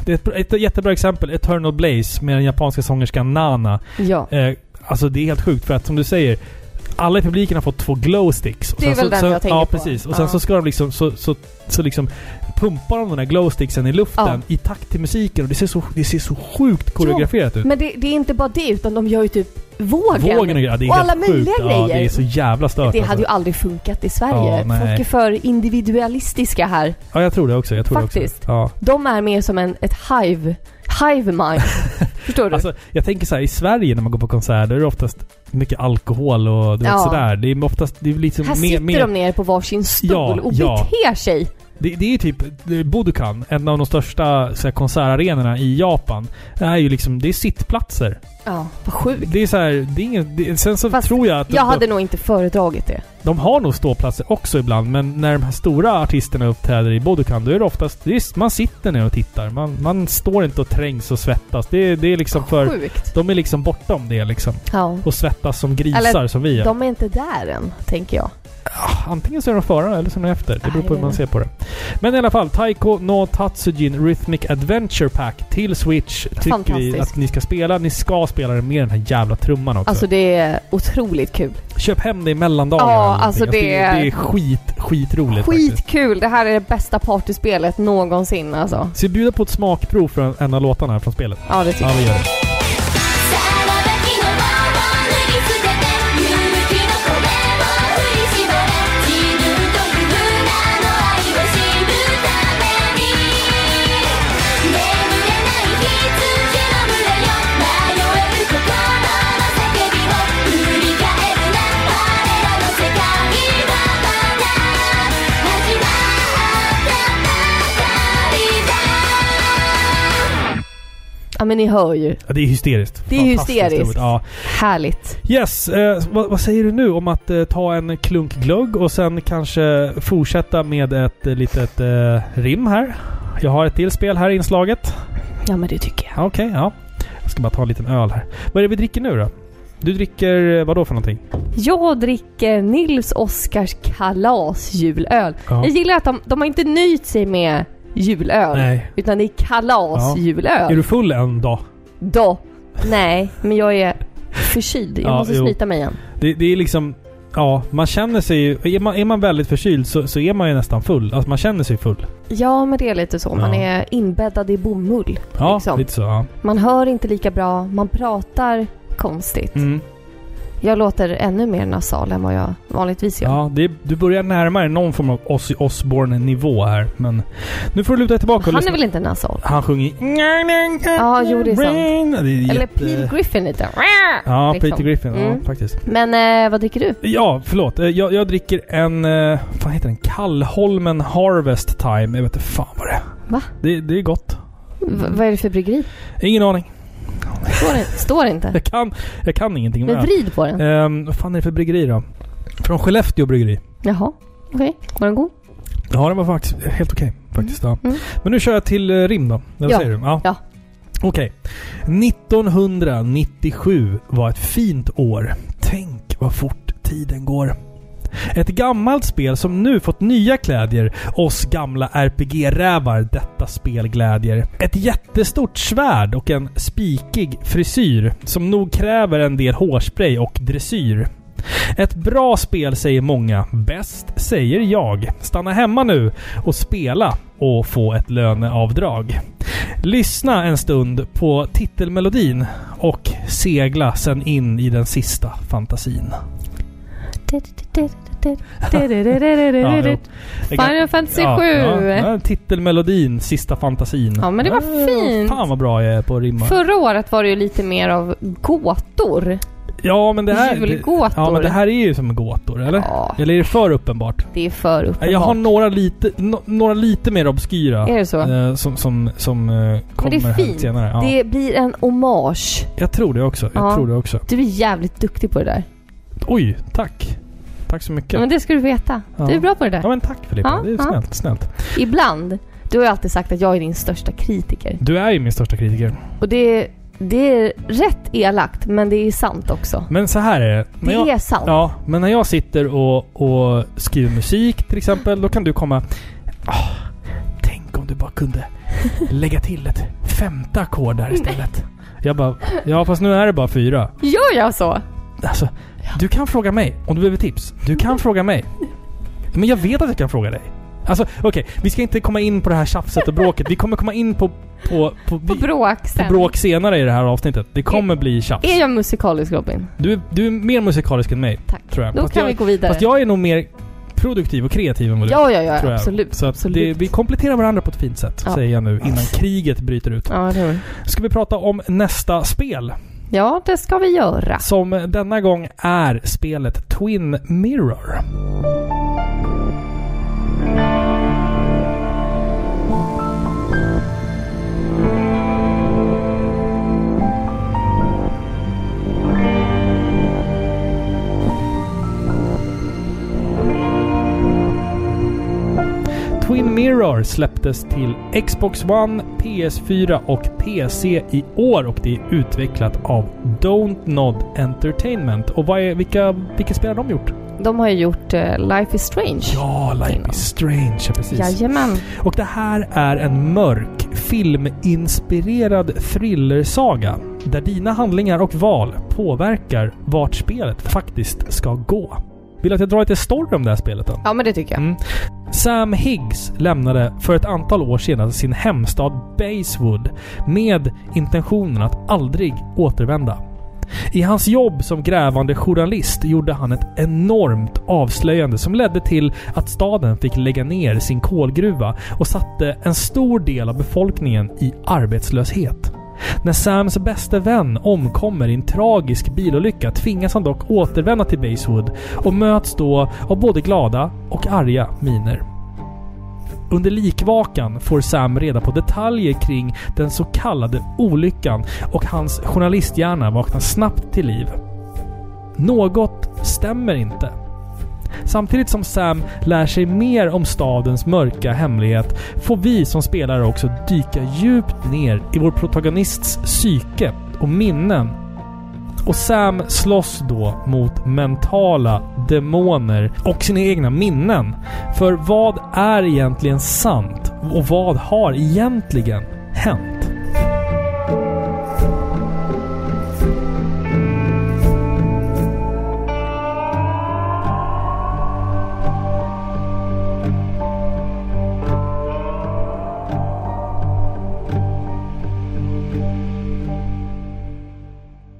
S1: Det är ett, ett jättebra exempel. Eternal Blaze med den japanska sångerskan Nana.
S2: Ja.
S1: Eh, alltså det är helt sjukt för att som du säger alla i publiken har fått två glowsticks.
S2: Det är
S1: sen
S2: väl den
S1: så, så,
S2: jag tänker
S1: Ja,
S2: på.
S1: precis. Och sen
S2: Ja.
S1: så ska de liksom... Så, så, så liksom pumpar de den här glowsticksen i luften i takt till musiken och det ser så, det ser så sjukt koreograferat ut.
S2: Men det, det är inte bara det utan de gör ju typ vågen.
S1: Vågen och grejer. Ja, det är
S2: Och
S1: helt
S2: alla möjliga
S1: sjukt. Ja,
S2: grejer.
S1: det är så jävla stört.
S2: Det hade ju
S1: alltså.
S2: aldrig funkat i Sverige.
S1: Ja, nej.
S2: Folk är för individualistiska här.
S1: Ja, jag tror det också. Jag tror
S2: Faktiskt.
S1: Det också. Ja.
S2: De är mer som en, ett hive, hive mind. Förstår du?
S1: Alltså, jag tänker så här, i Sverige när man går på konserter är det oftast mycket alkohol och du
S2: Ja.
S1: vet, sådär. Det är oftast... Det är liksom
S2: här
S1: mer,
S2: sitter
S1: mer,
S2: de ner på varsin stol
S1: Ja,
S2: och
S1: ja.
S2: beter sig.
S1: Det, det är typ eh, Budokan, en av de största så här, konsertarenorna i Japan. Det är ju liksom, det är sittplatser.
S2: Ja, vad sjukt.
S1: Det är så här, det är ingen, det, sen så
S2: Fast
S1: tror jag att
S2: Jag
S1: de,
S2: hade nog inte föredragit det.
S1: de har nog ståplatser också ibland, men när de här stora artisterna uppträder i Budokan, då är det oftast, det är, man sitter ner och tittar. Man, man står inte och trängs och svettas. Det, det är liksom för,
S2: Sjukt.
S1: de är liksom bortom det liksom.
S2: Ja.
S1: Och svettas som grisar
S2: Eller,
S1: som vi är.
S2: De är inte där än, tänker jag.
S1: Ah, Antingen så är de före eller så är de efter. Det
S2: Nej,
S1: beror på hur
S2: det
S1: man
S2: är
S1: ser på det. Men i alla fall, Taiko no Tatsujin Rhythmic Adventure Pack till Switch tycker vi
S2: Fantastiskt.
S1: att ni ska spela. Ni ska spela det med den här jävla trumman också.
S2: Alltså det är otroligt kul.
S1: Köp hem det i mellandagarna.
S2: Ja,
S1: eller någonting.
S2: alltså
S1: det,
S2: det-
S1: är, det är skit, skitroligt faktiskt.
S2: Skitkul! Det här är det bästa partyspelet någonsin alltså.
S1: Så vi bjuder på ett smakprov från en av låtarna här från spelet.
S2: Ja, det tycker
S1: Ja,
S2: jag.
S1: vi gör det.
S3: さらば昨日はもう脱ぎ捨てて勇気の声を振り捨てて自分という名の愛を知るために眠れない羊の群れよ迷える心の叫びを振り返るな我らの世界はまだ始まったばかりだ
S2: Ja men ni hör ju.
S1: Ja, det är hysteriskt.
S2: Det är
S1: Fantastiskt
S2: hysteriskt.
S1: roligt. Ja.
S2: Härligt.
S1: Yes, eh, vad, vad säger du nu om att eh, ta en klunk glögg och sen kanske fortsätta med ett eh, litet eh, rim här? Jag har ett till spel här i inslaget.
S2: Ja men det tycker jag.
S1: Ja, Okej, ja. Jag ska bara ta en liten öl här. Vad är det vi dricker nu då? Du dricker eh, vad då för någonting?
S2: Jag dricker Nils Oskars kalasjulöl.
S1: Ja.
S2: Jag gillar att de, de har inte nöjt sig med julöl.
S1: Nej.
S2: Utan det är
S1: Är
S2: kalasjulöl.
S1: du full en dag?
S2: Då. Nej, men jag är förkyld. Jag
S1: Ja,
S2: måste
S1: jo.
S2: snyta mig igen.
S1: Det, det är liksom... Ja, man känner sig ju... Är man, är man väldigt förkyld så, så är man ju nästan full. Alltså man känner sig full.
S2: Ja, men det är lite så. Man
S1: Ja.
S2: är inbäddad i bomull.
S1: Ja,
S2: Liksom.
S1: lite så. Ja.
S2: Man hör inte lika bra, man pratar konstigt.
S1: Mm.
S2: Jag låter ännu mer nasal än vad jag vanligtvis gör.
S1: Ja, det, du börjar närma dig någon form av Ozzy Osbourne-nivå här. Men nu får du luta dig tillbaka och
S2: Han är
S1: lyssna.
S2: väl inte nasal?
S1: Han sjunger i-
S2: Ja, jo, det är sant.
S1: Rain. Det är
S2: Eller
S1: jätte-
S2: Peel Griffin lite.
S1: Ja,
S2: liksom.
S1: Peter Griffin.
S2: Mm.
S1: Ja, faktiskt.
S2: Men eh, vad dricker du?
S1: Ja, förlåt. Eh, Jag, jag dricker en... eh, Vad heter den? Kallholmen Harvest Time. Jag vet inte fan vad det är.
S2: Va?
S1: Det, det är gott.
S2: V- vad är det för bryggeri?
S1: Ingen aning.
S2: Står, det- står det inte?
S1: Jag kan, jag kan ingenting om
S2: Men
S1: öl.
S2: vrid på den.
S1: Ehm, vad fan är det för bryggeri då? Från Skellefteå bryggeri.
S2: Jaha, okej. Var den god?
S1: Ja, den var faktiskt helt okej. faktiskt, ja.
S2: Mm.
S1: Men nu kör jag till eh, rim då. Eller vad
S2: Ja.
S1: säger du? Ja.
S2: Ja.
S1: Okej. 1997 var ett fint år. Tänk vad fort tiden går. Ett gammalt spel som nu fått nya klädjer. Oss gamla RPG-rävar detta spel glädjer. Ett jättestort svärd och en spikig frisyr som nog kräver en del hårspray och dressyr. Ett bra spel säger många. Bäst säger jag. Stanna hemma nu och spela och få ett löneavdrag. Lyssna en stund på titelmelodin och segla sen in i den sista fantasin. jo.
S2: Final Fantasy 7.
S1: Ja, ja, titelmelodin, Sista fantasin.
S2: Ja, men det var fint.
S1: Fan vad bra jag är på att rimma.
S2: Förra året var det ju lite mer av gåtor.
S1: ja, men det här,
S2: Julgåtor.
S1: Ja, men det här är ju som gåtor, eller?
S2: Ja.
S1: Eller är det för uppenbart?
S2: Det är för uppenbart.
S1: Jag har några lite, no, några lite mer obskyra.
S2: Är det så?
S1: eh, som som, som eh, kommer
S2: men det är
S1: här
S2: fint.
S1: senare. Ja.
S2: Det blir en hommage.
S1: Jag tror det också. Jag
S2: Ja.
S1: tror det också.
S2: Du är jävligt duktig på det där.
S1: Oj, tack. Tack så mycket.
S2: Ja, men det ska du veta.
S1: Ja.
S2: Du är bra på det där.
S1: Ja men tack Filippa,
S2: Ja,
S1: det är
S2: ja.
S1: snällt, snällt.
S2: Ibland. Du har ju alltid sagt att jag är din största kritiker.
S1: Du är ju min största kritiker.
S2: Och det, det är rätt elakt, men det är sant också.
S1: Men så här är det.
S2: Det
S1: När jag,
S2: är sant.
S1: ja, men när jag sitter och, och skriver musik till exempel, då kan du komma... "Ah, tänk om du bara kunde lägga till ett femte ackord där istället. Jag bara, ja fast nu är det bara fyra.
S2: Gör jag så?
S1: Alltså, du kan fråga mig om du behöver tips. Du
S2: Mm.
S1: kan fråga mig. Men jag vet att jag kan fråga dig. Alltså okej, vi ska inte komma in på det här tjafset och bråket. Vi kommer komma in på... På, på,
S2: På bråk
S1: på
S2: sen.
S1: bråk senare i det här avsnittet. Det kommer bli tjafs.
S2: Är jag musikalisk Robin?
S1: Du, är- du är mer musikalisk än mig,
S2: Tack.
S1: tror jag.
S2: Då
S1: Fast
S2: kan
S1: jag,
S2: vi gå vidare.
S1: Fast jag är nog mer produktiv och kreativ än vad du är,
S2: ja, ja, ja.
S1: tror jag.
S2: Absolut.
S1: Så att det,
S2: absolut.
S1: vi kompletterar varandra på ett fint sätt,
S2: Ja.
S1: säger jag nu, innan kriget bryter ut.
S2: Ja, det är det.
S1: Ska vi prata om nästa spel?
S2: ja, det ska vi göra.
S1: Som denna gång är spelet Twin Mirror. Twin Mirror släpptes till Xbox One, PS4 och PC i år och det är utvecklat av Don't Nod Entertainment. Och vad är, vilka, vilka spel har de gjort?
S2: De har ju gjort eh, Life is Strange.
S1: Ja, Life is Strange, ja, precis.
S2: Jajamän.
S1: Och det här är en mörk, filminspirerad thrillersaga där dina handlingar och val påverkar vart spelet faktiskt ska gå. Vill du att jag drar lite story om det här spelet då?
S2: Ja, men det tycker jag.
S1: Mm. Sam Higgs lämnade för ett antal år sedan sin hemstad Basewood med intentionen att aldrig återvända. I hans jobb som grävande journalist gjorde han ett enormt avslöjande som ledde till att staden fick lägga ner sin kolgruva och satte en stor del av befolkningen i arbetslöshet. När Sams bästa vän omkommer i en tragisk bilolycka tvingas han dock återvända till Basewood och möts då av både glada och arga miner. Under likvakan får Sam reda på detaljer kring den så kallade olyckan och hans journalisthjärna vaknar snabbt till liv. Något stämmer inte. Samtidigt som Sam lär sig mer om stadens mörka hemlighet får vi som spelare också dyka djupt ner i vår protagonists psyke och minnen och Sam slåss då mot mentala demoner och sina egna minnen. För vad är egentligen sant? Och vad har egentligen hänt?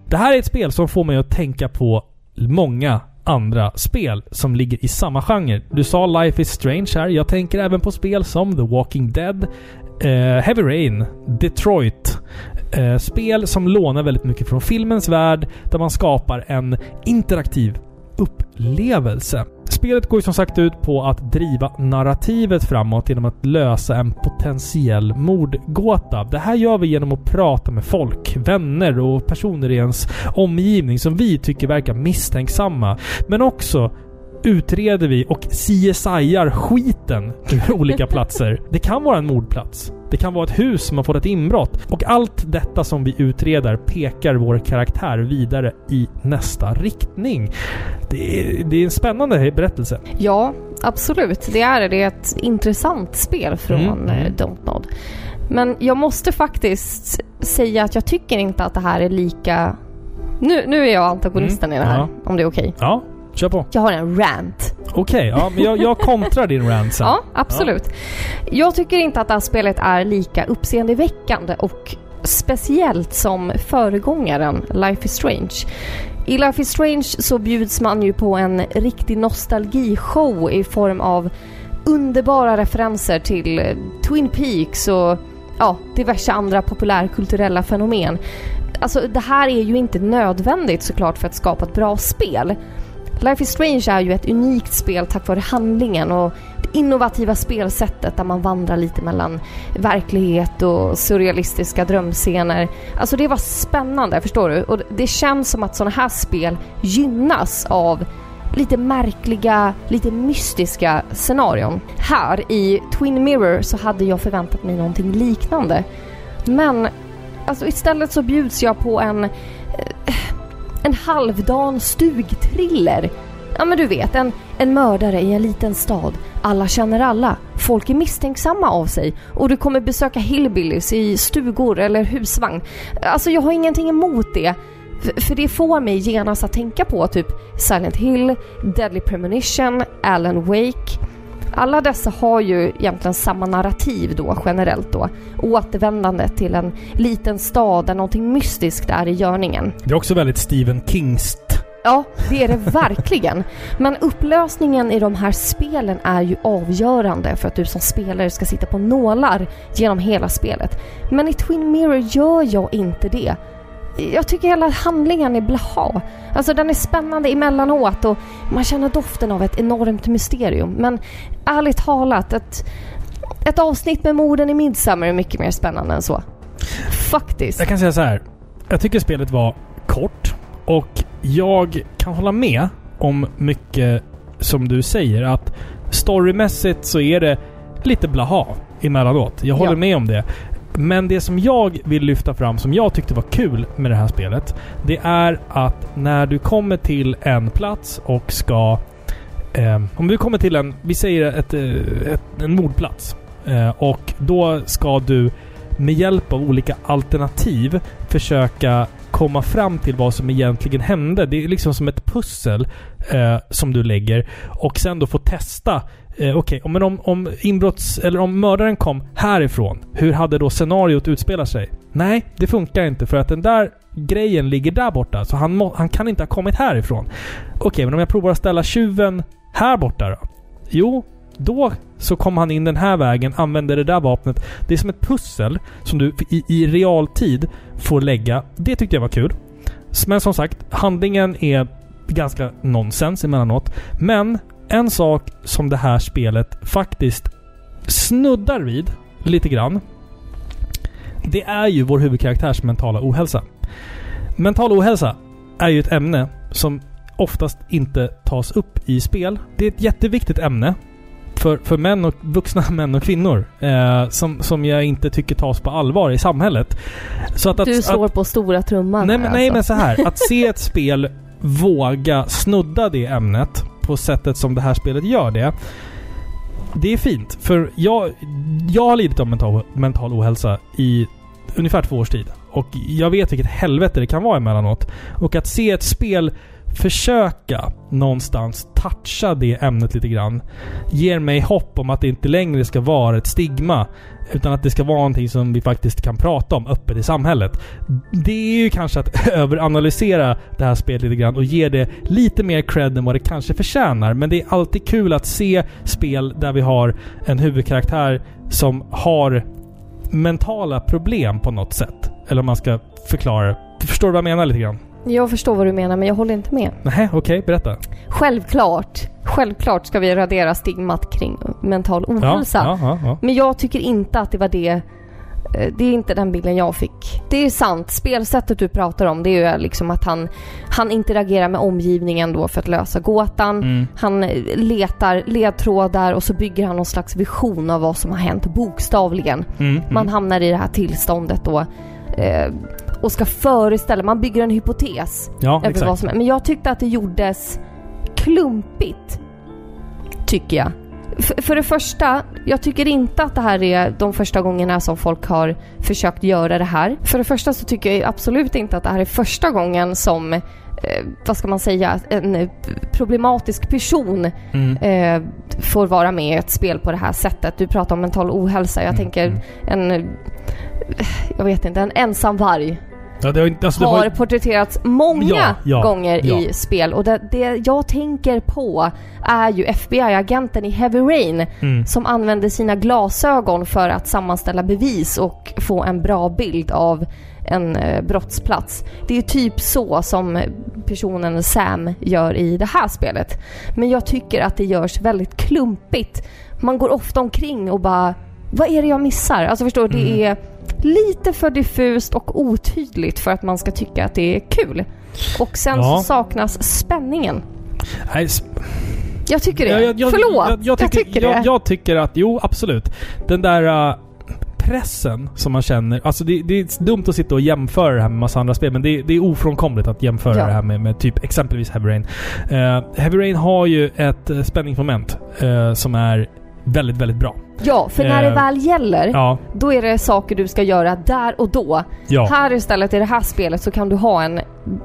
S1: Det här är ett spel som får mig att tänka på många andra spel som ligger i samma genre. Du sa Life is Strange här. Jag tänker även på spel som The Walking Dead, eh, Heavy Rain, Detroit. Eh, spel som lånar väldigt mycket från filmens värld där man skapar en interaktiv upplevelse. Spelet går ju som sagt ut på att driva narrativet framåt genom att lösa en potentiell mordgåta. Det här gör vi genom att prata med folk, vänner och personer i ens omgivning som vi tycker verkar misstänksamma. Men också utreder vi och CSIar skiten ur olika platser. Det kan vara en mordplats. Det kan vara ett hus som har fått ett inbrott. Och allt detta som vi utreder pekar vår karaktär vidare i nästa riktning. Det är, det är en spännande berättelse.
S2: Ja, absolut. Det är det. Det är ett intressant spel från
S1: Mm.
S2: mm. Dontnod. Men jag måste faktiskt säga att jag tycker inte att det här är lika... Nu, nu är jag antagonisten
S1: Mm,
S2: i det här,
S1: ja.
S2: om det är okej.
S1: Ja, kör på.
S2: Jag har en rant.
S1: Okej, ja, men jag, jag kontrar din rant sen.
S2: Ja, absolut. Jag tycker inte att det här spelet är lika uppseendeväckande och speciellt som föregångaren Life is Strange. I Life is Strange så bjuds man ju på en riktig nostalgishow i form av underbara referenser till eh, Twin Peaks och ja, diverse andra populärkulturella fenomen. Alltså det här är ju inte nödvändigt såklart för att skapa ett bra spel. Life is Strange är ju ett unikt spel tack vare handlingen och det innovativa spelsättet där man vandrar lite mellan verklighet och surrealistiska drömscener. Alltså det var spännande, förstår du? Och det känns som att sådana här spel gynnas av lite märkliga, lite mystiska scenarion. Här i Twin Mirror så hade jag förväntat mig någonting liknande. Men alltså istället så bjuds jag på en en halvdan stugthriller. Ja men du vet, en, en mördare i en liten stad. Alla känner alla. Folk är misstänksamma av sig. Och du kommer besöka hillbillies i stugor eller husvagn. Alltså jag har ingenting emot det. F- för det får mig genast att tänka på typ Silent Hill, Deadly Premonition, Alan Wake. Alla dessa har ju egentligen samma narrativ då generellt då. Återvändande till en liten stad där någonting mystiskt är i görningen.
S1: Det är också väldigt Stephen Kingst.
S2: Ja, det är det verkligen. Men upplösningen i de här spelen är ju avgörande för att du som spelare ska sitta på nålar genom hela spelet. Men i Twin Mirror gör jag inte det. Jag tycker hela handlingen är blaha. Alltså den är spännande emellanåt och man känner doften av ett enormt mysterium. Men ärligt talat, ett, ett avsnitt med morden i Midsummer är mycket mer spännande än så. Faktiskt.
S1: Jag kan säga så här. Jag tycker spelet var kort och jag kan hålla med om mycket som du säger att storymässigt så är det lite blaha emellanåt. Jag håller
S2: Ja.
S1: med om det. Men det som jag vill lyfta fram som jag tyckte var kul med det här spelet. Det är att när du kommer till en plats och ska... Eh, om du kommer till en, vi säger ett, eh, ett, en mordplats. Eh, och då ska du med hjälp av olika alternativ försöka komma fram till vad som egentligen hände. Det är liksom som ett pussel eh, som du lägger och sen då få testa. Eh, Okej, men om, om inbrotts eller om mördaren kom härifrån, hur hade då scenariot utspelat sig? Nej, det funkar inte för att den där grejen ligger där borta, så han, må, han kan inte ha kommit härifrån. Okej, men om jag provar att ställa tjuven här borta då? Jo, då så kom han in den här vägen, använde det där vapnet. Det är som ett pussel som du i, i realtid får lägga. Det tyckte jag var kul. Men som sagt, handlingen är ganska nonsens emellanåt. Men en sak som det här spelet faktiskt snuddar vid lite grann. Det är ju vår huvudkaraktärs mentala ohälsa. Mental ohälsa är ju ett ämne som oftast inte tas upp i spel. Det är ett jätteviktigt ämne för, för män och, vuxna män och kvinnor eh, som, som jag inte tycker tas på allvar i samhället. Så att, att,
S2: Du
S1: att,
S2: slår på stora trumman
S1: Nej
S2: här,
S1: men, nej
S2: alltså.
S1: men så här. Att se ett spel våga snudda det ämnet på sättet som det här spelet gör det. Det är fint. För jag, jag har lidit av mental, mental ohälsa i ungefär två års tid. Och jag vet vilket helvete det kan vara emellanåt. Och att se ett spel försöka någonstans toucha det ämnet lite grann ger mig hopp om att det inte längre ska vara ett stigma utan att det ska vara någonting som vi faktiskt kan prata om öppet i samhället. Det är ju kanske att överanalysera det här spelet lite grann och ge det lite mer cred än vad det kanske förtjänar. Men det är alltid kul att se spel där vi har en huvudkaraktär som har mentala problem på något sätt. Eller om man ska förklara det. Förstår du vad jag menar lite grann?
S2: Jag förstår vad du menar men jag håller inte med.
S1: Nej, okej, berätta.
S2: Självklart, självklart ska vi radera stigmat kring mental ohälsa.
S1: ja, ja, ja.
S2: Men jag tycker inte att det var det eh, det är inte den bilden jag fick. Det är sant, spelsättet du pratar om det är ju liksom att han, han interagerar med omgivningen då för att lösa gåtan.
S1: Mm.
S2: Han eh, letar ledtrådar och så bygger han någon slags vision av vad som har hänt bokstavligen.
S1: Mm.
S2: Man hamnar i det här tillståndet då eh, och ska föreställa, man bygger en hypotes
S1: Ja,
S2: över vad
S1: exakt.
S2: som är. Men jag tyckte att det gjordes klumpigt. Tycker jag. F- för det första, jag tycker inte att det här är de första gångerna som folk har försökt göra det här. För det första så tycker jag absolut inte att det här är första gången som, eh, vad ska man säga, en eh, problematisk person
S1: Mm.
S2: eh, får vara med i ett spel på det här sättet. Du pratar om mental ohälsa. Jag
S1: Mm,
S2: tänker en, eh, jag vet inte, en ensam varg
S1: Ja, det har inte... Alltså, det
S2: har
S1: var,
S2: porträtterats många
S1: Ja, ja,
S2: gånger
S1: ja.
S2: i spel. Och det, det jag tänker på är ju FBI-agenten i Heavy Rain
S1: Mm.
S2: som använde sina glasögon för att sammanställa bevis och få en bra bild av en eh, brottsplats. Det är typ så som personen Sam gör i det här spelet. Men jag tycker att det görs väldigt klumpigt. Man går ofta omkring och bara vad är det jag missar? Alltså förstår du, det
S1: Mm.
S2: är lite för diffust och otydligt för att man ska tycka att det är kul. Och sen
S1: Ja.
S2: så saknas spänningen.
S1: nej, s-
S2: Jag tycker det.
S1: Ja, jag- jag-
S2: Förlåt, jag, tycker, det.
S1: jag, jag tycker att, jo absolut. Den där eh, pressen som man känner. Alltså det, det är dumt att sitta och jämföra det här med massa andra spel, men det, det är ofrånkomligt att jämföra
S2: Ja.
S1: det här med, med typ exempelvis Heavy Rain. Eh, Heavy Rain har ju ett eh, spänningsmoment eh, som är väldigt, väldigt bra.
S2: ja, för när det
S1: Eh,
S2: väl gäller,
S1: Ja,
S2: då är det saker du ska göra där och då.
S1: ja.
S2: Här istället i det här spelet så kan du ha en,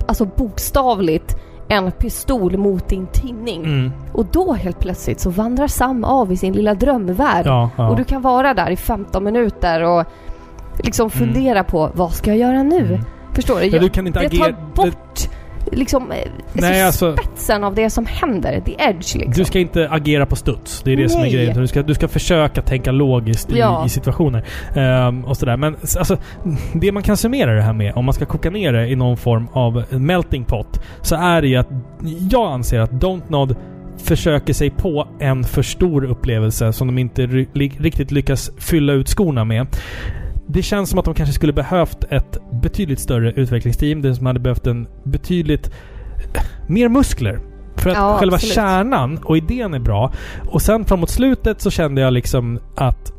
S2: alltså bokstavligt, en pistol mot din tinning.
S1: Mm,
S2: Och då helt plötsligt så vandrar Sam av i sin lilla drömvärld.
S1: ja, ja.
S2: Och du kan vara där i 15 minuter och liksom fundera på vad ska jag göra nu?
S1: Mm.
S2: Förstår du?
S1: Men du kan inte
S2: det
S1: agera...
S2: tar bort liksom eh,
S1: Nej,
S2: alltså,
S1: alltså-
S2: spetsen av det som händer. The edge liksom.
S1: Du ska inte agera på studs. Det är det som är
S2: Nej.
S1: grejen. Du ska, du ska försöka tänka logiskt i,
S2: Ja.
S1: i situationer. Ehm, och sådär. Men s- alltså, det man kan summera det här med, om man ska koka ner det i någon form av melting pot, så är det ju att jag anser att Dontnod försöker sig på en för stor upplevelse som de inte ry- li- riktigt lyckas fylla ut skorna med. Det känns som att de kanske skulle behövt ett betydligt större utvecklingsteam. Det som hade behövt en betydligt eh, mer muskler. För att
S2: Ja,
S1: själva
S2: absolut.
S1: kärnan och idén är bra. Och sen framåt slutet så kände jag liksom att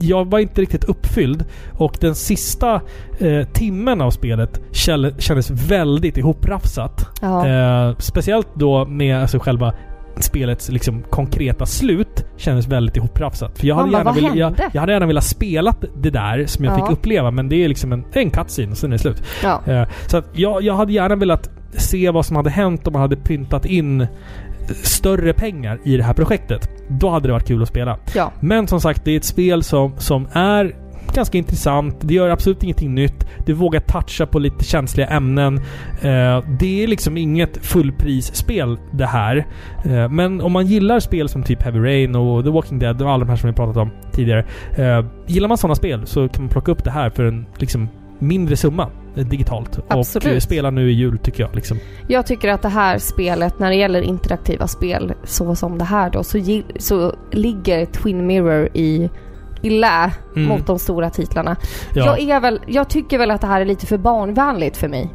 S1: jag var inte riktigt uppfylld. Och den sista eh, timmen av spelet käll- kändes väldigt ihoprafsat.
S2: ja.
S1: Eh, speciellt då med alltså själva spelets liksom konkreta slut kändes väldigt ihoprafsat. För jag hade,
S2: Man
S1: gärna
S2: bara, "Vad
S1: velat, jag,
S2: hände?"
S1: jag hade gärna velat spela det där som jag
S2: Ja.
S1: fick uppleva men det är liksom en, det är en cutscene och sen är det slut.
S2: ja.
S1: Eh, Så att jag, jag hade gärna velat se vad som hade hänt om man hade pyntat in större pengar i det här projektet. Då hade det varit kul att spela.
S2: Ja.
S1: Men som sagt, det är ett spel som, som är ganska intressant. Det gör absolut ingenting nytt. Du vågar toucha på lite känsliga ämnen. Eh, det är liksom inget fullprisspel det här. Eh, men om man gillar spel som typ Heavy Rain och The Walking Dead och alla de här som vi pratat om tidigare. Eh, gillar man sådana spel så kan man plocka upp det här för en liksom mindre summa eh, digitalt.
S2: Absolut.
S1: Och eh, spela nu i jul tycker jag. Liksom.
S2: Jag tycker att det här spelet, när det gäller interaktiva spel så som det här då, så, gi- så ligger Twin Mirror i illa
S1: Mm.
S2: mot de stora titlarna.
S1: Ja.
S2: Jag, är väl, jag tycker väl att det här är lite för barnvänligt för mig.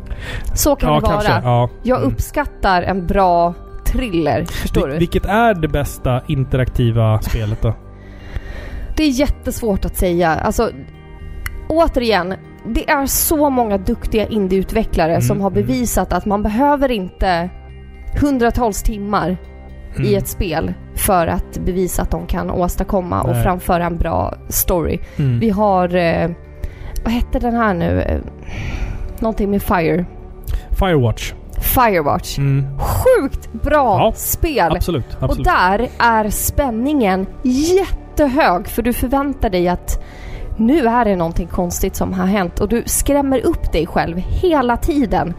S2: Så kan
S1: ja,
S2: det vara.
S1: kanske. Ja.
S2: Jag
S1: Mm.
S2: uppskattar en bra thriller, förstår
S1: Vil-
S2: du?
S1: Vilket är det bästa interaktiva spelet då?
S2: Det är jättesvårt att säga. Alltså, återigen, det är så många duktiga indieutvecklare som
S1: Mm,
S2: har bevisat att man behöver inte hundratals timmar
S1: Mm.
S2: i ett spel för att bevisa att de kan åstadkomma och
S1: Nej.
S2: framföra en bra story.
S1: Mm.
S2: Vi har, eh, vad hette den här nu? Eh, Någonting med Fire.
S1: Firewatch.
S2: Firewatch.
S1: Mm.
S2: Sjukt bra
S1: Ja,
S2: spel!
S1: Absolut. absolut.
S2: Och där är spänningen jättehög för du förväntar dig att nu är det någonting konstigt som har hänt och du skrämmer upp dig själv hela tiden.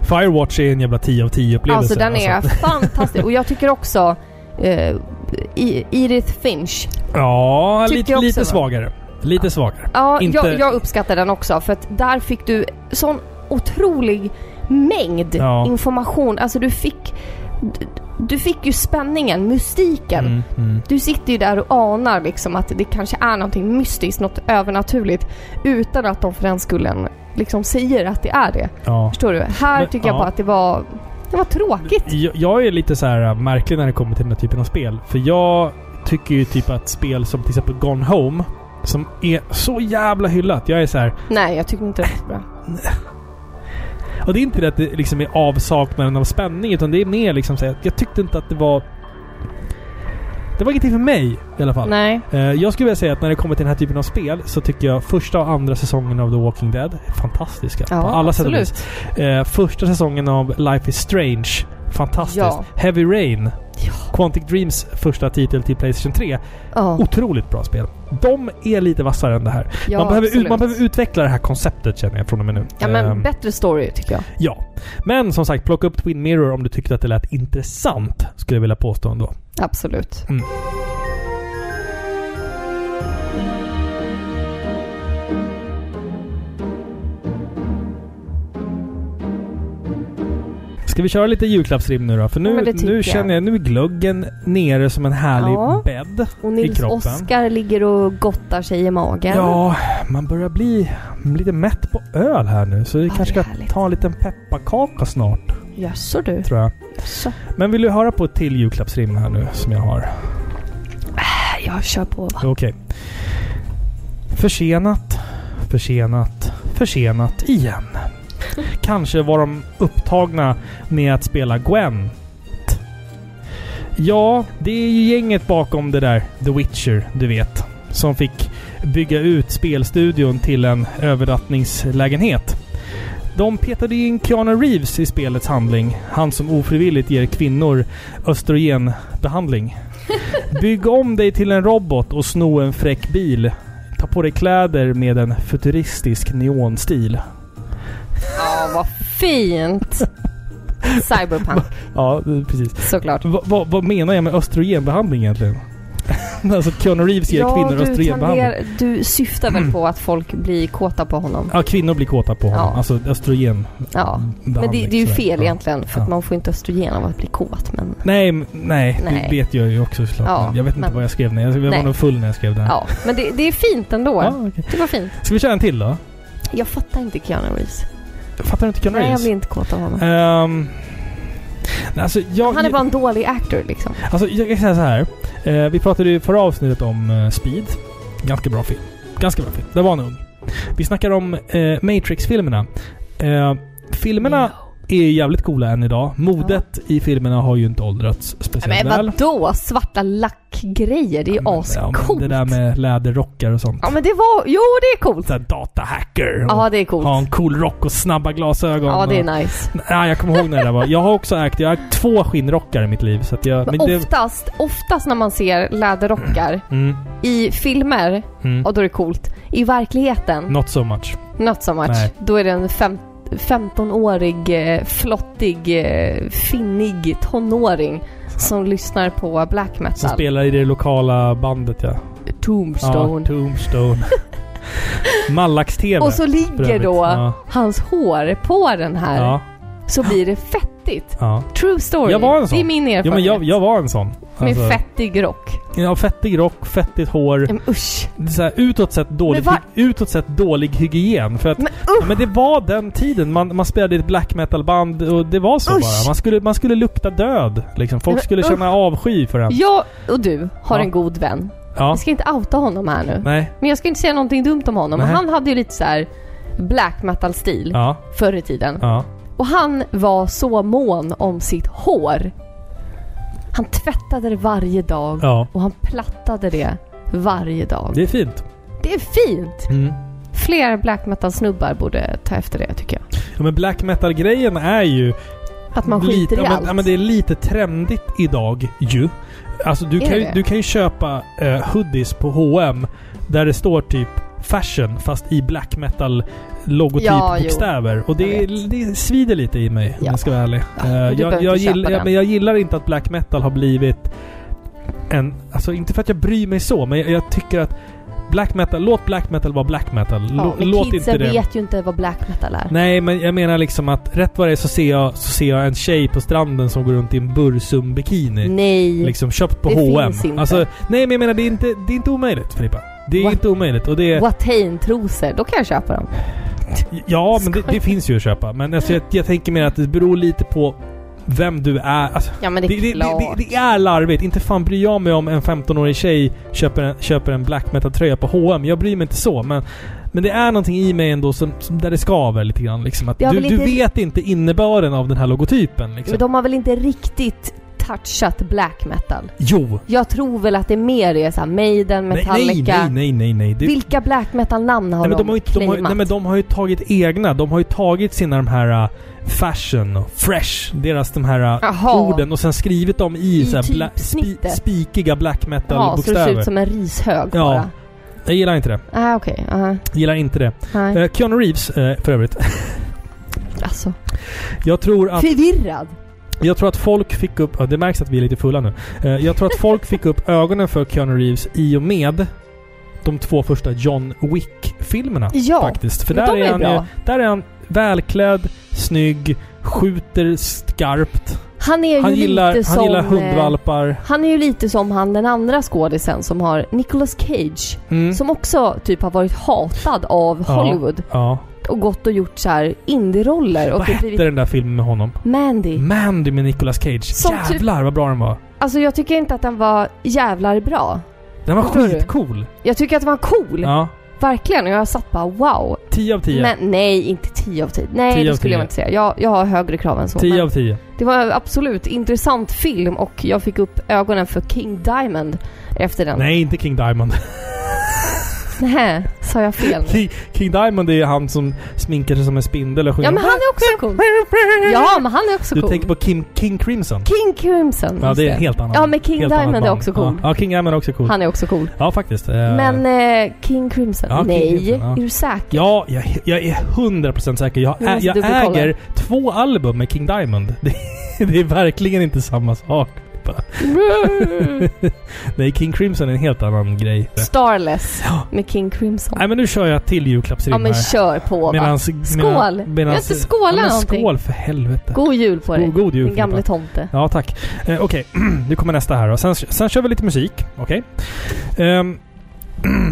S1: Firewatch är en jävla 10 av 10 upplevelse.
S2: Alltså den är fantastisk och jag tycker också eh, I- Edith Finch.
S1: Ja,
S2: Tycker
S1: lite,
S2: jag också,
S1: lite
S2: va?
S1: svagare. Lite svagare.
S2: Ja,
S1: Inte-
S2: jag, jag uppskattar den också för att där fick du sån otrolig mängd
S1: Ja.
S2: information. Alltså du fick du, du fick ju spänningen, mystiken.
S1: Mm, mm.
S2: Du sitter ju där och anar liksom att det kanske är någonting mystiskt, något övernaturligt utan att de för den skullen liksom säger att det är det.
S1: Ja.
S2: Förstår du? Här
S1: Men,
S2: tycker jag
S1: ja.
S2: bara att det var, det var tråkigt.
S1: Jag- Jag är lite så här äh, märklig när det kommer till den här typen av spel. För jag tycker ju typ att spel som till exempel Gone Home, som är så jävla hyllat. Jag är så här.
S2: Nej, jag tycker inte det var bra.
S1: Och det är inte det att det liksom är avsaknaden av spänning, utan det är mer liksom så här, jag tyckte inte att det var... Det var ingenting för mig i alla fall.
S2: Nej.
S1: Eh, Jag skulle vilja säga att när det kommer till den här typen av spel så tycker jag första och andra säsongen av The Walking Dead är fantastiska.
S2: Ja,
S1: på alla sätt och
S2: absolut.
S1: vis. Eh, Första säsongen av Life is Strange. Fantastiskt.
S2: Ja.
S1: Heavy Rain. Quantic Dreams första titel till Playstation 3. Oh,
S2: Ja.
S1: Otroligt bra spel. De är lite vassare än det här.
S2: Ja,
S1: man, behöver, ut-
S2: absolut.
S1: man behöver utveckla det här konceptet känner jag från och med nu.
S2: Ja men
S1: Ehm,
S2: bättre story tycker jag.
S1: ja. men som sagt, plocka upp Twin Mirror om du tyckte att det lät intressant. Skulle jag vilja påstå ändå.
S2: Absolut.
S1: Ska vi köra lite julklappsrim nu då? För
S2: Ja,
S1: nu,
S2: men det tycker
S1: nu
S2: jag.
S1: känner jag, nu är gluggen nere som en härlig
S2: Ja.
S1: bädd
S2: Och
S1: i
S2: Nils
S1: kroppen.
S2: Oskar ligger och gottar sig i magen.
S1: Ja, man börjar bli lite mätt på öl här nu. Så vi
S2: Ja,
S1: kanske
S2: det är
S1: ska
S2: härligt.
S1: ta en liten pepparkaka snart,
S2: Jaså du?
S1: tror jag.
S2: Jaså.
S1: Men vill du höra på ett till julklappsrim här nu som jag har?
S2: Jag kör på va.
S1: Okej. Försenat, försenat, försenat igen. Kanske var de upptagna med att spela Gwent. Ja, det är ju gänget bakom det där The Witcher, du vet. Som fick bygga ut spelstudion till en övernattningslägenhet. De petade in Keanu Reeves i spelets handling. Han som ofrivilligt ger kvinnor östrogenbehandling. Bygg om dig till en robot och sno en fräck bil. Ta på dig kläder med en futuristisk neonstil.
S2: Ja vad fint! Cyberpunk
S1: Ja, det- precis.
S2: såklart.
S1: Va, va, vad menar jag med östrogenbehandling egentligen? alltså Keanu Reeves ger kvinnor
S2: du,
S1: östrogenbehandling.
S2: tangerar- du syftar väl på att folk blir kåta på honom?
S1: Ja, kvinnor blir kåta på honom.
S2: Ja.
S1: Alltså östrogen.
S2: Ja. Men det, det är ju
S1: sådär.
S2: fel
S1: Ja.
S2: egentligen för
S1: Ja.
S2: att man får inte östrogen av att bli kåt men
S1: Nej, m- nej,
S2: Nej.
S1: det vet jag ju också såklart.
S2: Ja,
S1: jag vet inte
S2: men-
S1: vad jag skrev ner. Jag var
S2: Nej.
S1: nog full när jag skrev den.
S2: ja. Men det, det är fint ändå.
S1: Ja, okej.
S2: Det var fint.
S1: Ska vi köra en till då?
S2: Jag fattar inte Keanu Reeves.
S1: Fattar du inte Keanu
S2: Nej jag
S1: Reeves?
S2: blir inte kåt av honom.
S1: Ehm, nej, alltså, jag,
S2: Han är bara en dålig actor liksom.
S1: Alltså, jag kan säga så här. Eh, vi pratade ju i förra avsnittet om eh, Speed. Ganska bra film. Ganska bra film. Där var han ung. Vi snackar om eh, Matrix-filmerna. Eh, filmerna är ju jävligt coola än idag. Modet i filmerna har ju inte åldrats speciellt
S2: Men
S1: väl.
S2: vadå? Svarta lackgrejer? Det är ju
S1: Men, men
S2: ascoolt.
S1: Det där med läderrockar och sånt.
S2: Ja men det var... Jo det är coolt!
S1: Såhär datahacker. och
S2: Ja det är coolt.
S1: Ha en cool rock och snabba glasögon.
S2: Ja det
S1: och-
S2: är nice.
S1: Nej, jag kommer ihåg när det där var. Jag har också ägt, jag har ägt två skinnrockar i mitt liv. Så att jag...
S2: Men
S1: det,
S2: oftast, oftast när man ser läderrockar
S1: mm,
S2: i filmer,
S1: mm,
S2: ja då är det coolt. I verkligheten,
S1: not so much.
S2: not so much.
S1: Nej.
S2: Då är det en fem, 15-årig eh, flottig, eh, finnig tonåring som lyssnar på black
S1: Som
S2: metal.
S1: spelar i det lokala bandet ja.
S2: Tombstone.
S1: Ja, Tombstone. Mallax-TV.
S2: Och så
S1: för
S2: ligger
S1: övrigt.
S2: då
S1: Ja,
S2: hans hår på den här.
S1: ja,
S2: Så blir det fettigt.
S1: ja.
S2: True story.
S1: Jag var en sån.
S2: Det är min
S1: ja
S2: erfarenhet.
S1: men jag, jag var en sån. Alltså,
S2: Med fettig rock.
S1: ja, fettig rock, fettigt hår.
S2: Men usch.
S1: Det är Så här, utåt, sett dålig,
S2: Men var-
S1: hy- utåt sett dålig hygien. För att,
S2: Men
S1: ja, men det var den tiden. Man, man spelade i ett black metal-band och det var så
S2: Usch.
S1: bara. Man skulle, man skulle lukta död. Liksom. Folk
S2: Men
S1: skulle
S2: usch.
S1: känna avsky för en.
S2: Jag och du har
S1: Ja.
S2: en god vän.
S1: Ja.
S2: Jag ska inte outa honom här nu.
S1: Nej.
S2: Men jag ska inte säga någonting dumt om honom.
S1: Nej.
S2: Han hade ju lite så här black metal-stil
S1: Ja.
S2: förr i tiden.
S1: Ja.
S2: Och han var så mån om sitt hår. Han tvättade det varje dag
S1: Ja.
S2: och han plattade det varje dag.
S1: Det är fint.
S2: Det är fint!
S1: Mm.
S2: Fler black metal-snubbar borde ta efter det tycker jag.
S1: Ja, men black metal-grejen är ju
S2: Att man
S1: lite,
S2: skiter i
S1: ja, men,
S2: allt.
S1: Ja, men det är lite trendigt idag ju. Alltså du,
S2: Är
S1: kan ju,
S2: det?
S1: du kan ju köpa eh, hoodies på H&M där det står typ fashion fast i black metal logotyp
S2: Ja, jo.
S1: bokstäver. Och det,
S2: Jag
S1: är- det svider lite i mig om
S2: Ja.
S1: jag ska vara ärlig.
S2: Ja,
S1: Eh,
S2: men du
S1: jag,
S2: behöver
S1: jag,
S2: inte köpa
S1: gillar, ja,
S2: den.
S1: men jag gillar inte att black metal har blivit en... Alltså inte för att jag bryr mig så, men jag, jag tycker att black metal, låt black metal vara black metal.
S2: ja,
S1: Lå-
S2: men
S1: låt
S2: kidsen
S1: inte det...
S2: vet ju inte vad black metal är.
S1: Nej, men jag menar liksom att rätt vad det är så ser jag, så ser jag en tjej på stranden som går runt i en Bursum-bikini.
S2: Nej.
S1: Liksom köpt på
S2: Mm. Det
S1: H&M.
S2: finns inte.
S1: Alltså, nej men jag menar det är inte, det är inte omöjligt Filippa. Det är
S2: What?
S1: inte omöjligt. Och det är,
S2: Watain-trosor, då kan jag köpa dem.
S1: ja, men det, det finns ju att köpa. Men alltså, jag, jag tänker mer att det beror lite på vem du är. Alltså,
S2: Ja men
S1: det,
S2: det är
S1: det, det,
S2: klart.
S1: det, det är larvigt. Inte fan bryr jag mig om en 15-årig tjej köper en, köper en black metal-tröja på H&M. Jag bryr mig inte så. Men, men det är någonting i mig ändå som, som där det skaver lite grann. Liksom. Att
S2: Jag
S1: du,
S2: vill
S1: du
S2: inte-
S1: vet inte innebörden av den här logotypen. Liksom.
S2: Men de har väl inte riktigt touchat black metal.
S1: Jo!
S2: Jag tror väl att det mer är så här Maiden,
S1: Nej,
S2: Metallica.
S1: nej, nej, nej, nej, nej. Det,
S2: Vilka black metal-namn har
S1: nej, men de
S2: de
S1: har ju, de har, ju-
S2: claimat?
S1: nej men de har ju tagit egna. De har ju tagit sina de här uh, fashion och fresh, deras de här uh,
S2: Jaha.
S1: orden och sen skrivit dem i,
S2: I
S1: så här, bla, spi,
S2: typsnittet.
S1: spikiga black
S2: ja, så det ser
S1: metal-bokstäver.
S2: ut som en rishög
S1: Ja.
S2: bara.
S1: Jag gillar inte det.
S2: Ah, okej. aha.
S1: Gillar inte det.
S2: Nej,
S1: Eh, Keanu Reeves, eh, för övrigt.
S2: alltså.
S1: Jag tror att
S2: Förvirrad!
S1: Jag tror att folk fick upp... Ja, det märks att vi är lite fulla nu. Eh, Jag tror att folk fick upp ögonen för Keanu Reeves i och med de två första John Wick-filmerna.
S2: Ja,
S1: faktiskt. För
S2: men
S1: där
S2: de
S1: är, eh,
S2: är
S1: han,
S2: bra.
S1: ju- där är han välklädd, snygg, skjuter skarpt.
S2: Han är ju
S1: Han gillar,
S2: lite
S1: han
S2: som...
S1: gillar
S2: eh,
S1: hundvalpar.
S2: Han är ju lite som han den andra skådisen som har Nicolas Cage.
S1: Mm.
S2: Som också typ har varit hatad av
S1: Ja.
S2: Hollywood.
S1: Ja.
S2: Och gått och gjort så här indie-roller. Och
S1: Vad Mm.
S2: typ
S1: hette
S2: blivit
S1: den där filmen med honom?
S2: Mandy.
S1: Mandy med Nicolas Cage.
S2: Mm. Som typ-
S1: Jävlar vad bra den var.
S2: Alltså jag tycker inte att den var jävlar bra.
S1: Den var
S2: Förstår du?
S1: skitcool.
S2: Jag tycker att den var cool.
S1: Ja.
S2: Verkligen. Och jag satt bara wow.
S1: 10 av 10.
S2: Men nej, inte 10 av 10. Nej,
S1: 10 av
S2: det skulle jag
S1: 10.
S2: inte säga. Jag, jag har högre krav än så.
S1: 10
S2: men
S1: av 10.
S2: Det var en absolut intressant film och jag fick upp ögonen för King Diamond efter den.
S1: Nej, inte King Diamond.
S2: Nähä, sa jag fel nu?
S1: King, King Diamond är ju han som sminkar sig som en spindel och sjunger
S2: Ja men han är också cool. Ja men han är också
S1: Du
S2: cool.
S1: tänker på Kim, King Crimson?
S2: King Crimson.
S1: Ja,
S2: just
S1: det är en helt annan.
S2: Ja, men King
S1: helt
S2: Diamond
S1: annat
S2: är
S1: band.
S2: också cool.
S1: Ja, ja, King Diamond är också cool.
S2: Han är också cool.
S1: Ja, faktiskt. Eh,
S2: Men eh, King Crimson?
S1: Ja, King
S2: Nej,
S1: Crimson, ja.
S2: är du säker?
S1: Ja, jag, jag är 100% säker. Jag,
S2: Vi måste
S1: jag
S2: dubbelkolla.
S1: äger två album med King Diamond. Det, det är verkligen inte samma sak.
S2: Mm.
S1: Nej, King Crimson är en helt annan grej.
S2: Starless
S1: Ja.
S2: med King Crimson.
S1: Nej, men nu kör jag till
S2: Ja
S1: julklappsrim
S2: men
S1: här.
S2: kör på va.
S1: Medans-
S2: Skål!
S1: medan-
S2: Vi har
S1: medans-
S2: inte skålat
S1: ja, men
S2: någonting.
S1: Skål för helvete.
S2: God jul på dig.
S1: God, god jul
S2: Min gamle
S1: Filippa.
S2: tomte.
S1: Ja, tack. Eh, okej, nu kommer nästa här då. Sen, sen kör vi lite musik. Okej. Ehm,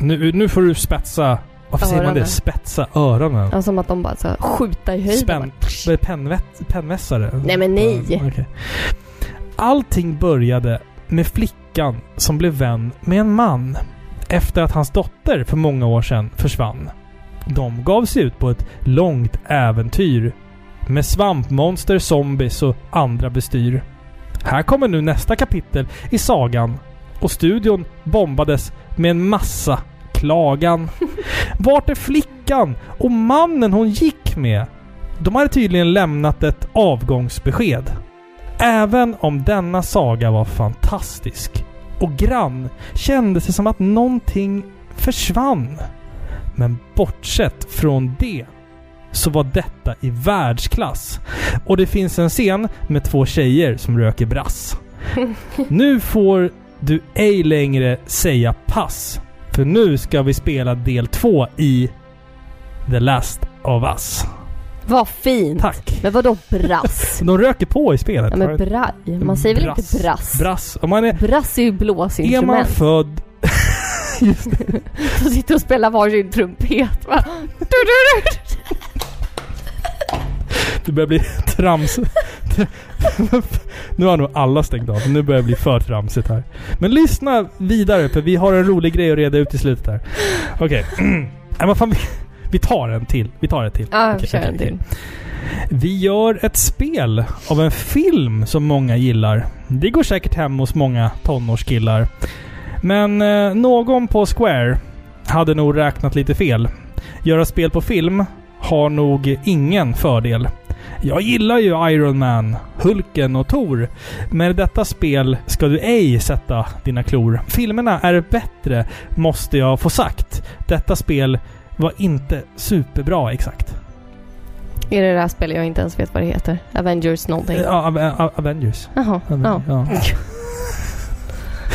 S1: nu, nu får du spetsa... Varför säger man det?
S2: Öronen.
S1: Spetsa öronen.
S2: Ja, Alltså, som att de bara så här, skjuta i
S1: Spänn...
S2: höjden.
S1: eh, Pennvät, pennvässare.
S2: Nej, men nej.
S1: Eh, okej. Allting började med flickan som blev vän med en man efter att hans dotter för många år sedan försvann. De gav sig ut på ett långt äventyr med svampmonster, zombies och andra bestyr. Här kommer nu nästa kapitel i sagan och studion bombades med en massa klagan. Vart är flickan och mannen hon gick med? De hade tydligen lämnat ett avgångsbesked. Även om denna saga var fantastisk och grann kändes det som att någonting försvann. Men bortsett från det så var detta i världsklass. Och det finns en scen med två tjejer som röker brass. Nu får du ej längre säga pass. För nu ska vi spela del två i The Last of Us.
S2: Vad fint.
S1: Tack.
S2: Men vadå brass?
S1: De röker på i spelet.
S2: ja, men braj. Man säger väl inte brass?
S1: Brass. Om man är,
S2: Brass är ju
S1: är man
S2: blåsinstrument.
S1: född... Just det.
S2: De sitter och spelar varsin trumpet va? Du, du, du.
S1: Du börjar bli trams. nu har nog alla stängt av. Nu börjar det bli för tramsigt här. Men lyssna vidare för vi har en rolig grej att reda ut i slutet här. Okej. Nej, vad fan, vi, vi tar en till. Vi tar en till.
S2: Ja,
S1: Okej,
S2: kör
S1: okej,
S2: en till.
S1: Vi gör ett spel av en film som många gillar. Det går säkert hem hos många tonårskillar. Men eh, någon på Square hade nog räknat lite fel. Göra spel på film har nog ingen fördel. Jag gillar ju Iron Man, Hulken och Thor. Men i detta spel ska du ej sätta dina klor. Filmerna är bättre, måste jag få sagt. Detta spel var inte superbra exakt.
S2: Är det det här spelet jag inte ens vet vad det heter? Avengers någonting?
S1: Ja, Ave- A- Avengers.
S2: Jaha. Ja.
S1: Ja. Ja.
S2: Ja,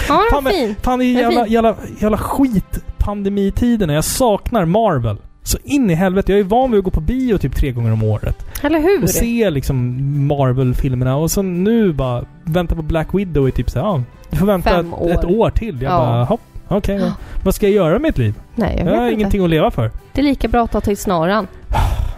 S1: Fan,
S2: den var
S1: men-
S2: fin.
S1: Fan, det är ju
S2: Men
S1: jävla,
S2: fint.
S1: jävla, jävla skitpandemitiderna. Jag saknar Marvel. Så in i helvete. Jag är van vid att gå på bio typ tre gånger om året.
S2: Eller hur?
S1: Och se liksom Marvel-filmerna. Och så nu bara vänta på Black Widow i typ såhär, ja. Du får vänta
S2: Fem
S1: ett
S2: år.
S1: år, ett år till. Jag
S2: Ja.
S1: bara, hopp. Okej,
S2: Ja.
S1: vad ska jag göra med mitt liv?
S2: Nej, jag
S1: Jag,
S2: vet
S1: har
S2: inte.
S1: ingenting att leva för.
S2: Det är lika bra att ta till snaran.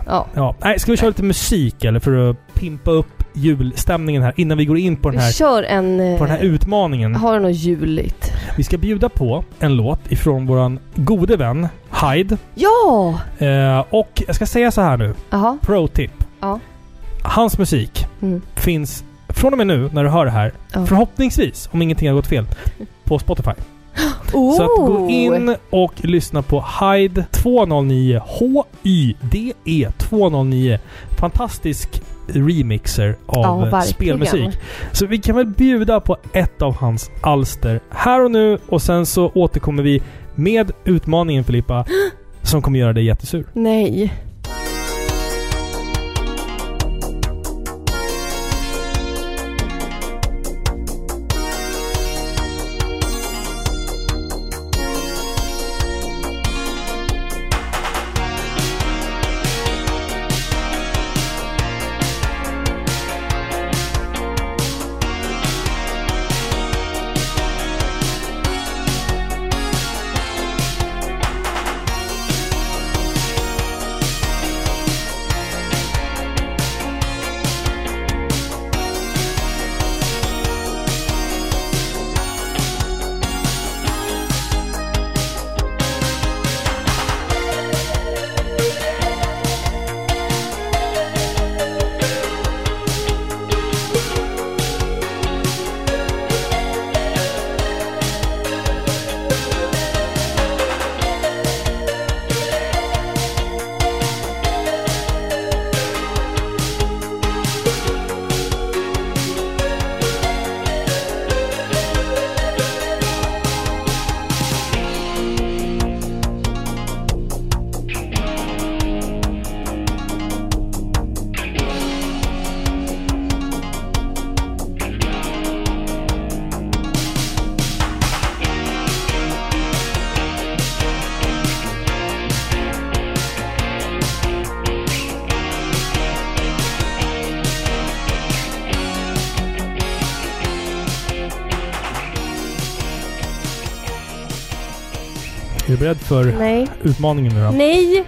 S2: Ja.
S1: Ja. Nej, ska vi köra lite musik eller? För att pimpa upp julstämningen här innan vi går in på den
S2: Vi
S1: här,
S2: kör en... eh,
S1: på den här utmaningen.
S2: Har du något juligt?
S1: Vi ska bjuda på en låt ifrån våran gode vän Hyde.
S2: Ja!
S1: Eh, och jag ska säga så här nu.
S2: Jaha.
S1: Pro-tip.
S2: Ja.
S1: Hans musik
S2: Mm.
S1: finns Från och med nu, när du hör det här,
S2: Ja.
S1: förhoppningsvis, om ingenting har gått fel, på Spotify.
S2: Oh.
S1: Så att gå in och lyssna på Hyde 209 H-Y-D-E 209. Fantastisk remixer av
S2: Ja,
S1: eh,
S2: verkligen.
S1: spelmusik. Så vi kan väl bjuda på ett av hans alster här och nu och sen så återkommer vi med utmaningen Filippa som kommer göra dig jättesur.
S2: Nej.
S1: Är du beredd för
S2: Nej.
S1: utmaningen nu då?
S2: Nej.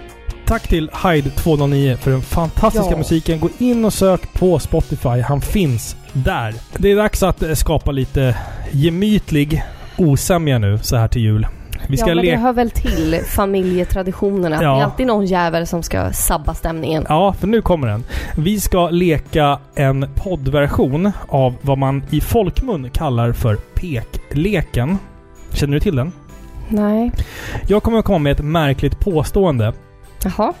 S1: Tack till Hyde 209 för den fantastiska
S2: Ja.
S1: musiken. Gå in och sök på Spotify. Han finns där. Det är dags att eh, skapa lite gemytlig osämja nu så här till jul. Vi ska
S2: ja, men det
S1: leka...
S2: hör väl till familjetraditionerna.
S1: Ja.
S2: Det är alltid någon jävel som ska sabba stämningen.
S1: Ja, för nu kommer den. Vi ska leka en poddversion av vad man i folkmun kallar för pekleken. Känner du till den?
S2: Nej.
S1: Jag kommer att komma med ett märkligt påstående.
S2: Jaha.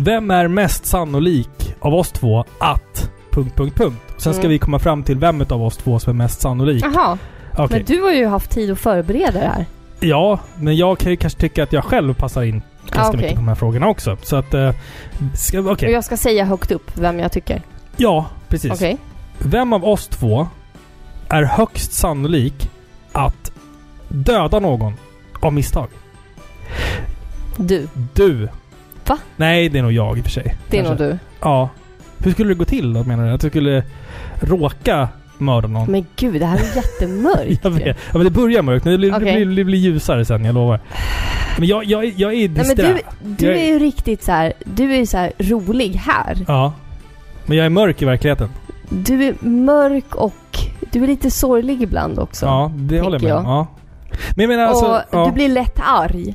S1: Vem är mest sannolik av oss två att... Punkt, punkt, punkt. Sen ska
S2: Mm.
S1: vi komma fram till vem av oss två som är mest sannolik.
S2: Jaha.
S1: Okej.
S2: Ah, Men du har ju haft tid att förbereda det här.
S1: Ja, men jag kan ju kanske tycka att jag själv passar in ganska
S2: Ah, okej.
S1: mycket på de här frågorna också. Så att... eh, Ska, okej.
S2: Och jag ska säga högt upp vem jag tycker.
S1: Ja, precis.
S2: Okej.
S1: Vem av oss två är högst sannolik att döda någon av misstag?
S2: Du.
S1: Du.
S2: Va?
S1: Nej, det är nog jag i och för sig.
S2: Det är
S1: Kanske.
S2: nog du.
S1: Ja. Hur skulle det gå till då, menar du? Att du skulle råka mörda någon?
S2: Men gud, det här är jättemörkt
S1: Jag
S2: ju.
S1: vet. Ja, men det börjar mörkt, men det blir,
S2: Okej.
S1: det blir, det blir ljusare sen, jag lovar. Men jag, jag, jag är
S2: Nej,
S1: disträ.
S2: men du, du
S1: Jag är-
S2: är ju riktigt så här, du är ju så här rolig här.
S1: Ja. Men jag är mörk i verkligheten.
S2: Du är mörk och du är lite sorglig ibland också.
S1: ja, det håller jag med
S2: jag.
S1: om. Ja. Men jag menar
S2: och
S1: alltså... Ja,
S2: du blir lätt arg,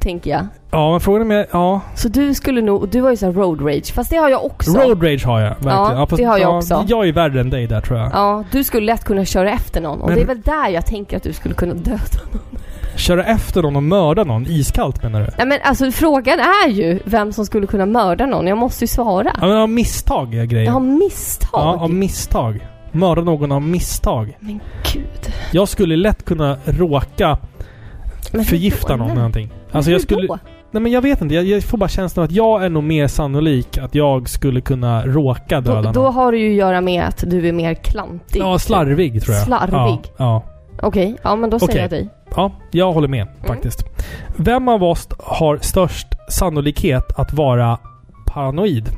S2: tänker jag.
S1: ja, men frågan är om jag... Ja.
S2: Så du skulle nog, och du har ju så här road rage, fast det har jag också.
S1: Road rage har jag verkligen.
S2: Ja,
S1: fast-
S2: det har jag också.
S1: Jag är värre än dig där tror jag.
S2: Ja, du skulle lätt kunna köra efter någon och
S1: Men-
S2: det är väl där jag tänker att du skulle kunna döda någon.
S1: Köra efter någon och mörda någon iskallt menar du?
S2: Nej men alltså frågan är ju vem som skulle kunna mörda någon, jag måste ju svara.
S1: Ja men av misstag är grejen.
S2: Jag har misstag.
S1: Ja, av misstag. Mörda någon av misstag.
S2: Men gud.
S1: Jag skulle lätt kunna råka
S2: Men hur
S1: förgifta
S2: då?
S1: någon eller
S2: Men
S1: någonting. Alltså jag
S2: hur
S1: skulle...
S2: då?
S1: Nej men jag vet inte. Jag, jag får bara känslan att jag är nog mer sannolik att jag skulle kunna råka döda
S2: Då,
S1: någon.
S2: då har det ju att göra med att du är mer klantig.
S1: Ja, slarvig tror jag.
S2: Slarvig.
S1: Ja,
S2: Okej, ja men då säger
S1: Okej.
S2: jag dig.
S1: ja. ja, jag håller med
S2: Mm.
S1: faktiskt. Vem av oss har störst sannolikhet att vara paranoid?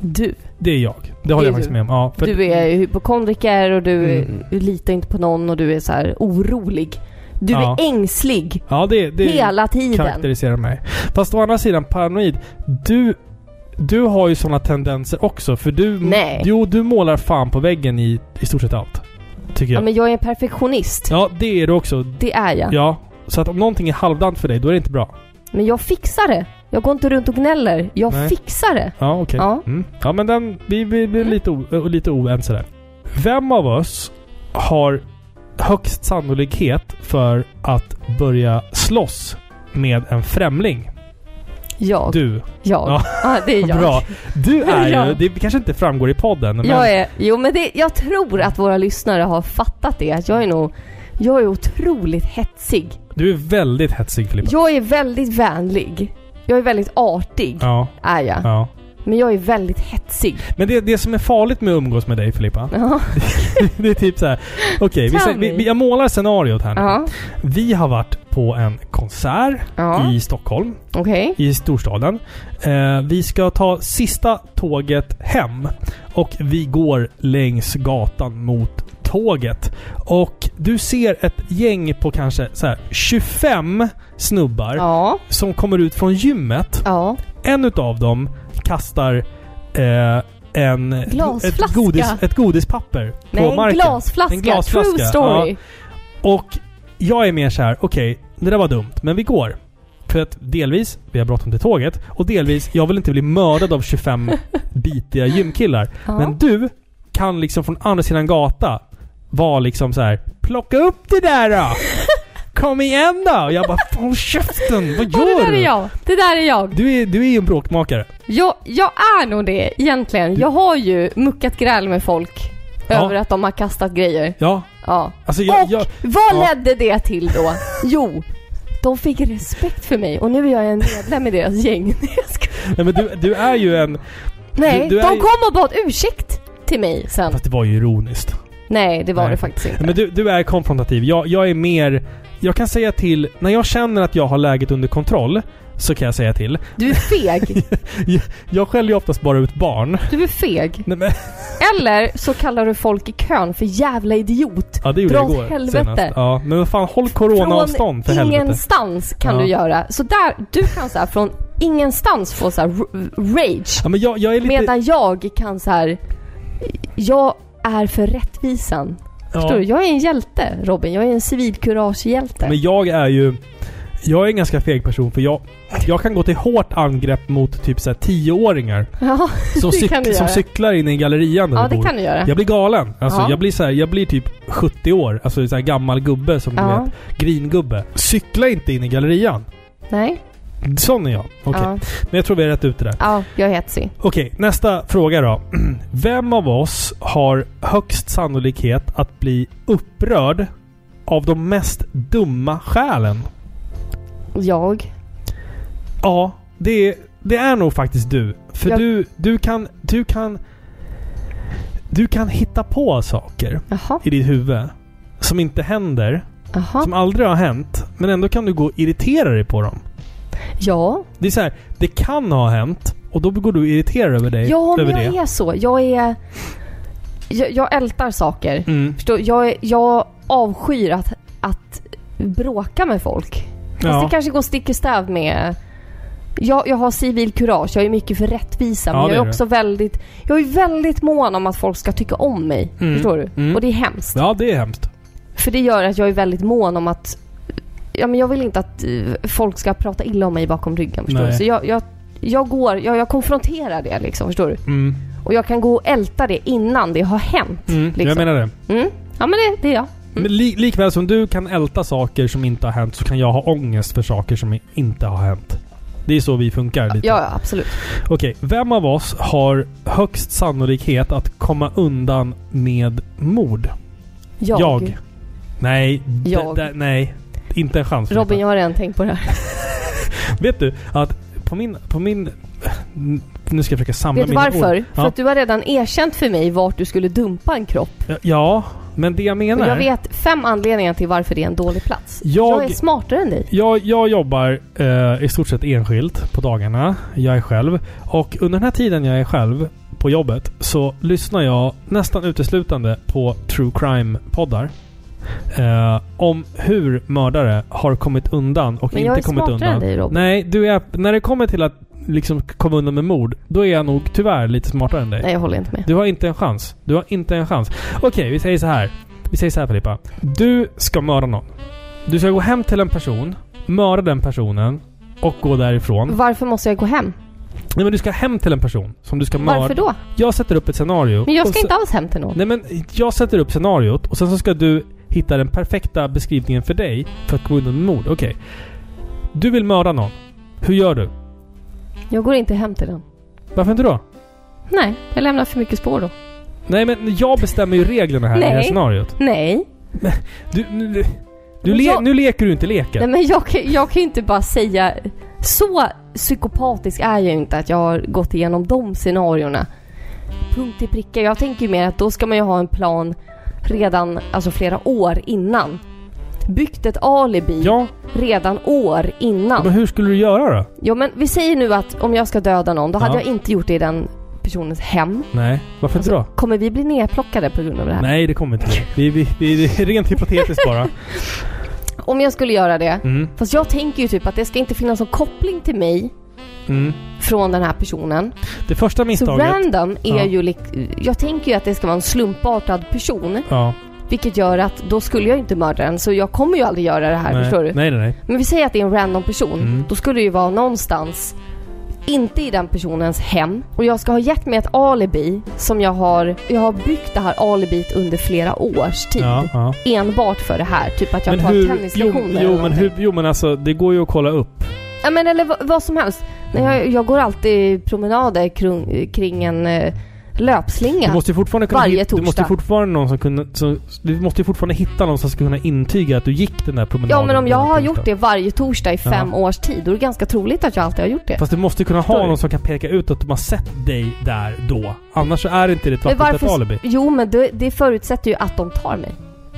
S2: Du.
S1: Det är jag. Det håller
S2: Det är
S1: jag faktiskt
S2: du.
S1: med om. Ja, för
S2: Du är ju hypokondriker och du
S1: Mm.
S2: du litar inte på någon och du är så här orolig. Du
S1: Ja.
S2: är ängslig
S1: ja, det, det
S2: hela tiden.
S1: karaktäriserar mig. Fast å andra sidan, paranoid. Du, du har ju sådana tendenser också. För du,
S2: Nej.
S1: Jo, du målar fan på väggen i, i stort sett allt. Tycker
S2: Ja,
S1: jag. Ja,
S2: men jag är en perfektionist.
S1: det är du också.
S2: Det är jag.
S1: Ja. Så att om någonting är halvdant för dig, då är det inte bra.
S2: Men jag fixar det. Jag går inte runt och gnäller. Jag
S1: Nej.
S2: fixar det.
S1: Ja, okej.
S2: Ja.
S1: Mm. Ja, men den, vi, vi blir lite, o, ö, lite oense där. Vem av oss har högst sannolikhet för att börja slåss med en främling?
S2: Jag.
S1: Du.
S2: Jag.
S1: Ja.
S2: Ja. det är jag.
S1: Bra. Du är ju...
S2: Ja.
S1: Det kanske inte framgår i podden, men...
S2: Jag är, jo men det, jag tror att våra lyssnare har fattat det. Att jag är nog, jag är otroligt hetsig.
S1: Du är väldigt hetsig, Filippa.
S2: Jag är väldigt vänlig. Jag är väldigt artig,
S1: Ja,
S2: är jag.
S1: ja.
S2: Men jag är väldigt hetsig.
S1: Men det, det som är farligt med att umgås med dig, Filippa,
S2: Ja,
S1: det är typ så här. Okej, vi
S2: Tell
S1: säger- vi,
S2: me.
S1: vi, jag målar scenariot här nu.
S2: ja,
S1: Vi har varit på en konsert
S2: ja.
S1: i Stockholm.
S2: okej.
S1: i storstaden. Eh, vi ska ta sista tåget hem och vi går längs gatan mot tåget. Och du ser ett gäng på kanske så här 25 snubbar
S2: Ja,
S1: som kommer ut från gymmet.
S2: ja.
S1: En utav dem kastar eh, en, ett,
S2: Glasflaska.
S1: godis, ett godispapper
S2: Nej,
S1: på
S2: en
S1: marken.
S2: glasflaska.
S1: En glasflaska,
S2: True story.
S1: Och jag är mer så här, okej, det där var dumt, men vi går. För att delvis, vi har bråttom till tåget, och delvis, jag vill inte bli mördad av 25 bitiga gymkillar.
S2: Ja.
S1: Men du kan liksom från andra sidan gatan vara liksom så här, plocka upp det där då! Kom igen då! Och jag bara, fan håll käften! Vad
S2: Ja, det
S1: gör
S2: där är
S1: du?
S2: jag. Det där är jag.
S1: Du är, du är ju en bråkmakare.
S2: Jag, jag är nog det egentligen. Jag har ju muckat gräl med folk
S1: Ja.
S2: över att de har kastat grejer.
S1: Ja.
S2: Ja.
S1: Alltså jag...
S2: och
S1: jag
S2: vad
S1: ja.
S2: ledde det till då? Jo, de fick respekt för mig och nu är jag en medlem i deras gäng. Nej, jag skojar.
S1: nej, men du, du är ju en...
S2: Nej,
S1: du är
S2: de
S1: ju-
S2: kom och bad ursäkt till mig sen.
S1: Fast det var ju ironiskt.
S2: Nej, det var
S1: Nej.
S2: det faktiskt inte.
S1: Men du, du är konfrontativ. Jag, jag är mer... Jag kan säga till... När jag känner att jag har läget under kontroll så kan jag säga till.
S2: Du är feg.
S1: Jag skäller ju oftast bara ut barn.
S2: Du är feg.
S1: Nej, men,
S2: Eller så kallar du folk i kön för jävla idiot.
S1: ja, det gjorde
S2: Dra
S1: jag
S2: åt
S1: igår
S2: helvete.
S1: senast. Ja, men vad fan, håll coronaavstånd för
S2: från
S1: helvete.
S2: ingenstans kan
S1: Ja.
S2: du göra. Så där, du kan så här från ingenstans få så här r- rage.
S1: Ja, men jag, jag är lite...
S2: Medan jag kan så här. jag är för rättvisan.
S1: ja,
S2: Förstår du? Jag är en hjälte Robin, jag är en civilkuragehjälte.
S1: Men jag är ju... Jag är en ganska feg person för jag, jag kan gå till hårt angrepp mot typ såhär 10-åringar
S2: Ja,
S1: som,
S2: Det kan du
S1: cyk, som
S2: göra.
S1: cyklar in i gallerian där
S2: ja
S1: vi
S2: det
S1: bor.
S2: kan du göra.
S1: Jag blir galen. Alltså,
S2: Ja.
S1: jag, blir så här, jag blir typ 70 år. Alltså så här gammal gubbe som du
S2: Ja.
S1: vet. Gringubbe. Cykla inte in i gallerian.
S2: Nej?
S1: Sån är jag. Okej.
S2: Ja.
S1: Men jag tror vi har rätt ut det där.
S2: ja, jag är hetsig.
S1: Okej, nästa fråga då. Vem av oss har högst sannolikhet att bli upprörd av de mest dumma skälen?
S2: Jag.
S1: Ja, det, det är nog faktiskt du. För
S2: Jag-
S1: du, du kan... Du kan... Du kan hitta på saker
S2: Jaha,
S1: i ditt huvud som inte händer
S2: jaha.
S1: som aldrig har hänt, men ändå kan du gå och irritera dig på dem.
S2: Ja.
S1: Det är så här, det kan ha hänt och då går du och irriterar över dig.
S2: Ja, men
S1: över
S2: jag
S1: det.
S2: är så. Jag är... Jag, jag ältar saker.
S1: Mm.
S2: Förstår, jag, är- jag avskyr att, att bråka med folk. Fast
S1: Ja.
S2: det kanske går stick i stäv med... Jag, jag har civil kurage, jag är mycket för rättvisa.
S1: Ja,
S2: men
S1: det
S2: jag
S1: är
S2: är också väldigt... Jag är väldigt mån om att folk ska tycka om mig.
S1: Mm.
S2: Förstår du?
S1: Mm.
S2: Och det är hemskt.
S1: ja, det är hemskt.
S2: För det gör att jag är väldigt mån om att... Ja, men jag vill inte att eh, folk ska prata illa om mig bakom ryggen. Förstår
S1: Nej.
S2: du? Så jag, jag, jag går... Jag, jag konfronterar det liksom. Förstår du?
S1: Mm.
S2: Och jag kan gå och älta det innan det har hänt.
S1: Mm.
S2: Liksom.
S1: Jag menar det.
S2: Mm. Ja men det, det är jag.
S1: Men li, likväl som du kan älta saker som inte har hänt så kan jag ha ångest för saker som inte har hänt. Det är så vi funkar lite.
S2: Ja, ja absolut.
S1: Okej, vem av oss har högst sannolikhet att komma undan med mord?
S2: Jag.
S1: Nej, d-
S2: Jag.
S1: d- nej. Inte en chans. Filippa.
S2: Robin, jag har redan tänkt på det här.
S1: Vet du att på min... På min nu ska jag försöka samla
S2: Vet du
S1: mina
S2: varför?
S1: ord.
S2: För att du har redan erkänt för mig vart du skulle dumpa en kropp.
S1: Ja, ja, men det jag
S2: Och
S1: menar...
S2: jag vet fem anledningar till varför det är en dålig plats.
S1: Jag-
S2: Jag, är smartare än dig.
S1: Jag, jag jobbar eh, i stort sett enskilt på dagarna. Jag är själv. Och under den här tiden jag är själv på jobbet så lyssnar jag nästan uteslutande på true crime-poddar. Eh, om hur mördare har kommit undan och
S2: Men
S1: inte
S2: jag är
S1: kommit
S2: smartare
S1: undan.
S2: än dig Robin. Nej.
S1: Nej, du är, när det kommer till att liksom komma undan med mord, då är jag nog tyvärr lite smartare än dig.
S2: jag håller inte med.
S1: Du har inte en chans. Du har inte en chans. Okej, vi säger så här. Vi säger så här Filippa. Du ska mörda någon. Du ska gå hem till en person, mörda den personen och gå därifrån.
S2: Varför måste jag gå hem?
S1: Nej men du ska hem till en person som du ska mörda.
S2: Varför då?
S1: Jag sätter upp ett scenario.
S2: Men jag
S1: och
S2: ska
S1: så-
S2: inte alls hem till någon.
S1: Nej men jag sätter upp scenariot och sen så ska du hitta den perfekta beskrivningen för dig för att komma undan med mord. Okej. Du vill mörda någon. Hur gör du?
S2: Jag går inte hem till den.
S1: Varför inte då?
S2: Nej, jag lämnar för mycket spår då.
S1: Nej men jag bestämmer ju reglerna här i det här
S2: Nej.
S1: scenariot.
S2: Nej.
S1: Du, nu, du
S2: Men
S1: le,
S2: jag-
S1: nu leker du inte leken.
S2: Nej men jag, kan- jag kan ju inte bara säga... Så psykopatisk är jag ju inte att jag har gått igenom de scenarierna. Punkt i pricka. Jag tänker ju mer att då ska man ju ha en plan redan, alltså flera år innan. Byggt ett alibi
S1: Ja,
S2: redan år innan.
S1: men hur skulle du göra då?
S2: Jo men vi säger nu att om jag ska döda någon, då hade
S1: Ja.
S2: jag inte gjort det i den personens hem.
S1: Nej, varför inte då?
S2: Kommer vi bli nerplockade på grund av det här?
S1: Nej, det kommer inte bli. vi, vi, vi, det är Rent hypotetiskt bara.
S2: Om jag skulle göra det,
S1: Mm,
S2: fast jag tänker ju typ att det ska inte finnas någon koppling till mig
S1: mm.
S2: från den här personen.
S1: Det första
S2: Så
S1: misstaget...
S2: random är
S1: Ja.
S2: ju lik- Jag tänker ju att det ska vara en slumpartad person,
S1: Ja,
S2: vilket gör att då skulle jag inte mörda den, så jag kommer ju aldrig göra det här,
S1: nej.
S2: förstår du?
S1: nej, nej, nej.
S2: Men vi säger att det är en random person,
S1: Mm.
S2: då skulle det ju vara någonstans inte i den personens hem och jag ska ha gett mig ett alibi som jag har, jag har byggt det här alibit under flera års tid.
S1: Ja, ja.
S2: Enbart för det här, typ att jag
S1: Men
S2: tar
S1: hur... Jo,
S2: tennislektioner eller
S1: jo, men
S2: någonting.
S1: hur, jo, men alltså det går ju att kolla upp.
S2: Ja men eller vad, vad som helst. Nej, jag, jag går alltid promenader kring, kring en eh, löpslinga.
S1: Du måste ju fortfarande kunna
S2: Varje
S1: hit- du måste ju
S2: torsdag.
S1: fortfarande någon som kunna, som, du måste ju fortfarande hitta någon som ska kunna intyga att du gick den där promenaden.
S2: Ja men om jag
S1: den där
S2: har
S1: torsdagen.
S2: gjort det varje torsdag i fem års tid, då är det ganska troligt att jag alltid har gjort det.
S1: Fast du måste ju kunna
S2: Förstår
S1: ha
S2: du?
S1: någon som kan peka ut att de har sett dig där då. Annars så är det inte ditt vattentätt alibi.
S2: Jo men det, det förutsätter ju att de tar mig.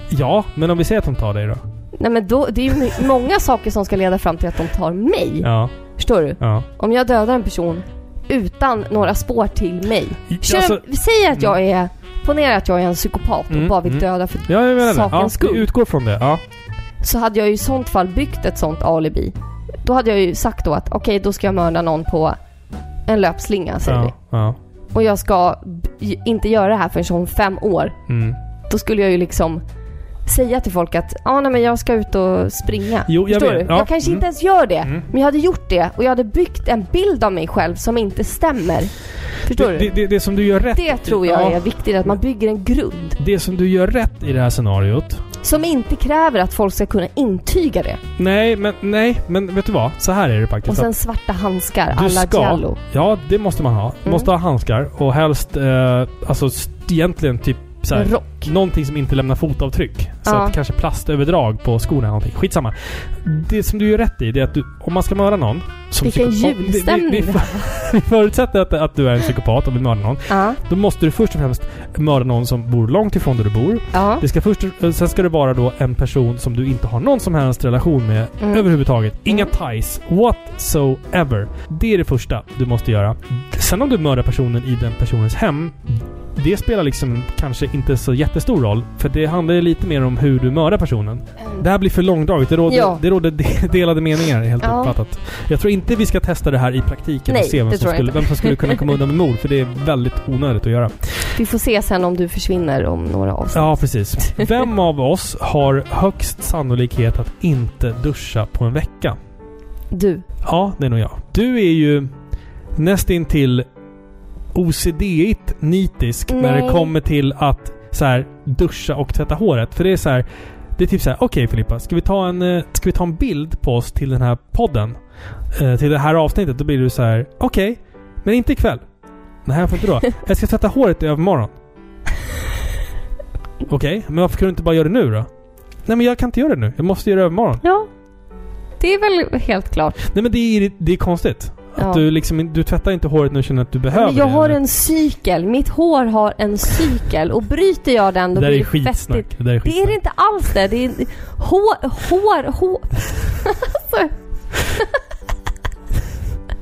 S1: Ja, men om vi säger att de tar dig då?
S2: Nej men då, det är ju my- många saker som ska leda fram till att de tar mig.
S1: Ja,
S2: Förstår du?
S1: ja.
S2: Om jag dödar en person utan några spår till mig. Kör,
S1: Alltså,
S2: vi säger att jag är... Ponera att jag är en psykopat och
S1: Mm,
S2: bara vill
S1: mm.
S2: döda för...
S1: ja, jag menar det.
S2: Sakens
S1: Ja,
S2: skull.
S1: vi utgår från det. Ja.
S2: Så hade jag ju i sånt fall byggt ett sånt alibi. Då hade jag ju sagt då att okej, då ska jag mörda någon på en löpslinga säger vi.
S1: Ja, ja.
S2: Och jag ska b- inte göra det här förrän om fem år.
S1: Mm.
S2: Då skulle jag ju liksom säga till folk att ah, nej, men jag ska ut och springa.
S1: Jo, jag
S2: Förstår
S1: vet.
S2: du?
S1: Ja.
S2: Jag kanske
S1: Mm.
S2: inte ens gör det. Men jag hade gjort det och jag hade byggt en bild av mig själv som inte stämmer. Förstår
S1: Det,
S2: du?
S1: det, det, det som du gör rätt
S2: Det tror jag
S1: ja,
S2: är viktigt, att man bygger en grund
S1: Det som du gör rätt i det här scenariot.
S2: som inte kräver att folk ska kunna intyga det.
S1: Nej, men nej, men vet du vad? Så här är det faktiskt.
S2: Och
S1: att-
S2: sen svarta handskar,
S1: Du
S2: alla
S1: ska-
S2: Giallo.
S1: Ja, det måste man ha.
S2: Mm.
S1: Måste ha handskar och helst eh, alltså st- egentligen typ så här,
S2: En rock.
S1: någonting som inte lämnar fotavtryck. Så
S2: Ja.
S1: att kanske plastöverdrag på skorna eller någonting. Skitsamma. Det som du gör rätt i, det är att du, om man ska mörda någon... Som
S2: Vilken
S1: psyko- om-
S2: julstämning
S1: Vi, vi,
S2: det
S1: vi, vi förutsätter att, att du är en psykopat och vill mörda någon.
S2: Ja.
S1: Då måste du först och främst mörda någon som bor långt ifrån där du bor.
S2: Ja.
S1: Det ska först, eh, sen ska det vara då en person som du inte har någon som helst relation med
S2: Mm.
S1: överhuvudtaget. Inga ties whatsoever. Det är det första du måste göra. Sen om du mördar personen i den personens hem, det spelar liksom kanske inte så jättestor roll. För det handlar ju lite mer om hur du mördar personen. Det här blir för långdraget. Det råder,
S2: Ja.
S1: det råder de- delade meningar helt
S2: Ja.
S1: uppfattat. Jag tror inte vi ska testa det här i praktiken
S2: Nej,
S1: och se
S2: det
S1: vem som,
S2: tror jag
S1: skulle,
S2: inte.
S1: vem som skulle kunna komma undan med mord. För det är väldigt onödigt att göra.
S2: Vi får se sen om du försvinner om några avsnitt.
S1: Ja, precis. Vem av oss har högst sannolikhet att inte duscha på en vecka?
S2: Du.
S1: Ja, det är nog jag. Du är ju nästintill OCD-igt nitisk när det
S2: Nej.
S1: kommer till att så här, duscha och tvätta håret. För det är så här, det är typ så här, okej Filippa, ska vi, ta en, eh, ska vi ta en bild på oss till den här podden? Eh, till det här avsnittet? Då blir du så här, okej, men inte ikväll. Nej, varför inte då? Jag ska tvätta håret i övermorgon. Okej, men varför kunde du inte bara göra det nu då? Nej men jag kan inte göra det nu. Jag måste göra det övermorgon.
S2: Ja. Det är väl helt klart.
S1: Nej men det är, det är konstigt. Att
S2: Ja.
S1: du liksom, du tvättar inte håret när du känner att du behöver
S2: Men jag
S1: det.
S2: har en cykel. Mitt hår har en cykel. Och bryter jag den
S1: det
S2: då
S1: där
S2: blir
S1: är
S2: det fettigt.
S1: skitsnack. Det där är
S2: Det är
S1: skitsnack.
S2: det inte alls det. Det är hår, hår, hår. Alltså,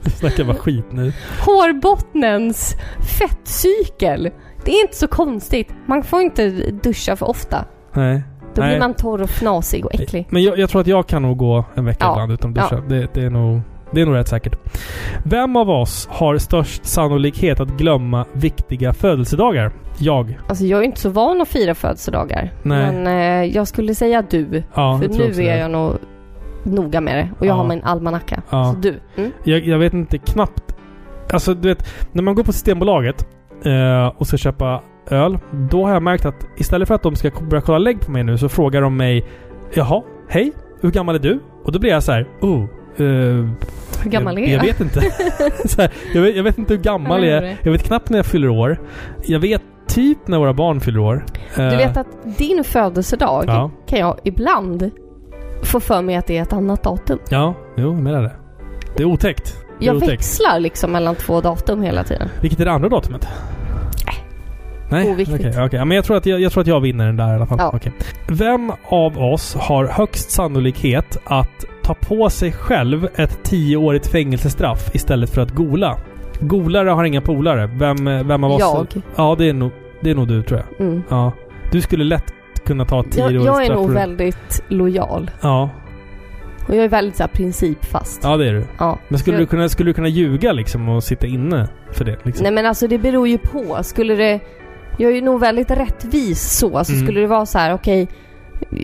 S1: Du snackar bara skit nu.
S2: hårbottnens fettcykel. Det är inte så konstigt. Man får inte duscha för ofta.
S1: Nej.
S2: Då
S1: Nej.
S2: blir man torr och fnasig och äcklig.
S1: Men jag, jag tror att jag kan nog gå en vecka
S2: Ja.
S1: ibland utan att duscha.
S2: Ja.
S1: Det, det, är nog, det är nog rätt säkert. Vem av oss har störst sannolikhet att glömma viktiga födelsedagar? Jag.
S2: Alltså jag är inte så van att fira födelsedagar.
S1: Nej.
S2: Men eh, jag skulle säga du.
S1: Ja,
S2: för
S1: jag tror också
S2: nu
S1: det.
S2: är jag nog noga med det. Och jag
S1: Ja.
S2: har min almanacka.
S1: Ja.
S2: Så du. Mm.
S1: Jag, jag vet inte knappt... Alltså du vet, när man går på Systembolaget eh, och ska köpa öl. Då har jag märkt att istället för att de ska k- börja kolla lägg på mig nu så frågar de mig Jaha, hej, hur gammal är du? Och då blir jag så här, oh, eh,
S2: Hur gammal är
S1: jag? Jag vet inte. så här, jag, vet, jag vet inte hur gammal
S2: Ja,
S1: jag
S2: men det
S1: är.
S2: är det.
S1: Jag vet knappt när jag fyller år. Jag vet typ när våra barn fyller år. Eh,
S2: Du vet att din födelsedag
S1: Ja,
S2: kan jag ibland få för mig att det är ett annat datum.
S1: ja, jo, jag menar det. Det är otäckt. Det är
S2: Jag
S1: otäckt.
S2: växlar liksom mellan två datum hela tiden.
S1: Vilket är det andra datumet? Nej, okej.
S2: Oviktigt.
S1: okej. Ja, Men jag tror, att jag, jag tror att jag vinner den där i alla fall.
S2: Ja.
S1: Okej. Vem av oss har högst sannolikhet att ta på sig själv ett tioårigt fängelsestraff istället för att gola? Golare har inga polare. Vem, vem av oss?
S2: Jag.
S1: Ja, det är nog, det är nog du tror jag.
S2: Mm.
S1: Ja. Du skulle lätt kunna ta ett
S2: Jag,
S1: tioårigt
S2: jag är
S1: straff.
S2: nog
S1: för-
S2: väldigt lojal.
S1: Ja.
S2: Och jag är väldigt så här, principfast.
S1: ja, det är du.
S2: Ja.
S1: Men skulle
S2: Jag-
S1: du, kunna, skulle du kunna ljuga liksom och sitta inne för det? Liksom?
S2: Nej men alltså det beror ju på. Skulle det... Jag är ju nog väldigt rättvis så. Alltså
S1: Mm.
S2: skulle det vara så här, okej.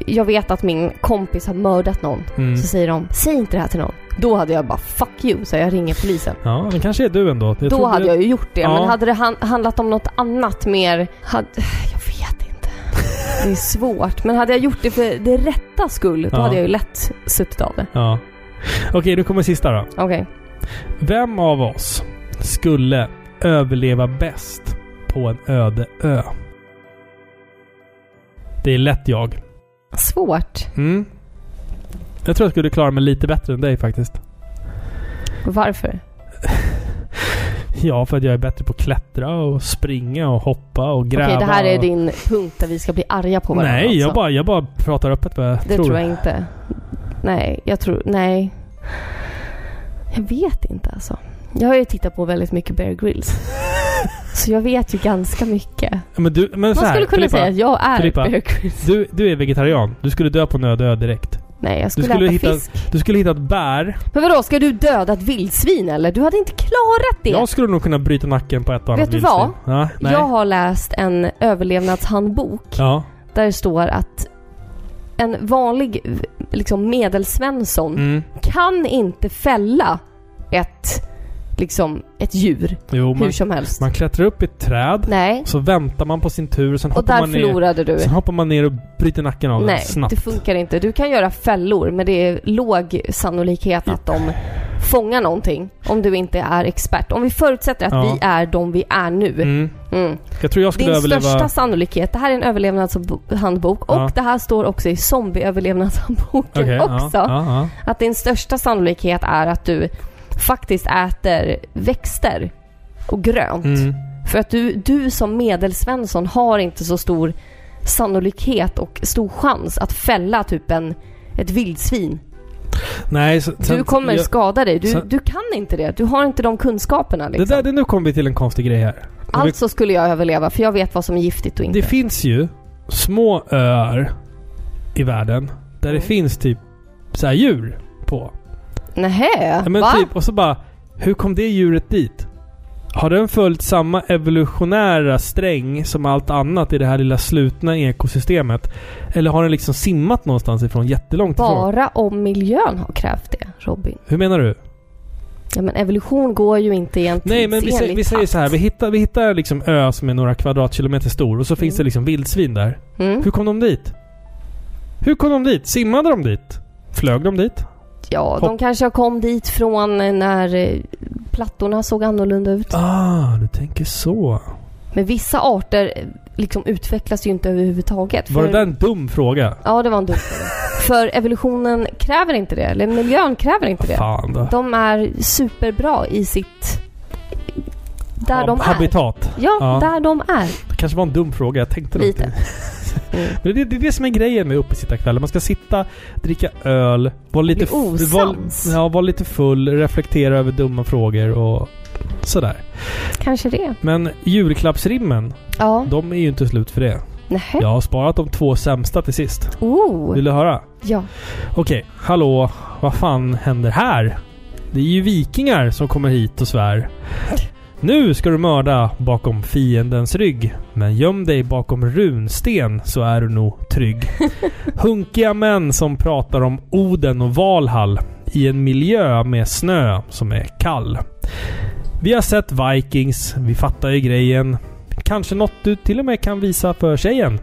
S2: jag vet att min kompis har mördat någon.
S1: Mm.
S2: Så säger de, säg inte det här till någon. Då hade jag bara, fuck you, så jag ringer polisen.
S1: Ja, det kanske är du ändå. Jag
S2: Då
S1: tror
S2: hade
S1: det-
S2: jag ju gjort det.
S1: Ja.
S2: Men hade det han- handlat om något annat mer... Had, jag vet inte. Det är svårt. Men hade jag gjort det för det rätta skull, då
S1: Ja.
S2: hade jag ju lätt suttit av det.
S1: Ja. Okej, nu kommer sista då.
S2: Okej.
S1: Vem av oss skulle överleva bäst på en öde ö? Det är lätt jag.
S2: Svårt.
S1: Mm. Jag tror jag skulle klara mig lite bättre än dig faktiskt.
S2: Varför?
S1: Ja, för att jag är bättre på att klättra och springa och hoppa och
S2: Okej,
S1: gräva.
S2: det här är
S1: och-
S2: din punkt där vi ska bli arga på varandra.
S1: Nej, jag
S2: alltså.
S1: bara, jag bara pratar öppet vad jag
S2: Det tror jag inte. Nej, jag tror... Nej. Jag vet inte alltså. Jag har ju tittat på väldigt mycket Bear Grylls. Så jag vet ju ganska mycket.
S1: Men du, men så
S2: Man
S1: här,
S2: skulle kunna
S1: Filippa,
S2: säga att jag är
S1: Filippa.
S2: Bear Grylls.
S1: Du, du är vegetarian. Du skulle dö på en öde ö direkt.
S2: Nej, jag skulle,
S1: skulle
S2: äta
S1: hitta-
S2: fisk.
S1: Du skulle hitta ett bär.
S2: Men vadå, ska du döda ett vildsvin eller? Du hade inte klarat det.
S1: Jag skulle nog kunna bryta nacken på ett och annat
S2: Vet du
S1: vildsvin.
S2: vad?
S1: Ja, nej.
S2: Jag har läst en överlevnadshandbok
S1: Ja.
S2: där det står att en vanlig liksom, medelsvensson
S1: Mm.
S2: kan inte fälla ett, liksom, ett djur
S1: Jo, man,
S2: hur som helst.
S1: man klättrar upp i ett träd.
S2: Nej,
S1: Så väntar man på sin tur. Sen
S2: och
S1: hoppar,
S2: där
S1: man ner,
S2: förlorade du.
S1: sen hoppar man ner och bryter nacken av den
S2: Nej,
S1: snabbt.
S2: det funkar inte. Du kan göra fällor, men det är låg sannolikhet att de fångar någonting om du inte är expert. Om vi förutsätter att
S1: Ja.
S2: vi är de vi är nu.
S1: Mm.
S2: Mm.
S1: Jag tror jag
S2: Din
S1: skulle överleva...
S2: största sannolikhet, det här är en överlevnadshandbok och
S1: Ja.
S2: det här står också i zombieöverlevnadshandboken
S1: Okej, ja,
S2: också.
S1: ja,
S2: Att din största sannolikhet är att du faktiskt äter växter och
S1: ja.
S2: grönt.
S1: Mm.
S2: För att du, du som medelsvensson har inte så stor sannolikhet och stor chans att fälla typ en, ett vildsvin.
S1: Nej, så, sen,
S2: Du kommer
S1: jag,
S2: skada dig. Du,
S1: sen-
S2: du kan inte det. Du har inte de kunskaperna.
S1: det
S2: Liksom.
S1: där, det, Nu kommer vi till en konstig grej här.
S2: alltså skulle jag överleva för jag vet vad som är giftigt och inte.
S1: Det finns ju små öar i världen där det
S2: Mm.
S1: finns typ så här djur på.
S2: Nähä,
S1: Ja, men
S2: va?
S1: typ, och så bara, hur kom det djuret dit? Har den följt samma evolutionära sträng som allt annat i det här lilla slutna ekosystemet? Eller har den liksom simmat någonstans ifrån jättelångt ifrån?
S2: Bara om miljön har krävt det, Robin.
S1: Hur menar du?
S2: Ja, men evolution går ju inte i en
S1: Nej men vi, sä-
S2: tidsenlig
S1: vi säger så här. Vi hittar, vi hittar liksom ö som är några kvadratkilometer stor och så finns
S2: Mm.
S1: det liksom vildsvin där.
S2: takt. Mm.
S1: Hur kom de dit? Hur kom de dit? Simmade de dit? Flög de dit?
S2: Ja, de
S1: Hopp-
S2: kanske kom dit från när eh, plattorna såg annorlunda ut.
S1: Ah, du tänker så.
S2: Men vissa arter eh, liksom utvecklas ju inte överhuvudtaget.
S1: Var
S2: För-
S1: det där en dum fråga?
S2: Ja, det var en dum fråga. För evolutionen kräver inte det, eller miljön kräver inte det.
S1: Fan då.
S2: De är superbra i sitt... Där
S1: Ja,
S2: de är.
S1: Habitat.
S2: Ja,
S1: Ja.
S2: där de är.
S1: Det kanske var en dum fråga, jag tänkte nog
S2: Lite.
S1: inte. Men det, det är det som är grejen med uppesittarkvällen. Man ska sitta, dricka öl, vara lite,
S2: Bli osams.
S1: vara, ja, vara lite full, reflektera över dumma frågor och sådär.
S2: Kanske det.
S1: Men julklappsrimmen,
S2: Ja.
S1: de är ju inte slut för det.
S2: Nähä.
S1: Jag har sparat de två sämsta till sist.
S2: Oh.
S1: Vill du höra?
S2: Ja.
S1: Okej, hallå, vad fan händer här? Det är ju vikingar som kommer hit och svär. Nu ska du mörda bakom fiendens rygg. Men göm dig bakom runsten så är du nog trygg. Hunkiga män som pratar om Oden och Valhall i en miljö med snö som är kall. Vi har sett Vikings, vi fattar ju grejen. Kanske något du till och med kan visa för tjejen.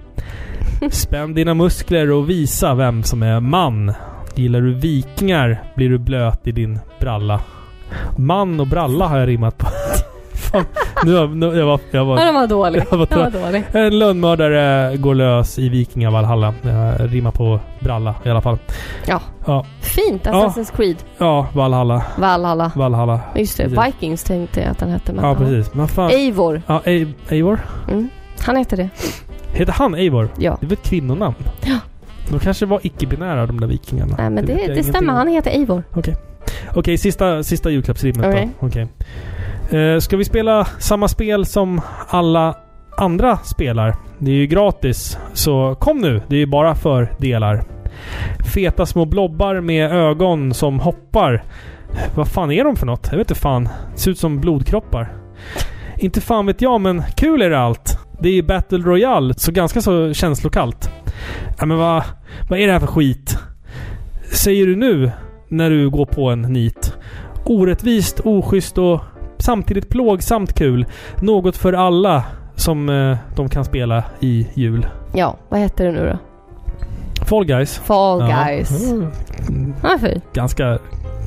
S1: Spänn dina muskler och visa vem som är man. Gillar du vikingar blir du blöt i din bralla. Man och bralla har jag rimmat på. Fan, nu, har- nu, jag var... Jag var
S2: Ja, den var dålig.
S1: Jag var
S2: Den var dålig.
S1: en lönnmördare går lös i Vikingavalhalla. Jag rimmar på bralla i alla fall.
S2: Ja.
S1: Ja,
S2: Fint!
S1: Ja.
S2: Assassin's Creed.
S1: ja Valhalla.
S2: Valhalla.
S1: Valhalla.
S2: Just det,
S1: Precis.
S2: Vikings tänkte jag att den hette. Men
S1: Ja, precis. Men fan...
S2: Eivor.
S1: Ja, Ei- Eivor?
S2: Mm. Han heter det.
S1: Heter han Eivor?
S2: Ja.
S1: Det var ett kvinnonamn.
S2: Ja.
S1: De kanske var icke-binära de där vikingarna.
S2: Nej, men
S1: vet
S2: det,
S1: jag
S2: det
S1: ingenting
S2: stämmer.
S1: om.
S2: Han heter Eivor.
S1: Okej, sista, sista julklappsrimmet
S2: Okej.
S1: då. Okej. Eh, ska vi spela samma spel som alla andra spelar? Det är ju gratis. Så kom nu! Det är ju bara för delar. Feta små blobbar med ögon som hoppar. Vad fan är de för något? Jag vet inte fan. ser ut som blodkroppar. Inte fan vet jag, men kul är det allt. Det är ju Battle Royale, så ganska så känslokallt. Ja, men vad, vad är det här för skit? Säger du nu, när du går på en nit? Orättvist, oschysst och samtidigt plågsamt kul. Något för alla som eh, de kan spela i jul.
S2: Ja, vad heter det nu då?
S1: Fall Guys.
S2: Fall
S1: Ja.
S2: Guys.
S1: Mm,
S2: Han är fin.
S1: Ganska...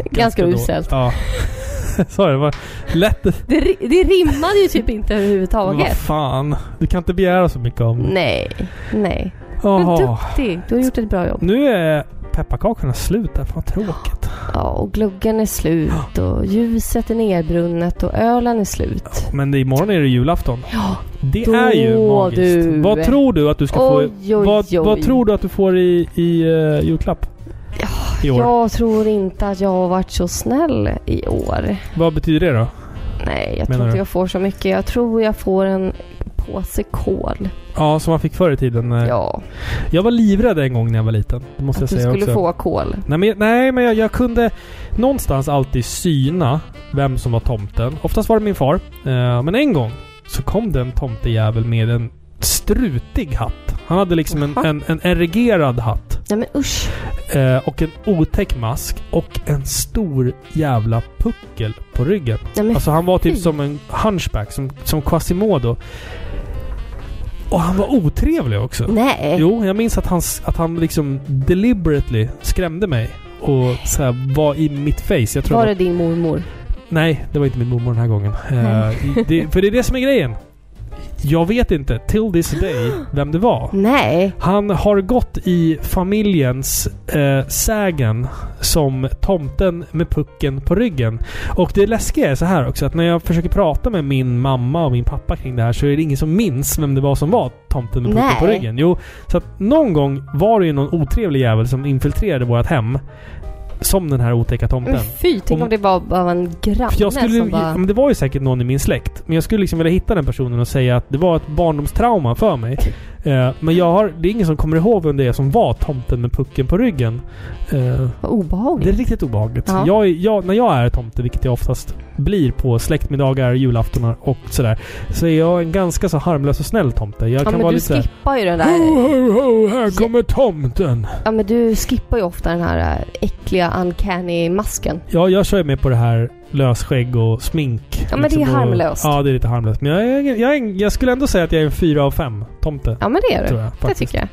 S2: Ganska
S1: då-
S2: uselt.
S1: Ja. Sorry, det var lätt.
S2: Det, ri- det rimmade ju typ inte
S1: Men Vad
S2: överhuvudtaget.
S1: fan. Du kan inte begära så mycket av mig.
S2: Nej, nej. Men
S1: Jaha.
S2: duktig. Du har gjort ett bra jobb.
S1: Nu är pepparkakorna slut. Det fan tråkigt.
S2: Ja, och gluggen är slut och ljuset är nedbrunnet och ölen är slut.
S1: Men imorgon är det julafton.
S2: Ja,
S1: Det
S2: Då
S1: är ju magiskt.
S2: du.
S1: Vad tror du att du ska få... i-
S2: Oj, oj,
S1: vad, vad
S2: oj.
S1: tror du att du får i, i eh, julklapp? I år.
S2: jag tror inte att jag har varit så snäll i år.
S1: Vad betyder det då?
S2: Nej, jag
S1: Menar
S2: tror inte
S1: du?
S2: jag får så mycket. Jag tror jag får en påse kol.
S1: Ja, som man fick förr i tiden. eh.
S2: Ja,
S1: Jag var livrädd en gång när jag var liten. Det måste
S2: att
S1: jag
S2: du
S1: säga
S2: skulle
S1: också.
S2: få kol.
S1: Nej, men, nej, men jag, jag kunde någonstans alltid syna vem som var tomten. Oftast var det min far. Eh, men en gång så kom den tomtejävel med en strutig hatt. Han hade liksom en,
S2: Jaha.
S1: en, en erigerad hatt.
S2: Nej men usch.
S1: Eh, och en otäck mask. Och en stor jävla puckel på ryggen.
S2: Nej, men,
S1: Alltså han var typ
S2: fy.
S1: som en hunchback, som, som Quasimodo. Och han var otrevlig också.
S2: Mm, nej.
S1: Jo, jag minns att han, s- att han liksom deliberately skrämde mig. Och så här var i mitt face. Jag tror
S2: Var
S1: det
S2: det din mormor?
S1: Nej, det var inte min mormor den här gången. Eh, det, för det är det som är grejen. Jag vet inte, till this day, vem det var.
S2: Nej.
S1: Han har gått i familjens eh, sägen som tomten med pucken på ryggen. Och det läskiga är så här också att när jag försöker prata med min mamma och min pappa kring det här så är det ingen som minns vem det var som var tomten med pucken
S2: Nej.
S1: på ryggen. Jo, så att någon gång var det ju någon otrevlig jävel som infiltrerade vårt hem. Som den här otäcka tomten.
S2: Men fy, tänk om,
S1: Om-
S2: det var bara en granne
S1: För jag skulle,
S2: som
S1: ja,
S2: bara...
S1: men det var ju säkert någon i min släkt. Men jag skulle liksom vilja hitta den personen och säga att det var ett barndomstrauma för mig. Eh, men jag har, det är ingen som kommer ihåg vem det är som var tomten med pucken på ryggen. Eh,
S2: Vad obehagligt.
S1: det är riktigt obehagligt.
S2: Mm. Ja.
S1: Jag, är- jag, när jag är tomte, vilket jag oftast blir på släktmiddagar, julaftonar och sådär. Så är jag en ganska så harmlös och snäll tomte. Jag
S2: Ja
S1: kan
S2: men
S1: vara
S2: du
S1: lite Oh! såhär,
S2: skippar ju den
S1: ho,
S2: där...
S1: ho, ho, här kommer tomten!
S2: Ja men du skippar ju ofta den här äh, äckliga uncanny masken.
S1: Ja, jag kör ju med på det här lösskägg och smink. liksom,
S2: Ja, men det är
S1: och-
S2: harmlöst.
S1: Ja, det är lite harmlöst. Men jag, är, jag, är, en- jag skulle ändå säga att jag är en fyra av fem tomte.
S2: Ja men det är
S1: Tror
S2: du.
S1: jag,
S2: Det
S1: faktiskt.
S2: tycker jag.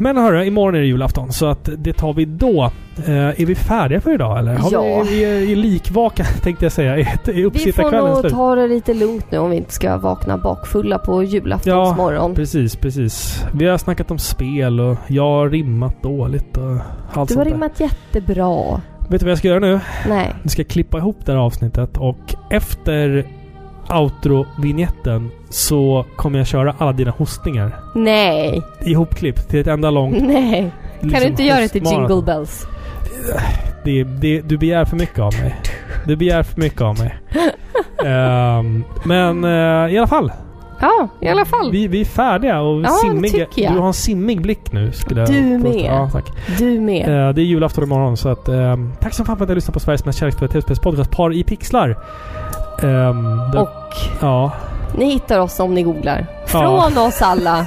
S1: Men hörru, imorgon är det julafton så att det tar vi då. Eh, är vi färdiga för idag eller? Har
S2: Ja.
S1: vi, är vi i likvaka tänkte jag säga. Är, är
S2: Vi får
S1: uppsittarkvällen
S2: nog
S1: slut?
S2: ta det lite lugnt nu om vi inte ska vakna bakfulla på
S1: Ja,
S2: julaftonsmorgon.
S1: Precis, precis. Vi har snackat om spel och jag har rimmat dåligt och allt
S2: du har
S1: sånt där.
S2: rimmat jättebra.
S1: Vet du vad jag ska göra nu?
S2: Nej.
S1: Vi ska klippa ihop det här avsnittet och efter outro-vignetten så kommer jag köra alla dina hostningar.
S2: Nej.
S1: Ihopklippt till ett enda långt...
S2: Nej. Kan
S1: liksom,
S2: du inte göra det till
S1: hostmaraton.
S2: Jingle Bells?
S1: Det, det, du begär för mycket av mig. Du begär för mycket av mig. Ehm, men eh, i alla fall.
S2: Ja, i alla fall.
S1: Vi, vi är färdiga och
S2: Mm. Ja, det
S1: simmiga.
S2: tycker jag.
S1: Du har en simmig blick nu. Skulle jag
S2: Du
S1: påstå.
S2: med.
S1: Ja, tack.
S2: Du med.
S1: Eh, det är julafton imorgon så att, ehm, tack som fan för att ni har lyssnat på Sveriges mest kärleksfulla tv-spelspodcast Par i pixlar. Ehm, det,
S2: Och
S1: Ja.
S2: ni hittar oss om ni googlar.
S1: Ja.
S2: Från oss alla.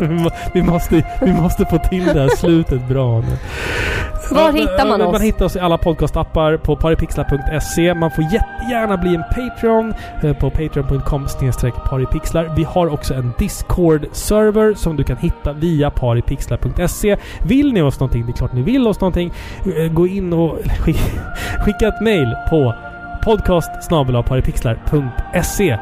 S1: Vi må- Vi måste, vi måste få till det här slutet bra nu.
S2: Var
S1: Ja,
S2: hittar man
S1: eh, Man
S2: oss?
S1: hittar oss i alla podcastappar på paripixlar.se. Man får jättegärna bli en Patreon eh, på patreon.com paripixlar. Vi har också en Discord-server som du kan hitta via paripixlar.se. Vill ni oss någonting, det är klart ni vill oss någonting, eh, gå in och skick- skicka ett mail på podcast paripixlar.se.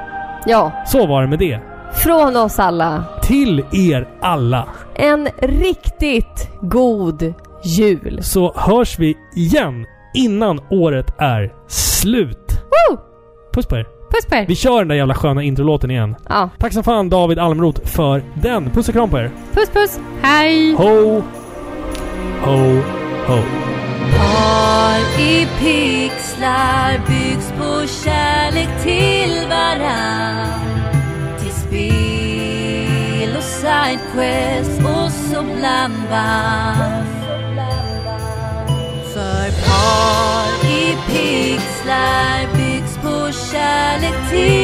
S2: Ja,
S1: Så var det med det.
S2: från oss alla.
S1: Till er alla!
S2: En riktigt god jul.
S1: så hörs vi igen innan året är slut.
S2: Woo!
S1: Puss på er.
S2: Puss på er.
S1: Vi kör den där jävla sköna introlåten igen.
S2: Ja,
S1: Tack som fan David Almroth för den. Puss och kram på er.
S2: puss puss. Hej!
S1: Ho, ho, ho.
S8: Par i pixlar byggs på kärlek till varann Till spel och sidequest och som blandband För par i pixlar byggs på kärlek till